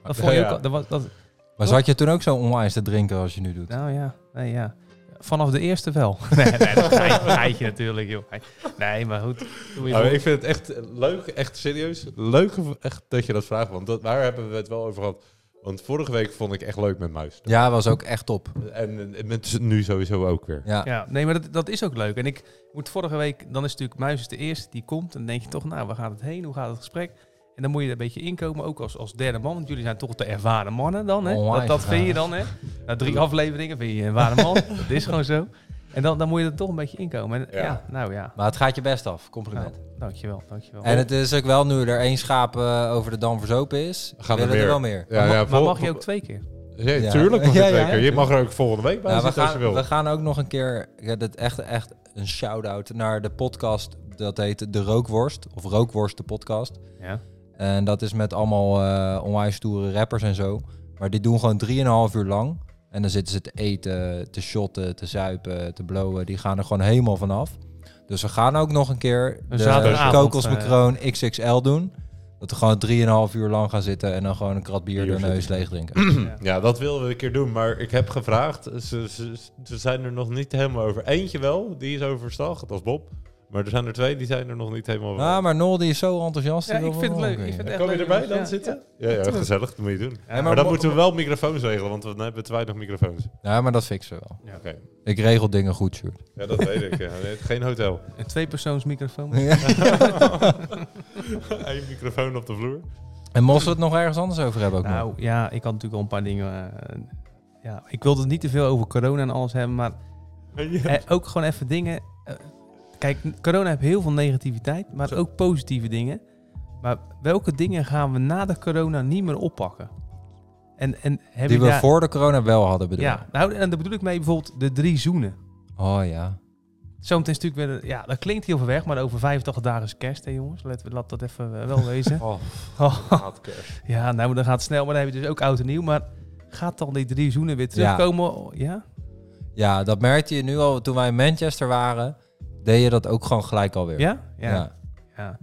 Speaker 1: Dat vond je
Speaker 2: Ja.
Speaker 1: ook... al- Dat, was- dat,
Speaker 3: Maar zat je toen ook zo onwijs te drinken als je nu doet?
Speaker 1: nou ja, nee, ja. Vanaf de eerste wel. nee, nee, dat geitje natuurlijk, joh. Nee, maar goed. Doe je
Speaker 2: Oh,
Speaker 1: gewoon.
Speaker 2: ik vind het echt leuk, echt serieus. Leuk echt dat je dat vraagt, want dat, daar hebben we het wel over gehad. Want vorige week vond ik echt leuk met Muis.
Speaker 3: Ja, was ook echt top.
Speaker 2: En, en met nu sowieso ook weer.
Speaker 3: Ja.
Speaker 1: Ja, nee, maar dat, dat is ook leuk. En ik moet vorige week, dan is natuurlijk Muis is de eerste die komt. En dan denk je toch, nou, waar gaat het heen? Hoe gaat het gesprek? En dan moet je er een beetje inkomen, ook als, als derde man. Want jullie zijn toch de ervaren mannen dan, hè?
Speaker 3: Onwijs
Speaker 1: Dat, dat vind je dan, hè? Na drie afleveringen vind je een ervaren man. dat is gewoon zo. En dan, dan moet je er toch een beetje inkomen. En,
Speaker 2: Ja.
Speaker 1: ja. nou ja.
Speaker 3: Maar het gaat je best af.
Speaker 1: Nou,
Speaker 3: Compliment.
Speaker 1: dankjewel, dankjewel.
Speaker 3: En het is ook wel nu er één schaap eh, over de dam verzopen is.
Speaker 2: Gaan er
Speaker 3: willen
Speaker 2: meer.
Speaker 3: er wel meer.
Speaker 2: Ja,
Speaker 1: maar,
Speaker 2: ja,
Speaker 1: mag, maar
Speaker 2: vol-
Speaker 1: mag je ook twee keer?
Speaker 2: Ja,
Speaker 3: Ja.
Speaker 2: Tuurlijk mag
Speaker 3: Ja,
Speaker 2: het
Speaker 3: ja,
Speaker 2: zeker. Je mag er ook volgende week bij
Speaker 3: Ja, we,
Speaker 2: zitten als je
Speaker 3: gaan,
Speaker 2: wil.
Speaker 3: we gaan ook nog een keer. Ja, dit echt, echt een shout-out naar de podcast. Dat heet De Rookworst. Of Rookworst, de podcast.
Speaker 1: Ja.
Speaker 3: En dat is met allemaal eh onwijs stoere rappers en zo. Maar die doen gewoon 3,5 uur lang. En dan zitten ze te eten, te shotten, te zuipen, te blowen. Die gaan er gewoon helemaal vanaf. Dus we gaan ook nog een keer
Speaker 1: Een
Speaker 3: de
Speaker 1: zaterdagavond, eh.
Speaker 3: kokosmacroon XXL doen. Dat we gewoon 3,5 uur lang gaan zitten en dan gewoon een krat bier
Speaker 2: Bier
Speaker 3: door de neus
Speaker 2: zitten.
Speaker 3: leeg drinken.
Speaker 2: Ja, dat wilden we een keer doen, maar ik heb gevraagd. Ze, ze, ze zijn er nog niet helemaal over. Eentje wel, die is overstag, dat is Bob. Maar er zijn er twee, die zijn er nog niet helemaal over.
Speaker 3: ah, maar Nol die is zo enthousiast.
Speaker 1: Ja,
Speaker 3: die wil
Speaker 1: ik vind het
Speaker 3: gewoon
Speaker 1: leuk. Ik
Speaker 3: weer.
Speaker 1: vind het echt
Speaker 2: Kom je
Speaker 1: leuk,
Speaker 2: erbij
Speaker 1: jongens.
Speaker 2: dan
Speaker 1: Ja,
Speaker 2: zitten? Ja, ja, gezellig, dat moet je doen.
Speaker 1: maar
Speaker 2: maar, dan
Speaker 3: mo-
Speaker 2: moeten we wel microfoons regelen, want we hebben wij nog microfoons.
Speaker 3: Ja, maar dat fixen we wel.
Speaker 2: Oké.
Speaker 3: Ik regel dingen goed, Sjoerd.
Speaker 2: Ja, dat weet ik. Ja. Nee, Geen hotel.
Speaker 1: Een tweepersoonsmicrofoon.
Speaker 2: Eén microfoon op de vloer.
Speaker 3: En mochten we het nog ergens anders over hebben ook nog?
Speaker 1: Nou ja, ik had natuurlijk al een paar dingen. eh, ja, ik wilde het niet te veel over corona en alles hebben, maar eh, ook gewoon even dingen. eh, kijk, corona heeft heel veel negativiteit, maar
Speaker 2: Zo.
Speaker 1: ook positieve dingen. Maar welke dingen gaan we na de corona niet meer oppakken? En, en heb
Speaker 3: Die
Speaker 1: je
Speaker 3: we
Speaker 1: daar-
Speaker 3: voor de corona wel hadden bedoeld.
Speaker 1: Ja, nou, en daar bedoel ik mee bijvoorbeeld de drie zoenen.
Speaker 3: Oh ja.
Speaker 1: Zometeen is natuurlijk weer, de- ja, dat klinkt heel ver weg, maar over 85 dagen is kerst, hè jongens. Laten we laat dat even eh, wel wezen.
Speaker 2: Oh,
Speaker 1: Ja, nou, dan gaat het snel, maar dan heb je dus ook oud en nieuw. Maar gaat dan die drie zoenen weer terugkomen? Ja.
Speaker 3: Ja, dat merkte je nu al. Toen wij in Manchester waren, deed je dat ook gewoon gelijk alweer.
Speaker 1: Ja? Ja. ja.
Speaker 3: Ja.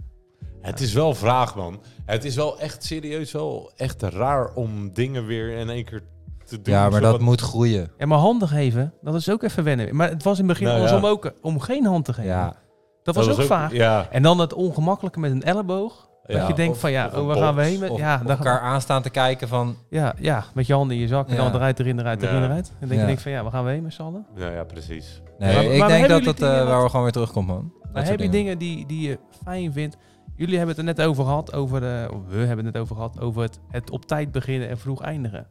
Speaker 2: Het is wel vraag, man. Het is wel echt serieus wel echt raar om dingen weer in één keer te doen.
Speaker 3: Ja, maar
Speaker 2: zodat-
Speaker 3: dat moet groeien.
Speaker 1: En maar handig geven, dat is ook even wennen. Maar het was in het begin
Speaker 2: Nou ja.
Speaker 1: andersom ook, eh, om geen hand te geven.
Speaker 3: Ja.
Speaker 1: Dat was ook, vaag.
Speaker 2: Ja.
Speaker 1: En dan het ongemakkelijke met een elleboog. Dat
Speaker 2: ja,
Speaker 1: je denkt
Speaker 2: of-
Speaker 1: van ja,
Speaker 2: of
Speaker 1: oh,
Speaker 2: een
Speaker 1: waar gaan we
Speaker 2: box,
Speaker 1: heen? Met,
Speaker 3: Of
Speaker 1: ja, dan,
Speaker 3: elkaar aanstaan te kijken van...
Speaker 1: ja, ja, met je handen in je zak en
Speaker 3: Ja.
Speaker 1: dan eruit, erin, eruit, erin,
Speaker 2: Ja.
Speaker 1: eruit. En dan denk
Speaker 3: Ja.
Speaker 1: je denk van ja, waar gaan we heen met z'n allen?
Speaker 2: Nou ja, precies.
Speaker 3: Nee,
Speaker 1: Maar-
Speaker 3: ik
Speaker 1: maar
Speaker 3: denk
Speaker 1: hebben
Speaker 3: dat
Speaker 1: jullie
Speaker 3: dat eh,
Speaker 1: dingen
Speaker 3: waar
Speaker 1: wat-
Speaker 3: we gewoon weer terugkomt, man. Dat
Speaker 1: Maar
Speaker 3: soort
Speaker 1: heb je dingen die, die je fijn vindt? Jullie hebben het er net over gehad, over, eh, of we hebben het net over gehad, over het, het op tijd beginnen en vroeg eindigen.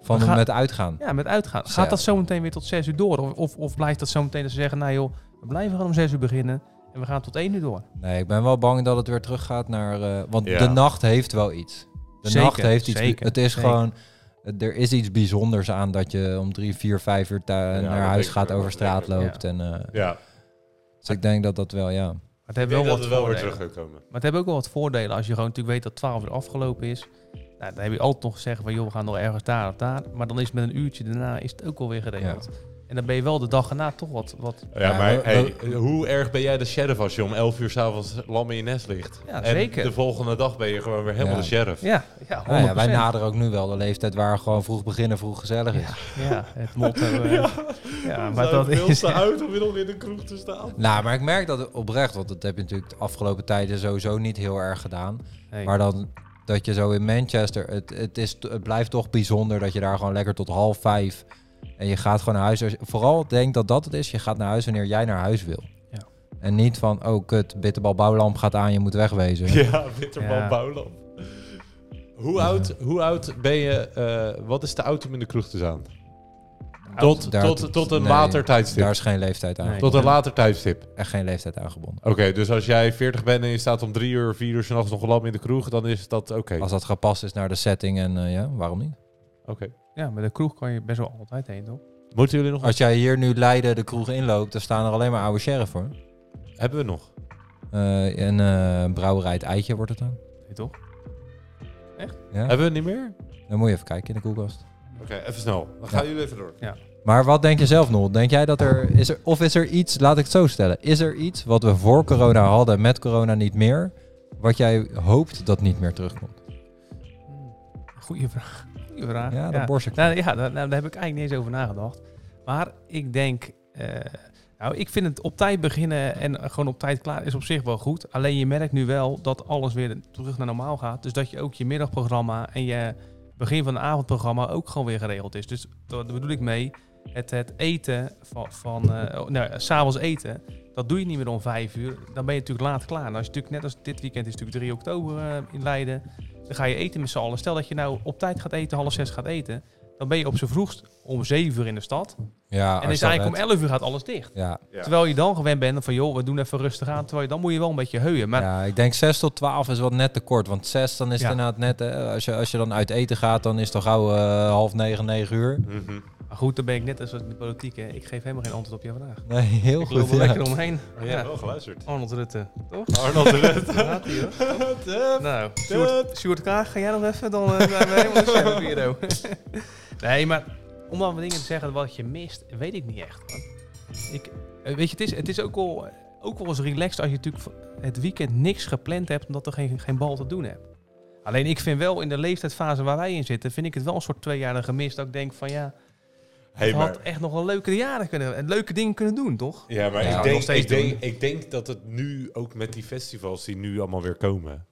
Speaker 3: Van
Speaker 1: We gaan-
Speaker 3: met uitgaan.
Speaker 1: Ja, met uitgaan.
Speaker 3: Zes.
Speaker 1: Gaat dat zometeen weer tot 6 uur door? Of, of, of blijft dat zometeen dat ze zeggen, nou joh, we blijven gewoon om 6 uur beginnen en we gaan tot 1 uur door?
Speaker 3: Nee, ik ben wel bang dat het weer teruggaat naar... eh, want
Speaker 2: Ja.
Speaker 3: de nacht heeft wel iets. De
Speaker 1: Zeker,
Speaker 3: nacht heeft iets...
Speaker 1: zeker,
Speaker 3: het is
Speaker 1: zeker.
Speaker 3: gewoon... eh, Er is iets bijzonders aan dat je om drie, vier, vijf uur thui-
Speaker 2: dat
Speaker 3: naar
Speaker 2: denk
Speaker 3: huis
Speaker 2: ik
Speaker 3: gaat,
Speaker 2: wel,
Speaker 3: over
Speaker 2: dat denk
Speaker 3: straat
Speaker 2: ik
Speaker 1: wel.
Speaker 3: loopt. En, eh,
Speaker 2: Ja,
Speaker 3: Dus ik denk dat dat wel, ja.
Speaker 1: Maar het
Speaker 2: ik
Speaker 1: hebben wel
Speaker 2: denk dat
Speaker 1: wat
Speaker 2: het wel weer
Speaker 1: voordelen.
Speaker 2: terug gaat komen.
Speaker 1: Maar het hebben ook wel wat voordelen als je gewoon natuurlijk weet dat 12 uur afgelopen is. Nou, dan heb je altijd nog gezegd van joh, we gaan nog ergens daar of daar. Maar dan is het met een uurtje daarna is het ook alweer geregeld. En dan ben je wel de dag erna toch wat, wat
Speaker 2: Ja,
Speaker 3: Ja,
Speaker 2: maar
Speaker 3: maar-
Speaker 2: hey, hoe erg ben jij de sheriff als je om 11 uur s'avonds lam in je nest ligt?
Speaker 1: Ja,
Speaker 2: En
Speaker 1: zeker.
Speaker 2: de volgende dag ben je gewoon weer helemaal
Speaker 3: Ja.
Speaker 2: de sheriff.
Speaker 1: ja, ja, 100%.
Speaker 3: Nou ja, wij naderen ook nu wel de leeftijd waar gewoon vroeg beginnen, vroeg gezellig is.
Speaker 1: Ja, het motto. eh, ja, maar
Speaker 2: Zijn
Speaker 1: dat
Speaker 2: veel
Speaker 1: is...
Speaker 2: te oud om weer nog in de kroeg te staan.
Speaker 3: Nou, maar ik merk dat oprecht, want dat heb je natuurlijk de afgelopen tijden sowieso niet heel erg gedaan.
Speaker 1: Nee.
Speaker 3: Maar dan dat je zo in Manchester, het, het, is, t- het blijft toch bijzonder dat je daar gewoon lekker tot half vijf en je gaat gewoon naar huis. Als je- Vooral denk dat dat het is, je gaat naar huis wanneer jij naar huis wil.
Speaker 1: Ja.
Speaker 3: En niet van, oh kut, bitterbal bouwlamp gaat aan, je moet wegwezen.
Speaker 2: Ja, Witterman
Speaker 1: Ja.
Speaker 2: Bouwland. Hoe oud, hoe oud ben je, eh, wat is te oud om in de kroeg te staan? Tot,
Speaker 3: Daar-
Speaker 2: tot, tot een
Speaker 3: nee,
Speaker 2: later tijdstip.
Speaker 3: Daar is geen leeftijd aan,
Speaker 1: Nee.
Speaker 2: Tot een later tijdstip.
Speaker 3: echt geen leeftijd aan gebonden.
Speaker 2: Oké, dus als jij 40 bent en je staat om 3 uur, 4 uur s'nachts nog lam in de kroeg, dan is dat oké.
Speaker 3: Als dat gepast is naar de setting en eh, ja, waarom niet?
Speaker 2: Oké.
Speaker 1: Ja, maar de kroeg kan je best wel altijd heen, toch?
Speaker 2: Moeten jullie nog?
Speaker 3: Als jij hier nu Leiden de kroeg inloopt, dan staan er alleen maar oude sheriff voor.
Speaker 2: Hebben we nog?
Speaker 3: Eh, en eh, brouwerij het eitje wordt het dan.
Speaker 1: Nee, toch?
Speaker 3: Ja?
Speaker 2: Hebben we het niet meer?
Speaker 3: Dan moet je even kijken in de koelkast.
Speaker 2: Oké, even snel. Dan gaan jullie even door.
Speaker 3: Maar wat denk je zelf, Nol? Denk jij dat er... Is er of is er iets, laat ik het zo stellen. Is er iets wat we voor corona hadden, met corona niet meer... wat jij hoopt dat niet meer terugkomt?
Speaker 1: Goeie vraag. Goeie vraag.
Speaker 3: Ja, dat borst ik.
Speaker 1: Nou, ja, daar, nou, daar heb ik eigenlijk niet eens over nagedacht. Maar ik denk, eh, nou, ik vind het op tijd beginnen en gewoon op tijd klaar is op zich wel goed. Alleen je merkt nu wel dat alles weer terug naar normaal gaat. Dus dat je ook je middagprogramma en je begin van het avondprogramma ook gewoon weer geregeld is. Dus daar bedoel ik mee, het, het eten van, van eh, oh, nou, s'avonds eten, dat doe je niet meer om vijf uur. Dan ben je natuurlijk laat klaar. En als je natuurlijk, net als dit weekend is natuurlijk 3 oktober eh, in Leiden. Dan ga je eten met z'n allen. Stel dat je nou op tijd gaat eten, half zes gaat eten. Dan ben je op z'n vroegst om zeven uur in de stad.
Speaker 3: Ja,
Speaker 1: en is eigenlijk om elf uur gaat alles dicht.
Speaker 3: Ja,
Speaker 1: Terwijl je dan gewend bent van, joh, we doen even rustig aan. Terwijl je, dan moet je wel een beetje heuien. Maar
Speaker 3: ja, ik denk 6 tot 12 is wat net te kort. Want 6 dan is
Speaker 1: Ja.
Speaker 3: het inderdaad net... eh, als, je, als je dan uit eten gaat, dan is het al gauw eh, half 9, 9 uur.
Speaker 1: maar goed, dan ben ik net als in de politiek. Hè. Ik geef helemaal geen antwoord op jouw vraag.
Speaker 3: Nee, heel
Speaker 1: Ik
Speaker 3: goed.
Speaker 1: loop er
Speaker 3: ja.
Speaker 1: lekker omheen.
Speaker 2: Oh, jij hebt wel geluisterd.
Speaker 1: Arnold Rutte, toch?
Speaker 2: Arnold de Rutte.
Speaker 1: Daar gaat hij hoor. nou, Sjoerd, Sjoerd Kaag, ga jij nog even? Dan eh, zijn we helemaal in de scherpe bureau. nee, maar om dan wat dingen te zeggen wat je mist, weet ik niet echt. man. Ik, eh, weet je, het is, het is ook, wel, eh, ook wel eens relaxed als je natuurlijk van het weekend niks gepland hebt omdat er geen, geen bal te doen hebt. Alleen ik vind wel in de leeftijdsfase waar wij in zitten, vind ik het wel een soort tweejarige mist. Dat ik denk van ja,
Speaker 2: Hey,
Speaker 1: je had
Speaker 2: maar,
Speaker 1: echt nog wel leuke jaren kunnen en leuke dingen kunnen doen, toch?
Speaker 2: ja, maar
Speaker 3: Ja,
Speaker 2: ik,
Speaker 3: nog
Speaker 2: denk,
Speaker 1: steeds
Speaker 2: ik, denk, ik denk dat het nu ook met die festivals die nu allemaal weer komen.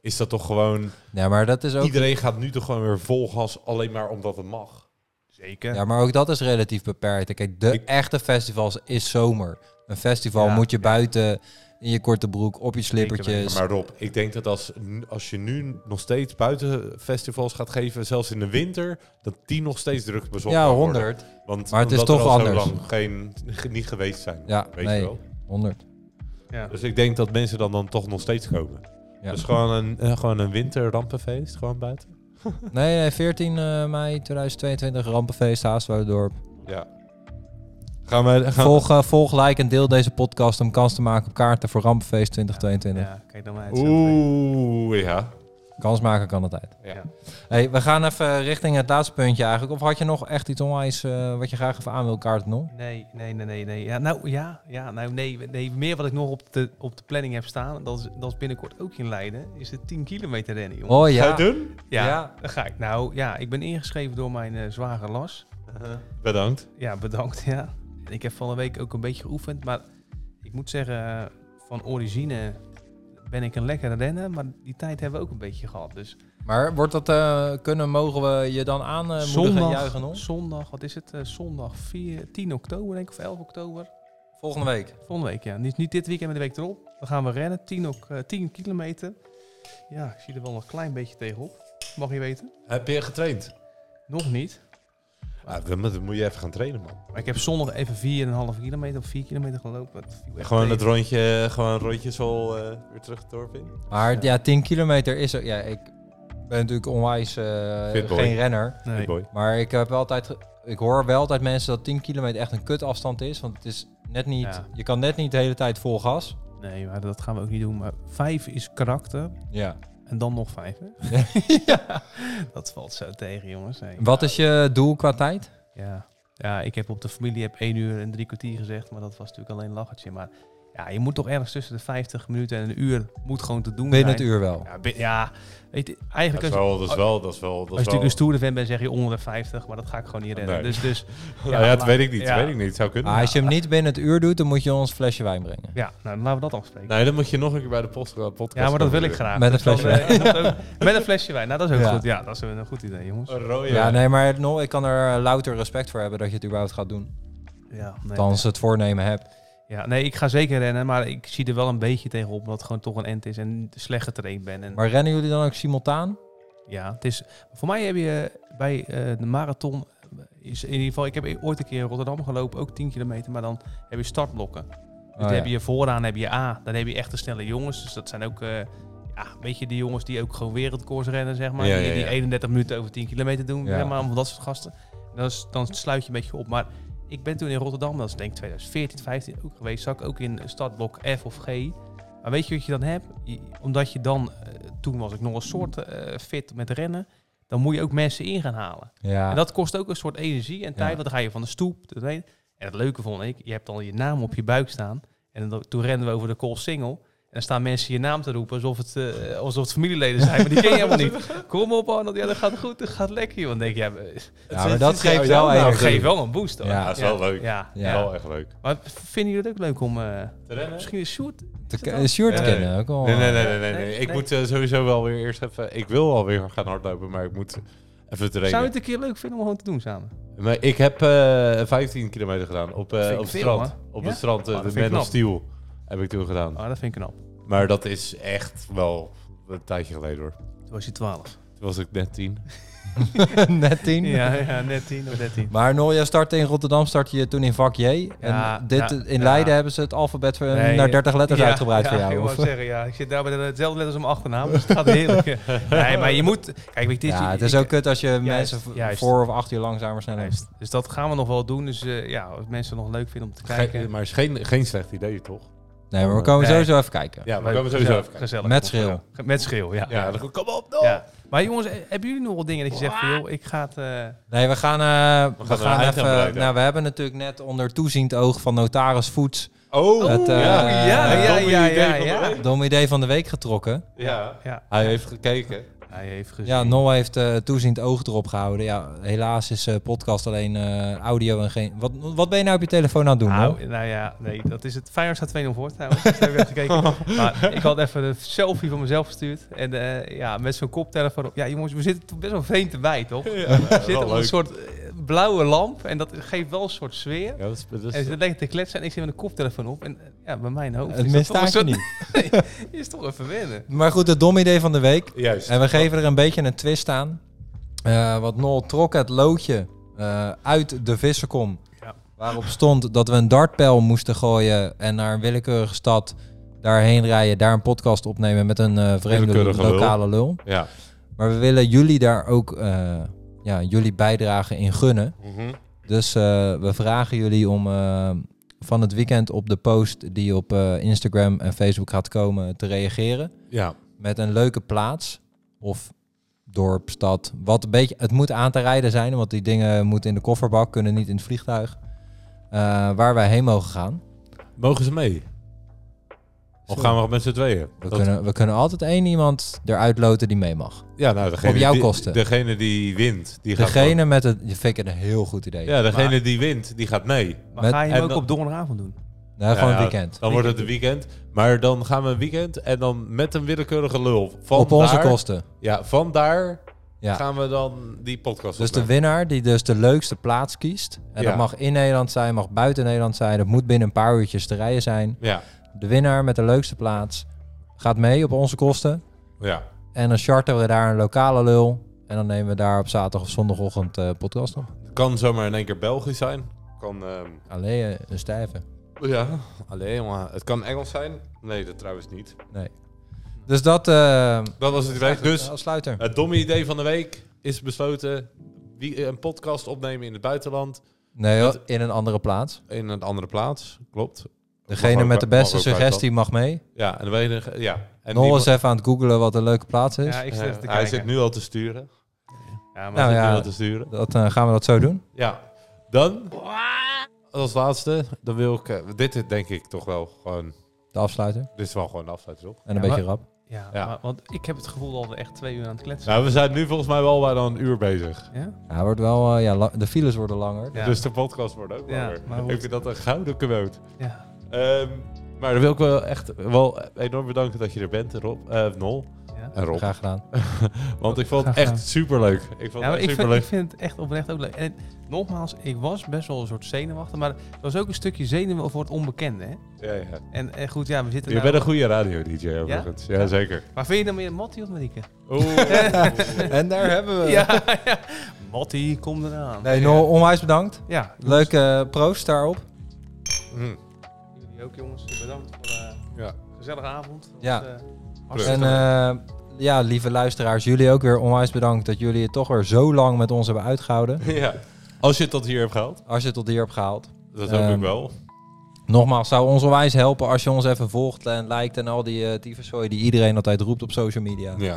Speaker 2: Is dat toch gewoon...
Speaker 3: Ja, maar dat is ook...
Speaker 2: Iedereen gaat nu toch gewoon weer vol gas alleen maar omdat het mag.
Speaker 1: Zeker.
Speaker 3: Ja, maar ook dat is relatief beperkt. Kijk, de
Speaker 2: Ik-
Speaker 3: echte festivals is zomer. Een festival
Speaker 1: Ja,
Speaker 3: moet je buiten in je korte broek, op je
Speaker 1: weten.
Speaker 3: slippertjes.
Speaker 2: Maar Rob, ik denk dat als, als je nu nog steeds buiten festivals gaat geven, zelfs in de winter, dat die nog steeds druk bezocht
Speaker 3: Ja,
Speaker 2: gaan
Speaker 3: 100.
Speaker 2: worden. Want
Speaker 3: Maar het is
Speaker 2: omdat er
Speaker 3: toch
Speaker 2: al zo
Speaker 3: anders.
Speaker 2: lang geen, ge- niet geweest zijn.
Speaker 3: Ja,
Speaker 2: weet
Speaker 3: nee.
Speaker 2: je wel.
Speaker 3: 100.
Speaker 1: Ja.
Speaker 2: Dus ik denk dat mensen dan, dan toch nog steeds komen.
Speaker 3: Ja.
Speaker 2: Dus gewoon een, eh, gewoon een winterrampenfeest, gewoon buiten.
Speaker 3: Nee, nee, 14 eh, mei 2022, Rampenfeest, Haastwoudendorp.
Speaker 2: Ja. Gaan we... Gaan
Speaker 3: Volg, eh, volg, like en deel deze podcast om kans te maken op kaarten voor Rampenfeest 2022.
Speaker 1: Ja, kijk dan maar uit.
Speaker 2: Oeh, ja.
Speaker 3: Kans maken kan altijd.
Speaker 2: Ja.
Speaker 3: Hey, we gaan even richting het laatste puntje eigenlijk. Of had je nog echt iets onwijs eh, wat je graag even aan wil kaarten, Nol?
Speaker 1: Nee, nee, nee, nee, nee. Ja, nou ja, ja nou nee, nee. Meer wat ik nog op de, op de planning heb staan, dat is, dat is binnenkort ook in Leiden, is de 10 kilometer rennen, jongen.
Speaker 3: Oh
Speaker 2: Ga je
Speaker 3: ja.
Speaker 2: het doen?
Speaker 1: ja,
Speaker 3: ja.
Speaker 1: daar ga ik. Nou ja, ik ben ingeschreven door mijn eh zwager Las.
Speaker 2: Bedankt.
Speaker 1: Ja, bedankt, ja. En ik heb van de week ook een beetje geoefend, maar ik moet zeggen, eh, van origine ben ik een lekkere renner, maar die tijd hebben we ook een beetje gehad. Dus
Speaker 3: Maar wordt dat, eh, kunnen, mogen we je dan aanmoedigen en juichen, Nol?
Speaker 1: zondag, zondag, wat is het? Eh, zondag 4, 10 oktober denk ik, of 11 oktober.
Speaker 3: Volgende week.
Speaker 1: Volgende week, ja. Niet, niet dit weekend, maar de week erop. Dan gaan we rennen. 10, ook, eh, 10 kilometer. Ja, ik zie er wel een klein beetje tegenop. Mag je weten?
Speaker 2: Heb je getraind?
Speaker 1: Nog niet.
Speaker 2: Ah, dan moet- dan moet je even gaan trainen, man.
Speaker 1: Maar ik heb zondag even 4,5 kilometer of 4 kilometer gelopen. Het viel echt
Speaker 2: Gewoon het
Speaker 1: tegen.
Speaker 2: rondje, gewoon rondjes al eh, weer terug het dorp in.
Speaker 3: Maar ja, 10 kilometer is er. Ja, ik ben natuurlijk onwijs eh,
Speaker 2: Fit boy.
Speaker 3: geen renner.
Speaker 1: Nee.
Speaker 2: Hey, boy.
Speaker 3: Maar ik heb wel altijd. ge- Ik hoor wel altijd mensen dat 10 kilometer echt een kutafstand is. Want het is net niet.
Speaker 1: Ja.
Speaker 3: Je kan net niet de hele tijd vol gas.
Speaker 1: nee, maar dat gaan we ook niet doen. Maar 5 is karakter.
Speaker 3: Ja.
Speaker 1: En dan nog 5, hè? Dat valt zo tegen, jongens. Nee.
Speaker 3: Wat is je doel qua tijd?
Speaker 1: Ja. ja, ik heb op de familie heb 1 uur en drie kwartier gezegd. Maar dat was natuurlijk alleen een lachertje. Maar ja, je moet toch ergens tussen de 50 minuten en een uur... moet gewoon te doen
Speaker 3: Binnen het
Speaker 1: zijn.
Speaker 3: uur wel.
Speaker 1: Ja, bi- ja, weet je,
Speaker 2: Dat
Speaker 1: eigenlijk...
Speaker 2: is
Speaker 1: als-
Speaker 2: wel, dat is wel, dat is wel. Dat
Speaker 1: Als
Speaker 2: is
Speaker 1: je
Speaker 2: wel
Speaker 1: natuurlijk een stoere fan bent, zeg je onder de 50, maar dat ga ik gewoon niet redden.
Speaker 2: Nee.
Speaker 1: Dus, dus
Speaker 2: Nou ja, dat
Speaker 1: maar-
Speaker 2: weet ik niet,
Speaker 1: ja. Ah,
Speaker 2: dat weet ik niet. Zou kunnen.
Speaker 3: Maar als je hem niet binnen het uur doet, dan moet je ons een flesje wijn brengen.
Speaker 1: ja, nou, laten we dat afspreken.
Speaker 2: Nee, dan moet je nog een keer bij de post- podcast.
Speaker 1: ja, maar dat wil
Speaker 2: komen
Speaker 1: ik graag.
Speaker 3: Met een
Speaker 1: Dus dan,
Speaker 3: flesje
Speaker 1: eh, is dat ook- Met een flesje wijn, nou dat is ook
Speaker 3: Ja.
Speaker 1: goed. Ja, dat is een goed idee, jongens.
Speaker 2: Een rode.
Speaker 3: Ja, nee, maar Nol, ik kan er eh, louter respect voor hebben dat je het überhaupt gaat doen.
Speaker 1: Ja, nee,
Speaker 3: Althans, het voornemen hebt.
Speaker 1: ja, nee, ik ga zeker rennen, maar ik zie er wel een beetje tegenop omdat het gewoon toch een end is en slecht getraind ben. En,
Speaker 3: Maar rennen jullie dan ook simultaan?
Speaker 1: ja, het is, voor mij heb je bij eh, de marathon, eh, is in ieder geval, ik heb e-, ooit een keer in Rotterdam gelopen, ook 10 kilometer, maar dan heb je startblokken. Dus
Speaker 3: Oh,
Speaker 1: dan
Speaker 3: ja.
Speaker 1: heb je vooraan heb je A, dan heb je echt de snelle jongens. Dus dat zijn ook eh ja, een beetje die jongens die ook gewoon wereldkoers rennen, zeg maar.
Speaker 2: Ja,
Speaker 1: die,
Speaker 2: ja,
Speaker 1: die
Speaker 2: ja.
Speaker 1: 31 minuten over 10 kilometer doen,
Speaker 3: Ja.
Speaker 1: zeg maar, allemaal dat soort gasten. En Dat is, dan sluit je een beetje op. Maar ik ben toen in Rotterdam, dat is denk ik 2014, 15 ook geweest. Zat ik ook in stadblok F of G. Maar weet je wat je dan hebt? Je- Omdat je dan, eh, toen was ik nog een soort eh, fit met rennen. Dan moet je ook mensen in gaan halen.
Speaker 3: Ja.
Speaker 1: En dat kost ook een soort energie en tijd.
Speaker 3: Ja.
Speaker 1: Want dan ga je van de stoep. tot heen. En het leuke vond ik, je hebt al je naam op je buik staan. En dan, toen renden we over de Koolsingel. En dan staan mensen je naam te roepen alsof het, eh, alsof het familieleden zijn. Maar die ken je helemaal niet. Kom op, Arnold. Ja, dat gaat goed. Dat gaat lekker. joh. Dan denk je, ja, maar-
Speaker 3: Ja, maar dat geeft
Speaker 2: jouw
Speaker 3: wel
Speaker 2: naam
Speaker 1: dat
Speaker 3: energie.
Speaker 1: geeft wel een boost. Hoor.
Speaker 3: Ja,
Speaker 2: dat is wel leuk.
Speaker 1: Ja, ja.
Speaker 3: Ja.
Speaker 2: Wel echt leuk.
Speaker 1: Maar v- vinden jullie het ook leuk om... eh,
Speaker 2: rennen?
Speaker 1: misschien is Sjoerd...
Speaker 3: Te,
Speaker 1: Is het
Speaker 3: ke-
Speaker 1: wel-
Speaker 3: Sjoerd
Speaker 2: Nee,
Speaker 3: kennen ook al.
Speaker 2: Nee, nee, nee, nee, nee, nee.
Speaker 1: Nee,
Speaker 2: Ik
Speaker 1: nee.
Speaker 2: moet eh, sowieso wel weer eerst even... Ik wil alweer gaan hardlopen, maar ik moet even trainen.
Speaker 1: Zou je het een keer leuk vinden om gewoon te doen samen?
Speaker 2: Maar ik heb eh 15 kilometer gedaan op, eh,
Speaker 1: vind ik
Speaker 2: op het
Speaker 1: veel,
Speaker 2: strand.
Speaker 1: hoor.
Speaker 2: Op
Speaker 1: Ja?
Speaker 2: het strand, eh,
Speaker 1: Ah, dat
Speaker 2: de
Speaker 1: vind ik
Speaker 2: Man of
Speaker 1: knap.
Speaker 2: Steel heb ik toen gedaan.
Speaker 3: Ah,
Speaker 1: Oh, dat vind ik knap.
Speaker 2: Maar dat is echt wel een tijdje geleden hoor.
Speaker 1: Toen was je 12.
Speaker 2: Toen was ik net tien.
Speaker 3: Net tien.
Speaker 1: Ja, ja, net 10 of 13.
Speaker 3: Maar Norja startte in Rotterdam, startte je toen in vak J. En
Speaker 1: Ja,
Speaker 3: dit,
Speaker 1: ja,
Speaker 3: in
Speaker 1: ja.
Speaker 3: Leiden hebben ze het alfabet voor-
Speaker 1: Nee,
Speaker 3: Ehm, naar 30 letters
Speaker 1: ja,
Speaker 3: uitgebreid
Speaker 1: ja,
Speaker 3: voor
Speaker 1: Ik
Speaker 3: jou.
Speaker 1: wou
Speaker 3: of?
Speaker 1: zeggen, ja. Ik zit daar met dezelfde letters als mijn achternaam. Dus het gaat heerlijk. nee, maar je moet... Kijk, weet je, dit
Speaker 3: Ja, het is
Speaker 1: ik-
Speaker 3: ook eh, kut als je mensen v-
Speaker 1: juist.
Speaker 3: voor of achter je langzamer sneller
Speaker 1: Juist. Dus dat gaan we nog wel doen. Dus eh, ja, als mensen het nog leuk vinden om te kijken...
Speaker 2: Geen, maar is geen, geen slecht idee toch?
Speaker 3: Nee, maar we komen
Speaker 1: Nee.
Speaker 3: sowieso even kijken.
Speaker 2: Ja, we
Speaker 1: Leuk,
Speaker 2: komen sowieso
Speaker 1: gezellig,
Speaker 2: even kijken.
Speaker 1: gezellig.
Speaker 3: Met schreeuw.
Speaker 1: Ge- Met schreeuw, ja.
Speaker 2: Ja, dan, kom op nog!
Speaker 1: Ja. Maar jongens, eh, hebben jullie nog wel dingen dat je zegt van... joh, ik ga het... eh,
Speaker 3: Nee, we gaan, eh, we
Speaker 2: gaan
Speaker 3: gaan,
Speaker 2: een eind
Speaker 3: even...
Speaker 2: aan bereiken.
Speaker 3: nou, we hebben natuurlijk net onder toeziend oog van notaris Voets...
Speaker 2: Oh,
Speaker 3: Het, eh,
Speaker 2: ja.
Speaker 1: ja,
Speaker 3: eh,
Speaker 1: ja,
Speaker 2: domme
Speaker 1: ja,
Speaker 2: idee
Speaker 1: ja,
Speaker 2: van de
Speaker 1: ja.
Speaker 2: week.
Speaker 3: dom idee van de week getrokken.
Speaker 2: ja.
Speaker 1: Ja,
Speaker 2: Hij heeft gekeken.
Speaker 1: hij heeft gezien.
Speaker 3: Ja, Nol heeft eh, toeziend oog erop gehouden. Ja, helaas is eh, podcast alleen eh, audio en geen... Wat, wat ben je nou op je telefoon aan het doen, Nol?
Speaker 1: Nou, nou ja, nee, dat is het. Feyenoord staat 2-0 voor trouwens. Dat heb ik even gekeken. Maar ik had even een selfie van mezelf gestuurd. En eh, ja, met zo'n koptelefoon op. Ja, jongens, we zitten toch best wel vreemd erbij, toch? we zitten op een soort eh, blauwe lamp. En dat geeft wel een soort sfeer.
Speaker 2: Ja, dat is, dat is-
Speaker 1: En ze leggen te kletsen en ik zit met een koptelefoon op. En eh, ja, bij mijn hoofd
Speaker 3: Het
Speaker 1: is dat toch een
Speaker 3: misstaat je
Speaker 1: soort-
Speaker 3: niet.
Speaker 1: is toch even wennen.
Speaker 3: Maar goed, het dom idee van de week.
Speaker 2: Juist.
Speaker 3: En we geven er een beetje een twist aan. Eh want Nol trok het loodje eh, uit de vissenkom.
Speaker 1: Ja.
Speaker 3: Waarop stond dat we een dartpijl moesten gooien en naar een willekeurige stad daarheen rijden, daar een podcast opnemen met een eh, vreemde
Speaker 2: Willekeurige lul.
Speaker 3: lokale lul.
Speaker 2: Ja.
Speaker 3: Maar we willen jullie daar ook eh, ja, jullie bijdrage in gunnen.
Speaker 2: Mhm.
Speaker 3: Dus eh, we vragen jullie om eh, van het weekend op de post die op eh, Instagram en Facebook gaat komen te reageren
Speaker 2: ja.
Speaker 3: met een leuke plaats of dorp, stad. Wat een beetje, het moet aan te rijden zijn, want die dingen moeten in de kofferbak, kunnen niet in het vliegtuig. Eh, waar wij heen mogen gaan.
Speaker 2: Mogen ze mee? Of
Speaker 3: Sorry.
Speaker 2: gaan we met z'n tweeën?
Speaker 3: We,
Speaker 2: Dat-
Speaker 3: kunnen, we kunnen altijd één iemand eruit loten die mee mag.
Speaker 2: ja, nou, degene
Speaker 3: op jouw
Speaker 2: die,
Speaker 3: kosten.
Speaker 2: Degene die wint, die gaat
Speaker 3: Degene met het... Je vind ik een heel goed idee.
Speaker 2: Ja, degene
Speaker 1: Maar-
Speaker 2: die wint, die gaat mee.
Speaker 1: Maar
Speaker 3: Met-
Speaker 1: ga je
Speaker 2: en
Speaker 1: hem ook
Speaker 2: dan-
Speaker 1: op donderdagavond doen?
Speaker 3: nou, gewoon
Speaker 2: Ja,
Speaker 3: een weekend.
Speaker 2: Dan wordt het een weekend. Maar dan gaan we een weekend en dan met een willekeurige lul. Van
Speaker 3: Op onze
Speaker 2: daar-
Speaker 3: kosten.
Speaker 2: Ja, van daar
Speaker 3: Ja.
Speaker 2: gaan we dan die podcast
Speaker 3: Dus de
Speaker 2: opnemen.
Speaker 3: winnaar die dus de leukste plaats kiest. En
Speaker 2: Ja.
Speaker 3: dat mag in Nederland zijn, mag buiten Nederland zijn. Dat moet binnen een paar uurtjes te rijden zijn.
Speaker 2: Ja,
Speaker 3: De winnaar met de leukste plaats gaat mee op onze kosten.
Speaker 2: ja.
Speaker 3: En dan charteren we daar een lokale lul. En dan nemen we daar op zaterdag of zondagochtend eh, podcast op.
Speaker 2: Kan zomaar in één keer Belgisch zijn. Kan, ehm,
Speaker 3: Alleen eh, een stijve.
Speaker 2: ja, alleen jongen. Het kan Engels zijn. Nee, dat trouwens niet.
Speaker 3: Nee. Dus dat eh
Speaker 2: Dat was het idee. Dus
Speaker 3: als sluiter.
Speaker 2: het domme idee van de week is besloten. Wie, eh, een podcast opnemen in het buitenland.
Speaker 3: Nee, joh, in een andere plaats.
Speaker 2: In een andere plaats. Klopt. Mag
Speaker 3: Degene
Speaker 2: ook
Speaker 3: met de
Speaker 2: bij-
Speaker 3: beste
Speaker 2: mag ook
Speaker 3: suggestie mag mee.
Speaker 2: Ja, en de enige, ja. En die-
Speaker 3: Nol is even aan het googelen wat een leuke plaats is.
Speaker 1: Ja, ik zit
Speaker 2: Ja,
Speaker 1: even te
Speaker 2: eh, hij
Speaker 1: kijken. Oh,
Speaker 2: zit nu al te sturen.
Speaker 1: Ja, maar
Speaker 3: Nou
Speaker 2: Hij zit
Speaker 3: ja.
Speaker 2: nu al te sturen.
Speaker 3: Dat, eh, gaan we dat zo doen?
Speaker 2: Ja, dan als laatste, dan wil ik, eh, dit is denk ik toch wel gewoon,
Speaker 3: De afsluiter.
Speaker 2: dit is wel gewoon de afsluiter toch?
Speaker 3: En een
Speaker 1: Ja,
Speaker 3: beetje rap.
Speaker 1: Ja,
Speaker 2: Ja.
Speaker 1: maar- want ik heb het gevoel dat we echt twee uur aan het kletsen
Speaker 2: Nou, we zijn nu volgens mij wel bijna een uur bezig,
Speaker 1: zijn. Ja?
Speaker 3: Ja, het wordt wel, eh, ja, la- de files worden langer.
Speaker 1: Ja.
Speaker 2: dus de podcast wordt ook
Speaker 1: Ja,
Speaker 2: langer.
Speaker 1: maar goed.
Speaker 2: ik vind dat een gouden cadeaut.
Speaker 1: ja.
Speaker 2: Ehm, maar dan wil ik wel echt wel enorm bedanken dat je er bent, Rob, eh, Nol
Speaker 1: Ja.
Speaker 2: en Rob.
Speaker 3: Graag gedaan.
Speaker 2: Want ik vond het
Speaker 1: Graag
Speaker 2: echt superleuk. Ik vond
Speaker 1: Ja, maar
Speaker 2: het
Speaker 1: ik
Speaker 2: echt
Speaker 1: vind, ik
Speaker 2: superleuk.
Speaker 1: vind het echt oprecht ook leuk. En nogmaals, ik was best wel een soort zenuwachtig, maar er was ook een stukje zenuw voor het onbekende. Hè?
Speaker 2: Ja, ja.
Speaker 1: En, en goed, ja, we zitten
Speaker 2: Je
Speaker 1: nou-
Speaker 2: bent een goede radio-dj overigens. Ja,
Speaker 1: Ja.
Speaker 2: zeker.
Speaker 1: Maar vind je dan meer Mattie of Marieke?
Speaker 3: En daar hebben we.
Speaker 1: Ja, ja. Mattie, kom eraan.
Speaker 3: Nee, Nol, onwijs bedankt.
Speaker 1: Ja,
Speaker 3: Leuk eh, proost daarop.
Speaker 2: Hm.
Speaker 1: Jullie ook jongens, bedankt voor eh,
Speaker 2: Ja.
Speaker 1: een gezellige avond.
Speaker 3: Ja.
Speaker 1: Want, eh,
Speaker 3: En
Speaker 1: hartstikke leuk.
Speaker 3: eh, ja, lieve luisteraars, jullie ook weer onwijs bedankt dat jullie het toch weer zo lang met ons hebben uitgehouden.
Speaker 2: ja. Als je het tot hier hebt gehaald.
Speaker 3: Als je het tot hier hebt gehaald.
Speaker 2: Dat hoop ik
Speaker 3: Ehm,
Speaker 2: wel.
Speaker 3: Nogmaals, zou ons onwijs helpen als je ons even volgt en liked en al die eh tyfuszooi die iedereen altijd roept op social media.
Speaker 2: Ja.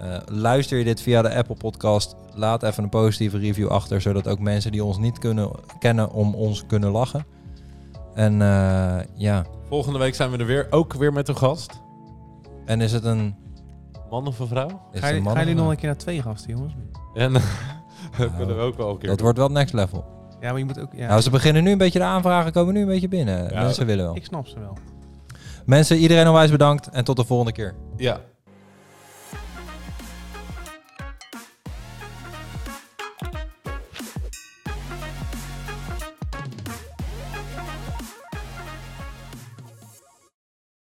Speaker 3: Eh, luister je dit via de Apple Podcast, laat even een positieve review achter, zodat ook mensen die ons niet kunnen, kennen om ons kunnen lachen. En eh, ja,
Speaker 2: Volgende week zijn we er weer. Ook weer met een gast.
Speaker 3: en is het een...
Speaker 2: Man of een vrouw?
Speaker 3: Is
Speaker 1: Ga
Speaker 3: het
Speaker 1: je-
Speaker 3: een
Speaker 1: Gaan
Speaker 3: man
Speaker 1: jullie
Speaker 3: of
Speaker 1: nog
Speaker 3: een-
Speaker 1: een keer naar twee gasten, jongens?
Speaker 2: En dat kunnen we ook wel een keer
Speaker 3: Ah, Dat wordt wel het next level.
Speaker 1: Ja, maar je moet ook... Ja,
Speaker 3: Nou, ze beginnen nu een beetje, de aanvragen komen nu een beetje binnen.
Speaker 2: Ja.
Speaker 3: Mensen willen wel.
Speaker 1: ik snap ze wel.
Speaker 3: Mensen, iedereen onwijs bedankt en tot de volgende keer.
Speaker 2: doen. Ja.